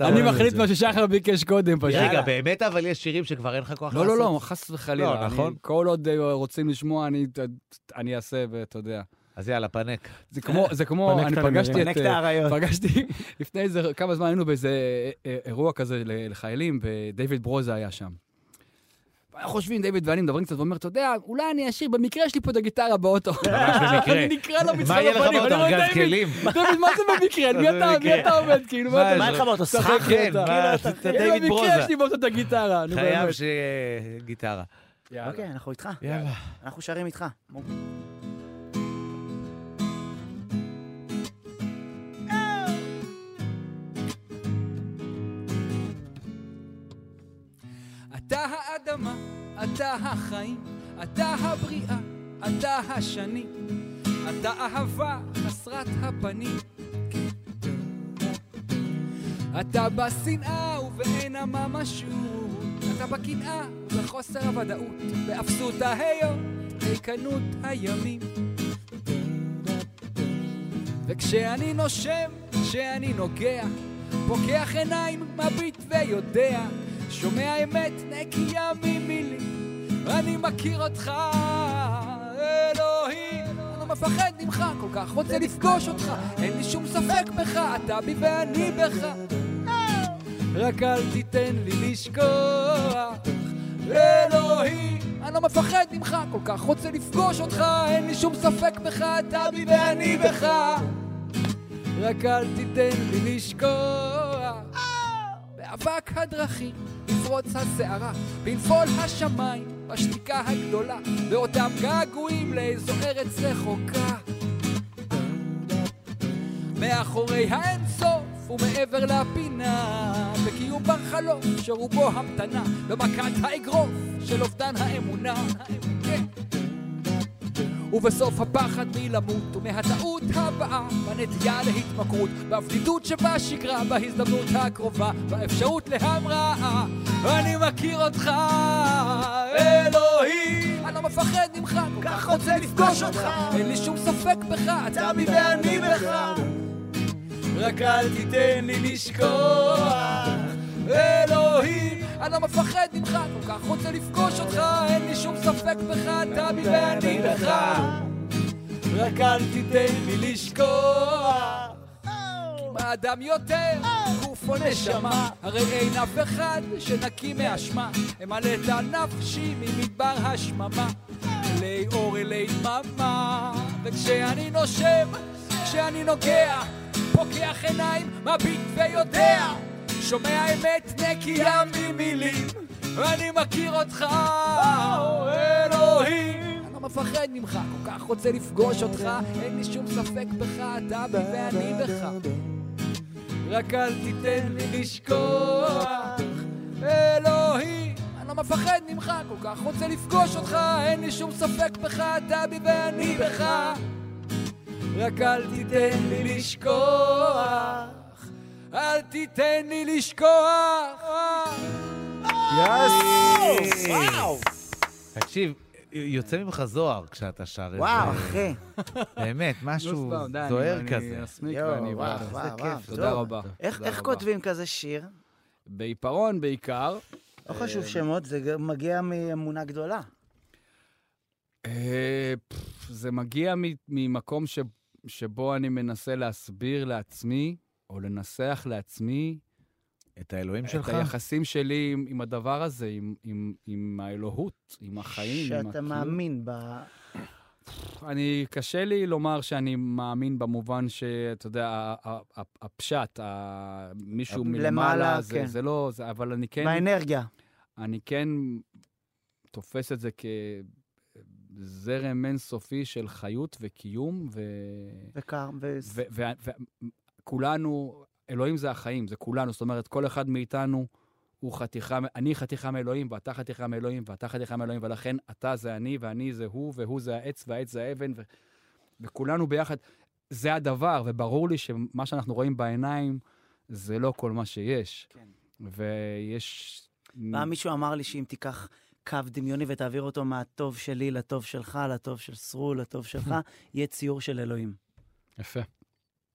Speaker 9: אני מחליט מה ששחר ביקש קודם פשוט.
Speaker 4: רגע, באמת אבל יש שירים שכבר אין לך כוח
Speaker 9: לא,
Speaker 4: לעשות?
Speaker 9: לא, לא, חס וחלילה.
Speaker 4: לא, נכון.
Speaker 9: אני- כל עוד אה, רוצים לשמוע, אני- אני אעשה, ואתה יודע.
Speaker 4: אז יאללה, פנק.
Speaker 9: זה כמו, זה כמו,
Speaker 8: פנק
Speaker 9: אני
Speaker 8: את
Speaker 9: פגשתי
Speaker 2: הנמרים.
Speaker 9: את...
Speaker 2: פנק את האריות.
Speaker 9: פגשתי לפני איזה, כמה זמן היינו באיזה אה, אירוע כזה ל- לחיילים, ודייוויד ברוזה היה שם. אנחנו חושבים, דיוויד ואני מדברים קצת, ואומר, אתה יודע, אולי אני אשאיר, במקרה יש לי פה את הגיטרה באוטו.
Speaker 4: במקרה.
Speaker 9: אני נקרע לו מצחוק
Speaker 4: מה יהיה לך
Speaker 9: בפנים,
Speaker 2: לא
Speaker 4: באותו
Speaker 9: אני
Speaker 8: לא
Speaker 9: אומר,
Speaker 4: ארגז
Speaker 9: "דיוויד,
Speaker 4: כלים?
Speaker 9: דיוויד, מה זה במקרה? על מי
Speaker 4: מה זה
Speaker 9: אתה-
Speaker 4: במקרה?
Speaker 9: מי אתה עומד? כאילו, מה
Speaker 2: מה
Speaker 9: אתה... כאילו,
Speaker 2: לך באותו
Speaker 9: שחק
Speaker 2: סחק?
Speaker 4: כן,
Speaker 9: אותה.
Speaker 4: מה, אתה- דיוויד
Speaker 9: במקרה
Speaker 4: ברוזה.
Speaker 9: יש לי באוטו את הגיטרה, נו
Speaker 4: חייב
Speaker 9: באמת.
Speaker 4: שיהיה גיטרה.
Speaker 9: יאללה.
Speaker 2: אוקיי, אנחנו איתך.
Speaker 4: יאללה.
Speaker 2: אנחנו שרים איתך. מוקי.
Speaker 9: Oh. אתה האדמה, אתה החיים, אתה הבריאה, אתה השני, אתה אהבה חסרת הפנים. אתה בשנאה ובאין הממשות, אתה בקנאה ובחוסר הוודאות, באפסות ההיות, ריקנות הימים. וכשאני נושם, כשאני נוגע, פוקח עיניים, מביט ויודע, שומע אמת נקייה ממילים, אני מכיר אותך, אלוהים. אני לא מפחד ממך, כל כך רוצה לפגוש אותך, אין לי שום ספק בך, אתה בי ואני בך. רק אל תיתן לי לשכוח, אלוהים. אני לא מפחד ממך, כל כך רוצה לפגוש אותך, אין לי שום ספק בך, אתה בי ואני בך. רק אל תיתן לי לשכוח. באבק הדרכים, בפרוץ הסערה, בנפול השמיים, בשתיקה הגדולה, באותם געגועים לאיזו ארץ רחוקה. מאחורי האינסוף ומעבר לפינה, בקיום בר חלוף שרובו המתנה, במכת האגרוף של אובדן האמונה. כן.
Speaker 8: ובסוף הפחד מלמות, ומהטעות הבאה, בנטייה להתמכרות, בפליטות שבשגרה, בהזדמנות הקרובה, באפשרות להמראה. אני מכיר אותך, אלוהים. אני לא מפחד ממך, כל כך רוצה לפגוש אותך. אין לי שום ספק בך, אתה בי ואני בך. רק אל תיתן לי לשכוח, אלוהים. אני לא מפחד ממך, כל כך רוצה לפגוש אותך, אין לי שום ספק בך, אתה בי ואני בך. רק אל תיתן לי לשכוח. אם האדם יותר, גוף או נשמה, הרי אין אף אחד שנקי מאשמה. אמלא את הנפשי ממדבר השממה, אלי אור אלי דממה. וכשאני נושם, כשאני נוגע, פוקח עיניים, מביט ויודע, שומע אמת נקייה ממילים, ואני מכיר אותך, אלוהים. אני לא מפחד ממך, כל כך רוצה לפגוש אותך, אין לי שום ספק בך, אתה בי ואני בך. רק אל תיתן לי לשכוח, אלוהי. אני לא מפחד ממך, כל כך רוצה לפגוש אותך, אין לי שום ספק בך, אתה בי ואני בך. רק אל תיתן לי לשכוח, אל תיתן לי לשכוח.
Speaker 2: יס! וואו!
Speaker 4: תקשיב, יוצא ממך זוהר כשאתה שר את זה.
Speaker 2: וואו, אחי.
Speaker 4: אה, באמת, משהו זוהר כזה.
Speaker 2: יואו, וואו,
Speaker 4: איזה
Speaker 2: וואו, וואו.
Speaker 4: כיף. אה,
Speaker 8: תודה
Speaker 2: טוב.
Speaker 8: רבה.
Speaker 2: איך-
Speaker 8: תודה
Speaker 2: איך
Speaker 8: רבה.
Speaker 2: כותבים כזה שיר?
Speaker 8: בעיפרון בעיקר.
Speaker 2: לא
Speaker 9: אה,
Speaker 2: חשוב שמות, זה גם מגיע מאמונה גדולה.
Speaker 8: אה, פפ, זה מגיע מ- ממקום ש- שבו אני מנסה להסביר לעצמי, או לנסח לעצמי,
Speaker 4: את האלוהים
Speaker 8: את
Speaker 4: שלך?
Speaker 8: היחסים שלי עם, עם הדבר הזה, עם, עם, עם האלוהות, עם החיים. עם
Speaker 2: שאתה
Speaker 8: הקיום.
Speaker 2: מאמין ב...
Speaker 8: אני, קשה לי לומר שאני מאמין במובן שאתה יודע, ה- ה- ה- הפשט, ה- מישהו
Speaker 2: למעלה,
Speaker 8: מלמעלה, זה,
Speaker 2: כן.
Speaker 8: זה לא, זה, אבל אני כן,
Speaker 2: באנרגיה.
Speaker 8: אני כן תופס את זה כזרם אינסופי של חיות וקיום, ו...
Speaker 2: וקר, ו...
Speaker 8: וכולנו, אלוהים זה החיים, זה כולנו. זאת אומרת, כל אחד מאיתנו הוא חתיכה, מ- אני חתיכה מאלוהים, ואתה חתיכה מאלוהים, ואתה חתיכה מאלוהים, ולכן אתה זה אני, ואני זה הוא, והוא זה העץ, והעץ זה האבן, ו... וכולנו ביחד. זה הדבר, וברור לי שמה שאנחנו רואים בעיניים זה לא כל מה שיש.
Speaker 2: כן.
Speaker 8: ויש...
Speaker 2: פעם מישהו אמר לי שאם תיקח קו דמיוני ותעביר אותו מהטוב שלי לטוב שלך, לטוב של סרול, לטוב שלך, יהיה ציור של אלוהים.
Speaker 3: יפה.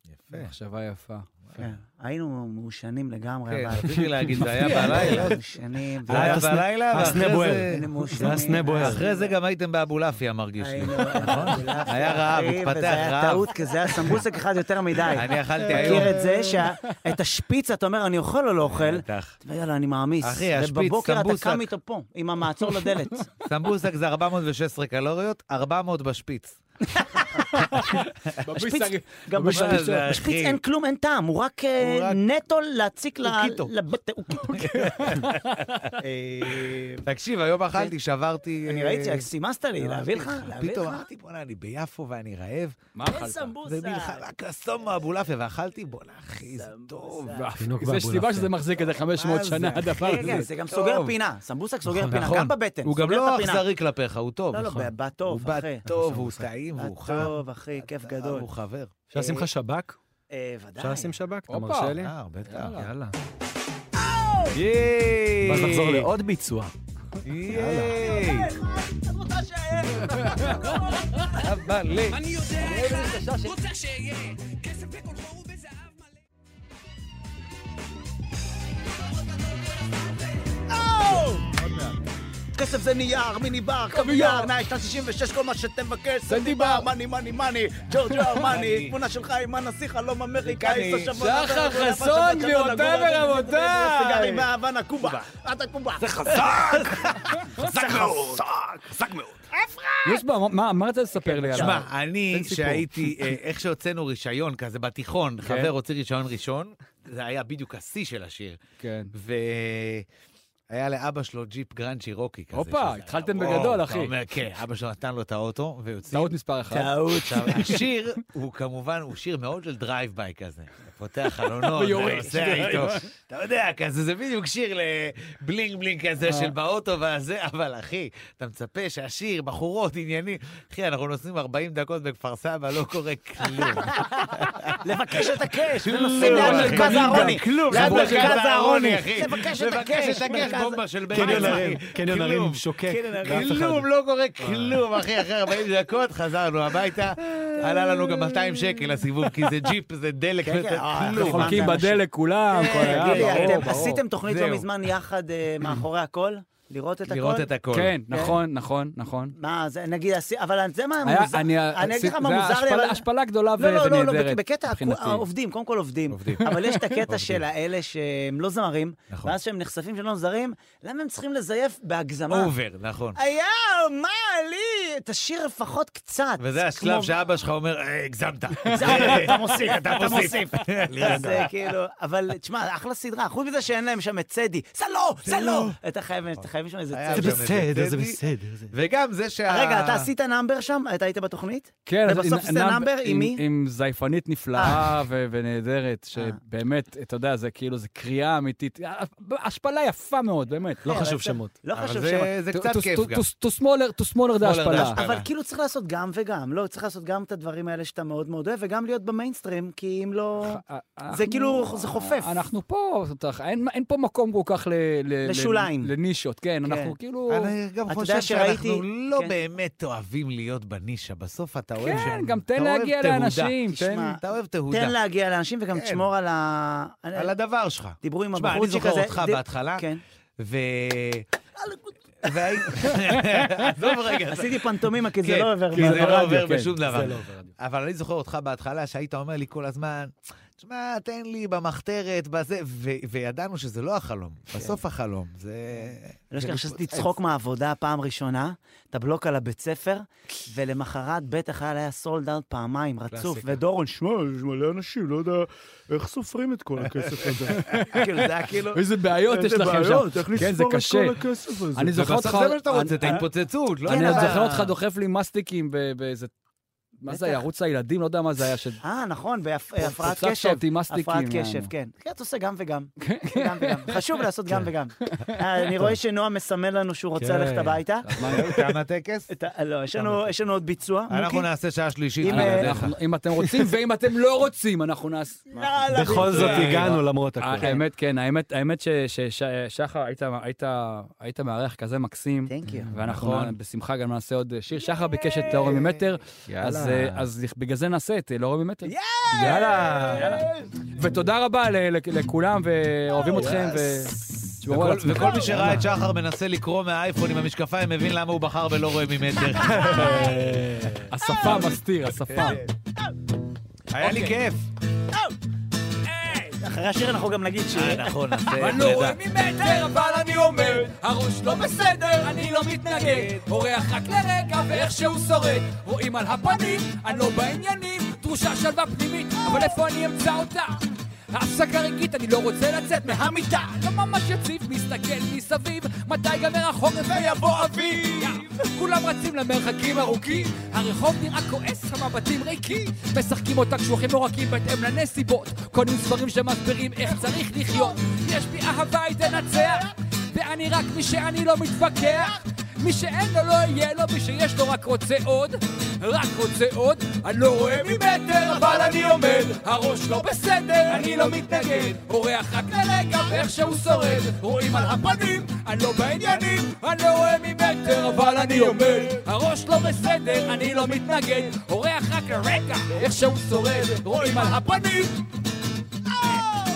Speaker 4: יפה.
Speaker 8: מחשבה יפה.
Speaker 2: כן. היינו מעושנים לגמרי,
Speaker 4: כן,
Speaker 2: אבל...
Speaker 4: רציתי להגיד, זה היה בלילה.
Speaker 9: לא,
Speaker 2: מעושנים,
Speaker 4: זה היה
Speaker 3: הסנה-
Speaker 4: בלילה,
Speaker 3: הסנה
Speaker 4: ואחרי
Speaker 3: בוער.
Speaker 4: זה...
Speaker 2: היינו
Speaker 3: זה היה
Speaker 2: מעושנים.
Speaker 3: סנה בוער.
Speaker 4: אחרי זה גם הייתם באבולעפיה, מרגיש לי.
Speaker 2: היינו-
Speaker 4: נכון? היה רעב,
Speaker 2: אחי,
Speaker 4: התפתח
Speaker 2: וזה היה
Speaker 4: רעב.
Speaker 2: טעות, כי זה היה סמבוסק אחד יותר מדי.
Speaker 4: אני אכלתי היום.
Speaker 2: מכיר את זה שאת השפיץ אתה אומר, אני אוכל או לא אוכל?
Speaker 4: בטח.
Speaker 2: ויאללה, אני מעמיס.
Speaker 4: אחי, השפיץ,
Speaker 2: ובבוקר אתה
Speaker 4: סמבוסק.
Speaker 2: קם איתו פה, עם המעצור לדלת.
Speaker 4: סמבוסק זה 416 קלוריות, 400 בשפיץ.
Speaker 2: השפיץ, גם
Speaker 4: בביס
Speaker 2: בשפיץ-
Speaker 4: הזה, אחי.
Speaker 2: בשפיץ אין כלום, אין טעם, הוא רק אה,
Speaker 4: הוא רק-
Speaker 2: נטו להציק ל...
Speaker 4: אוקיטו.
Speaker 2: לבטא, אוקיטו.
Speaker 4: תקשיב, היום אכלתי, שברתי...
Speaker 2: אה, אני
Speaker 4: אה,
Speaker 2: ראיתי, רק סימסת לי, להביא לך? להביא
Speaker 4: פתאום
Speaker 2: לך?
Speaker 4: אמרתי, בוא'נה, אני ביפו ואני רעב.
Speaker 8: מה
Speaker 2: אין
Speaker 8: אכלת?
Speaker 2: סמבוסק.
Speaker 4: זה מלחמה, קסום באבולעפיה, ואכלתי, בוא'נה, אחי, זה טוב.
Speaker 3: תינוק
Speaker 8: יש סיבה
Speaker 3: באבולעפיה.
Speaker 8: שזה מחזיק איזה 500
Speaker 4: מה
Speaker 8: שנה,
Speaker 4: זה, נכון,
Speaker 8: הדבר
Speaker 2: כן,
Speaker 8: הזה.
Speaker 2: כן, זה גם סוגר פינה, סמבוסק סוגר פינה, גם בבטן,
Speaker 4: הוא גם
Speaker 2: סוגר
Speaker 4: לא
Speaker 2: את הפינה.
Speaker 4: אכזרי כלפיך, הוא טוב.
Speaker 2: לא, לא,
Speaker 4: נכון.
Speaker 2: בא טוב,
Speaker 4: הוא
Speaker 2: אחי.
Speaker 4: בא טוב, הוא טעים,
Speaker 2: בא
Speaker 4: והוא חם.
Speaker 2: טוב, אחי, כיף גדול.
Speaker 4: הוא חבר.
Speaker 3: אפשר לשים לך שב"כ?
Speaker 2: אה, ודאי.
Speaker 3: אפשר לשים שב"כ? אתה
Speaker 8: הופה.
Speaker 3: מרשה לי?
Speaker 4: אה, בטח. יאללה.
Speaker 2: אה,
Speaker 3: ואז
Speaker 4: ייי!
Speaker 3: נחזור לעוד ביצוע.
Speaker 4: ייי! אבל לי.
Speaker 2: כסף זה נייר, מיני בר, קוויאר, מהשנת 66, כל מה שתבקש, סנדי בר, מאני, מאני, מאני, ג'ורג'ו ארמני, תמונה שלך עם הנסיך הלום אמריקאי,
Speaker 4: אמריקני.
Speaker 8: שחר חסון, גבירותיי ורבותיי.
Speaker 2: סיגרים מהוואנה, קובה, אתה קובה. זה
Speaker 8: יש בה, מה- מה רצית לספר לי עליו?
Speaker 4: שמע, אני,
Speaker 8: סיפור. כן.
Speaker 4: שהייתי, אה, איך שהוצאנו רישיון כזה בתיכון, חבר הוציא רישיון ראשון, זה היה בדיוק השיא של השיר.
Speaker 8: כן.
Speaker 4: והיה לאבא שלו ג'יפ גרנד שירוקי כזה.
Speaker 8: הופה,
Speaker 4: שזה היה-
Speaker 8: התחלתם
Speaker 4: וואו,
Speaker 8: בגדול,
Speaker 4: אתה
Speaker 8: אחי.
Speaker 4: אומר, כן, אבא שלו נתן לו את האוטו, והוציא.
Speaker 8: טעות מספר אחת.
Speaker 4: טעות. עכשיו, השיר הוא כמובן, הוא שיר מאוד של דרייב ביי כזה. פותח חלונות,
Speaker 9: ויורד.
Speaker 4: נוסע איתו. אתה יודע, כזה, זה בדיוק שיר לבלינג בלינג
Speaker 8: אה.
Speaker 4: כזה של באוטו והזה, אבל אחי, אתה מצפה שהשיר, בחורות, עניינים. אחי, אנחנו נוסעים 40 דקות בכפר סבא, לא קורה כלום.
Speaker 2: לבקש את הקש,
Speaker 4: לא,
Speaker 2: ונוסעים ליד
Speaker 4: אחי,
Speaker 2: מרכז
Speaker 4: גם
Speaker 2: הארוני.
Speaker 4: כלום,
Speaker 2: ליד
Speaker 4: חברות
Speaker 2: מרכז
Speaker 4: של
Speaker 2: הארוני,
Speaker 4: אחי.
Speaker 2: לבקש את
Speaker 4: לבקש
Speaker 2: הקש.
Speaker 4: את הקש,
Speaker 2: מרכז-
Speaker 4: בומבה של בן
Speaker 1: קניון
Speaker 4: אדם.
Speaker 1: הרים, קניון הרים
Speaker 4: כלום.
Speaker 1: שוקק. ואף אחד-
Speaker 4: כלום, לא קורה כלום, אחי, אחרי 40 דקות חזרנו הביתה, עלה לנו גם 200 שקל הסיבוב, כי זה ג'יפ, זה דלק,
Speaker 2: כן, כן,
Speaker 4: זה
Speaker 2: אה,
Speaker 4: כלום.
Speaker 2: נכון.
Speaker 9: חולקים בדלק כולם, כל
Speaker 2: אה,
Speaker 9: היה,
Speaker 2: גילי,
Speaker 9: ברור,
Speaker 2: אתם
Speaker 9: ברור.
Speaker 2: עשיתם תוכנית
Speaker 4: זהו.
Speaker 2: לא מזמן יחד אה, מאחורי הכל? לראות את הכל?
Speaker 4: לראות את הכל.
Speaker 9: כן, נכון, נכון, נכון.
Speaker 2: מה, זה, נגיד, עשי- אבל זה מה
Speaker 9: היה-
Speaker 2: מוזר, אני אגיד לך מה
Speaker 9: זה
Speaker 2: מוזר לי,
Speaker 9: השפלה-
Speaker 2: אבל...
Speaker 9: השפלה גדולה
Speaker 2: לא, לא,
Speaker 9: ונהדרת.
Speaker 2: לא, לא, בקטע,
Speaker 9: מבחינתי.
Speaker 2: עובדים, קודם כל עובדים.
Speaker 4: עובדים.
Speaker 2: אבל יש את הקטע של האלה שהם לא זמרים,
Speaker 4: נכון.
Speaker 2: ואז שהם נחשפים שלא זרים, למה הם צריכים לזייף בהגזמה?
Speaker 4: אובר, נכון.
Speaker 2: היה, מה לי? תשאיר לפחות קצת.
Speaker 4: וזה השלב
Speaker 2: כמו-
Speaker 4: שאבא שלך אומר, "אה, הגזמת.
Speaker 2: אתה מוסיף, אתה מוסיף. אז אה, כאילו, אבל תשמע, אחלה סדרה, חוץ מזה שאין להם שם את צדי, זה לא, זה לא. אתה חייב, אתה חייב שם איזה
Speaker 4: היה
Speaker 2: צדי.
Speaker 4: שם את
Speaker 1: בסדר, זה
Speaker 4: טדי,
Speaker 1: בסדר. זה-
Speaker 4: וגם זה שה...
Speaker 2: רגע, אתה עשית נאמבר שם? אתה היית בתוכנית?
Speaker 9: כן, אז
Speaker 2: ובסוף
Speaker 9: עם-
Speaker 2: זה נאמבר עם מי? אה.
Speaker 9: עם זייפנית נפלאה ו- ונהדרת, שבאמת, אתה יודע, זה כאילו, זה קריאה אמיתית. השפלה יפה מאוד, באמת.
Speaker 1: לא
Speaker 2: כן,
Speaker 1: חשוב
Speaker 2: אבל
Speaker 1: שמות.
Speaker 2: אה, לא
Speaker 4: אבל
Speaker 2: חשוב
Speaker 4: זה-
Speaker 2: שם.
Speaker 4: זה
Speaker 9: To-
Speaker 4: קצת
Speaker 9: to-
Speaker 4: כיף
Speaker 9: to-
Speaker 4: גם.
Speaker 9: to- to smaller- to smaller זה השפלה.
Speaker 4: השפלה.
Speaker 2: אבל כאילו צריך לעשות גם וגם, לא, צריך לעשות גם את הדברים האלה שאתה מאוד מאוד אוהב, וגם להיות במיינסטרים, כי אם לא...
Speaker 9: אנחנו-
Speaker 2: כאילו, זה חופף.
Speaker 9: אנחנו פה, זאת אומרת, אין- אין פה מקום כל כך ל- ל-
Speaker 2: לשוליים.
Speaker 9: ל- לנישות, כן, אנחנו כאילו...
Speaker 4: אני גם
Speaker 2: אתה
Speaker 4: חושב
Speaker 2: יודע שראיתי-
Speaker 4: שאנחנו לא
Speaker 2: כן.
Speaker 4: באמת אוהבים להיות בנישה, בסוף אתה אוהב
Speaker 9: כן,
Speaker 4: שם-
Speaker 9: גם
Speaker 4: אתה
Speaker 9: תן
Speaker 4: אוהב
Speaker 9: להגיע
Speaker 4: תהודה.
Speaker 9: לאנשים, תן...
Speaker 2: תשמע,
Speaker 4: אתה אוהב תהודה.
Speaker 2: תן להגיע לאנשים וגם
Speaker 4: כן.
Speaker 2: תשמור על ה... אני-
Speaker 4: על הדבר שלך.
Speaker 2: דיברו עם
Speaker 4: תשמע, אני
Speaker 2: הבחורצ'יק
Speaker 4: זוכר
Speaker 2: הזה.
Speaker 4: אותך
Speaker 2: ד-
Speaker 4: בהתחלה,
Speaker 2: כן.
Speaker 4: ו... והי- עזוב רגע, זה-
Speaker 2: עשיתי פנטומימה, כי זה
Speaker 4: כן,
Speaker 2: לא עובר.
Speaker 4: כי זה לא
Speaker 9: ברדיו,
Speaker 4: עובר
Speaker 9: כן,
Speaker 4: בשום
Speaker 9: זה
Speaker 4: דבר.
Speaker 9: לא עובר ברדיו.
Speaker 4: אבל אני זוכר אותך בהתחלה, שהיית אומר לי כל הזמן, תשמע, תן לי במחתרת, בזה, ו- וידענו שזה לא החלום,
Speaker 2: כן.
Speaker 4: בסוף החלום, זה...
Speaker 9: אה,
Speaker 2: אני לא
Speaker 4: זה
Speaker 2: אשכח שעשיתי
Speaker 4: מתפוצץ.
Speaker 2: צחוק מהעבודה פעם ראשונה, את הבלוק על הבית ספר, ולמחרת בית החייל היה סולד אאוט פעמיים, רצוף,
Speaker 4: קלאסיקה.
Speaker 2: ודורון, שמע, יש מלא אנשים, לא יודע איך סופרים את כל הכסף הזה. כאילו, זה היה כאילו...
Speaker 9: איזה בעיות יש לכם שם. כן, זה קשה.
Speaker 2: הכסף הזה?
Speaker 9: אני זוכר אותך...
Speaker 4: בסוף זה מה שאתה רוצה, את
Speaker 9: אני-
Speaker 4: ההתפוצצות, לא
Speaker 9: אני עוד
Speaker 4: יודע.
Speaker 9: זוכר אותך דוחף לי מסטיקים ב- באיזה... מה זה היה?
Speaker 2: בטח.
Speaker 9: ערוץ הילדים? לא יודע מה זה היה. ש-
Speaker 2: אה, נכון, בהפרעת
Speaker 9: פוצצת
Speaker 2: קשב.
Speaker 9: אותי מסטיקים.
Speaker 2: הפרעת
Speaker 9: מה-
Speaker 2: קשב, כן. כן, אתה עושה גם וגם.
Speaker 4: כן.
Speaker 2: גם וגם. חשוב לעשות גם וגם. אה, אני רואה שנועם מסמן לנו שהוא רוצה
Speaker 1: כן.
Speaker 2: ללכת הביתה.
Speaker 4: תם הטקס?
Speaker 2: את ה- לא, יש לנו- יש לנו עוד ביצוע.
Speaker 4: אנחנו
Speaker 9: אוקיי.
Speaker 2: מוקי?
Speaker 4: נעשה שעה שלישית.
Speaker 2: אם, אה,
Speaker 4: בלעדיך.
Speaker 9: אנחנו- אם אתם רוצים, ואם אתם לא רוצים, אנחנו נעשה...
Speaker 2: יאללה,
Speaker 1: בכל זאת הגענו למרות הכול.
Speaker 9: האמת, כן, האמת, האמת ש- ש- ש- שחר, היית- היית- היית מארח כזה מקסים.
Speaker 2: Thank you.
Speaker 9: ואנחנו
Speaker 1: נכון.
Speaker 9: נ- בשמחה גם נעשה עוד שיר. שחר ביקש את לאור ממטר, אז, אה, אז בגלל זה נעשה את אה, לאור ממטר.
Speaker 4: יאללה.
Speaker 9: ותודה רבה ל- ל- לכולם, ואוהבים אתכם, ותשמרו על
Speaker 4: וכל-
Speaker 9: עצמכם.
Speaker 4: וכל מי שראה את שחר מנסה לקרוא מהאייפון עם המשקפיים, מבין למה הוא בחר ולא רואה ממטר.
Speaker 9: השפה מסתיר, השפה.
Speaker 4: היה לי כיף.
Speaker 2: אה, אחרי השיר אנחנו גם נגיד שיר.
Speaker 4: אה, נכון, אז
Speaker 9: אני
Speaker 4: זה
Speaker 9: לא
Speaker 4: פרידה.
Speaker 9: רואה ממטר, אבל אני אומר, הראש לא בסדר, אני לא מתנגד. אורח רק לרגע ואיך שהוא שורד. רואים על הפנים, אני לא בעניינים, דרושה שלווה פנימית, אבל איפה אני אמצא אותה? ההפסקה רגעית, אני לא רוצה לצאת מהמיטה. לא ממש יציב, מסתכל מסביב, מתי ייגמר החורף ויבוא אביב? כולם רצים למרחקים ארוכים, הרחוב נראה כועס, המבטים ריקים. משחקים אותה קשוחים לא רכים בהתאם לנסיבות, קונים ספרים שמסבירים איך צריך לחיות. יש בי אהבה היא תנצח, ואני רק מי שאני לא מתווכח. מי שאין לו לא יהיה לו, מי שיש לו רק רוצה עוד, רק רוצה עוד. אני לא רואה ממטר, אבל אני עומד, הראש לא בסדר, אני לא מתנגד. אורח רק לרגע ואיך שהוא שורד, רואים על הפנים, אני לא בעניינים. אני לא רואה ממטר, אבל אני עומד, הראש לא בסדר, אני לא מתנגד. אורח רק לרגע ואיך שהוא שורד, רואים על הפנים.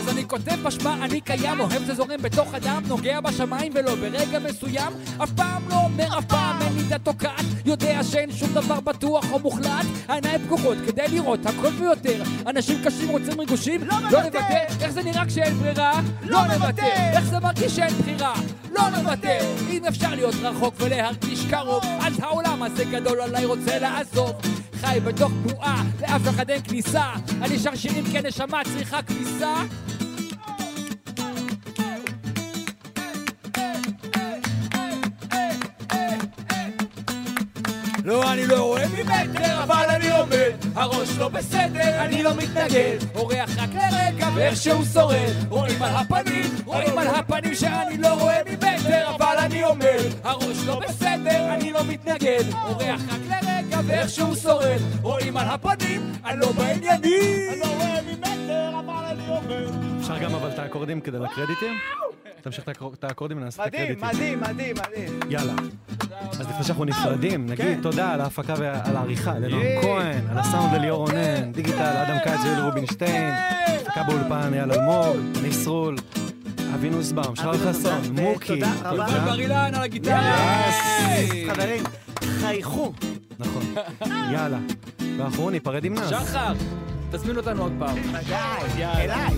Speaker 9: אז אני כותב משמע, אני קיים, אוהב זה זורם בתוך הדם, נוגע בשמיים ולא ברגע מסוים, אף פעם לא אומר אף פעם, אין מידה תוקעת, יודע שאין שום דבר בטוח או מוחלט, העיניים פקוחות כדי לראות הכל ויותר, אנשים קשים רוצים ריגושים, לא נוותר, איך זה נראה כשאין ברירה, לא נוותר, איך זה מרגיש שאין בחירה, לא נוותר, אם אפשר להיות רחוק ולהרגיש קרוב, אז העולם הזה גדול עליי רוצה לעזוב. חי בתוך בועה, לאף אחד אין כניסה. אני שר שירים כי הנשמה צריכה כניסה. לא, אני לא רואה ממטר, אבל אני עומד. הראש לא בסדר, אני לא מתנגד. אורח רק לרגע, ואיך שהוא שורד. רואים על הפנים, רואים על הפנים שאני לא רואה ממטר, אבל אני עומד. הראש לא בסדר, אני לא מתנגד. אורח רק לרגע, ואיך שהוא שורד. רואים על הפנים, אני לא בעניינים. אני לא רואה ממטר, אבל אני עומד.
Speaker 3: אפשר גם אבל את האקורדים כדי לקרדיטים? תמשיך את האקור- את האקורדים ונעשה את
Speaker 1: מדהים,
Speaker 3: הקרדיטים.
Speaker 1: מדהים, מדהים, מדהים.
Speaker 3: יאללה. אז לפני שאנחנו נפרדים,
Speaker 1: כן.
Speaker 3: נגיד תודה על ההפקה ועל העריכה לנועם כהן, על
Speaker 1: כן.
Speaker 3: הסאונד לליאור רונן, דיגיטל, אדם כץ ויואל רובינשטיין, הפקה באולפן, אייל אלמוג, ניסרול, אבי נוסבאום, שרל
Speaker 1: אבי נוסבאום,
Speaker 3: חסון,
Speaker 1: ותודה
Speaker 3: מוקי.
Speaker 1: רבה.
Speaker 9: אורן בר אילן על הגיטרה.
Speaker 1: חברים, חייכו.
Speaker 3: נכון. יאללה. ואנחנו ניפרד עם נאס.
Speaker 9: שחר, תזמין אותנו עוד פעם.
Speaker 1: ודאי, אליי.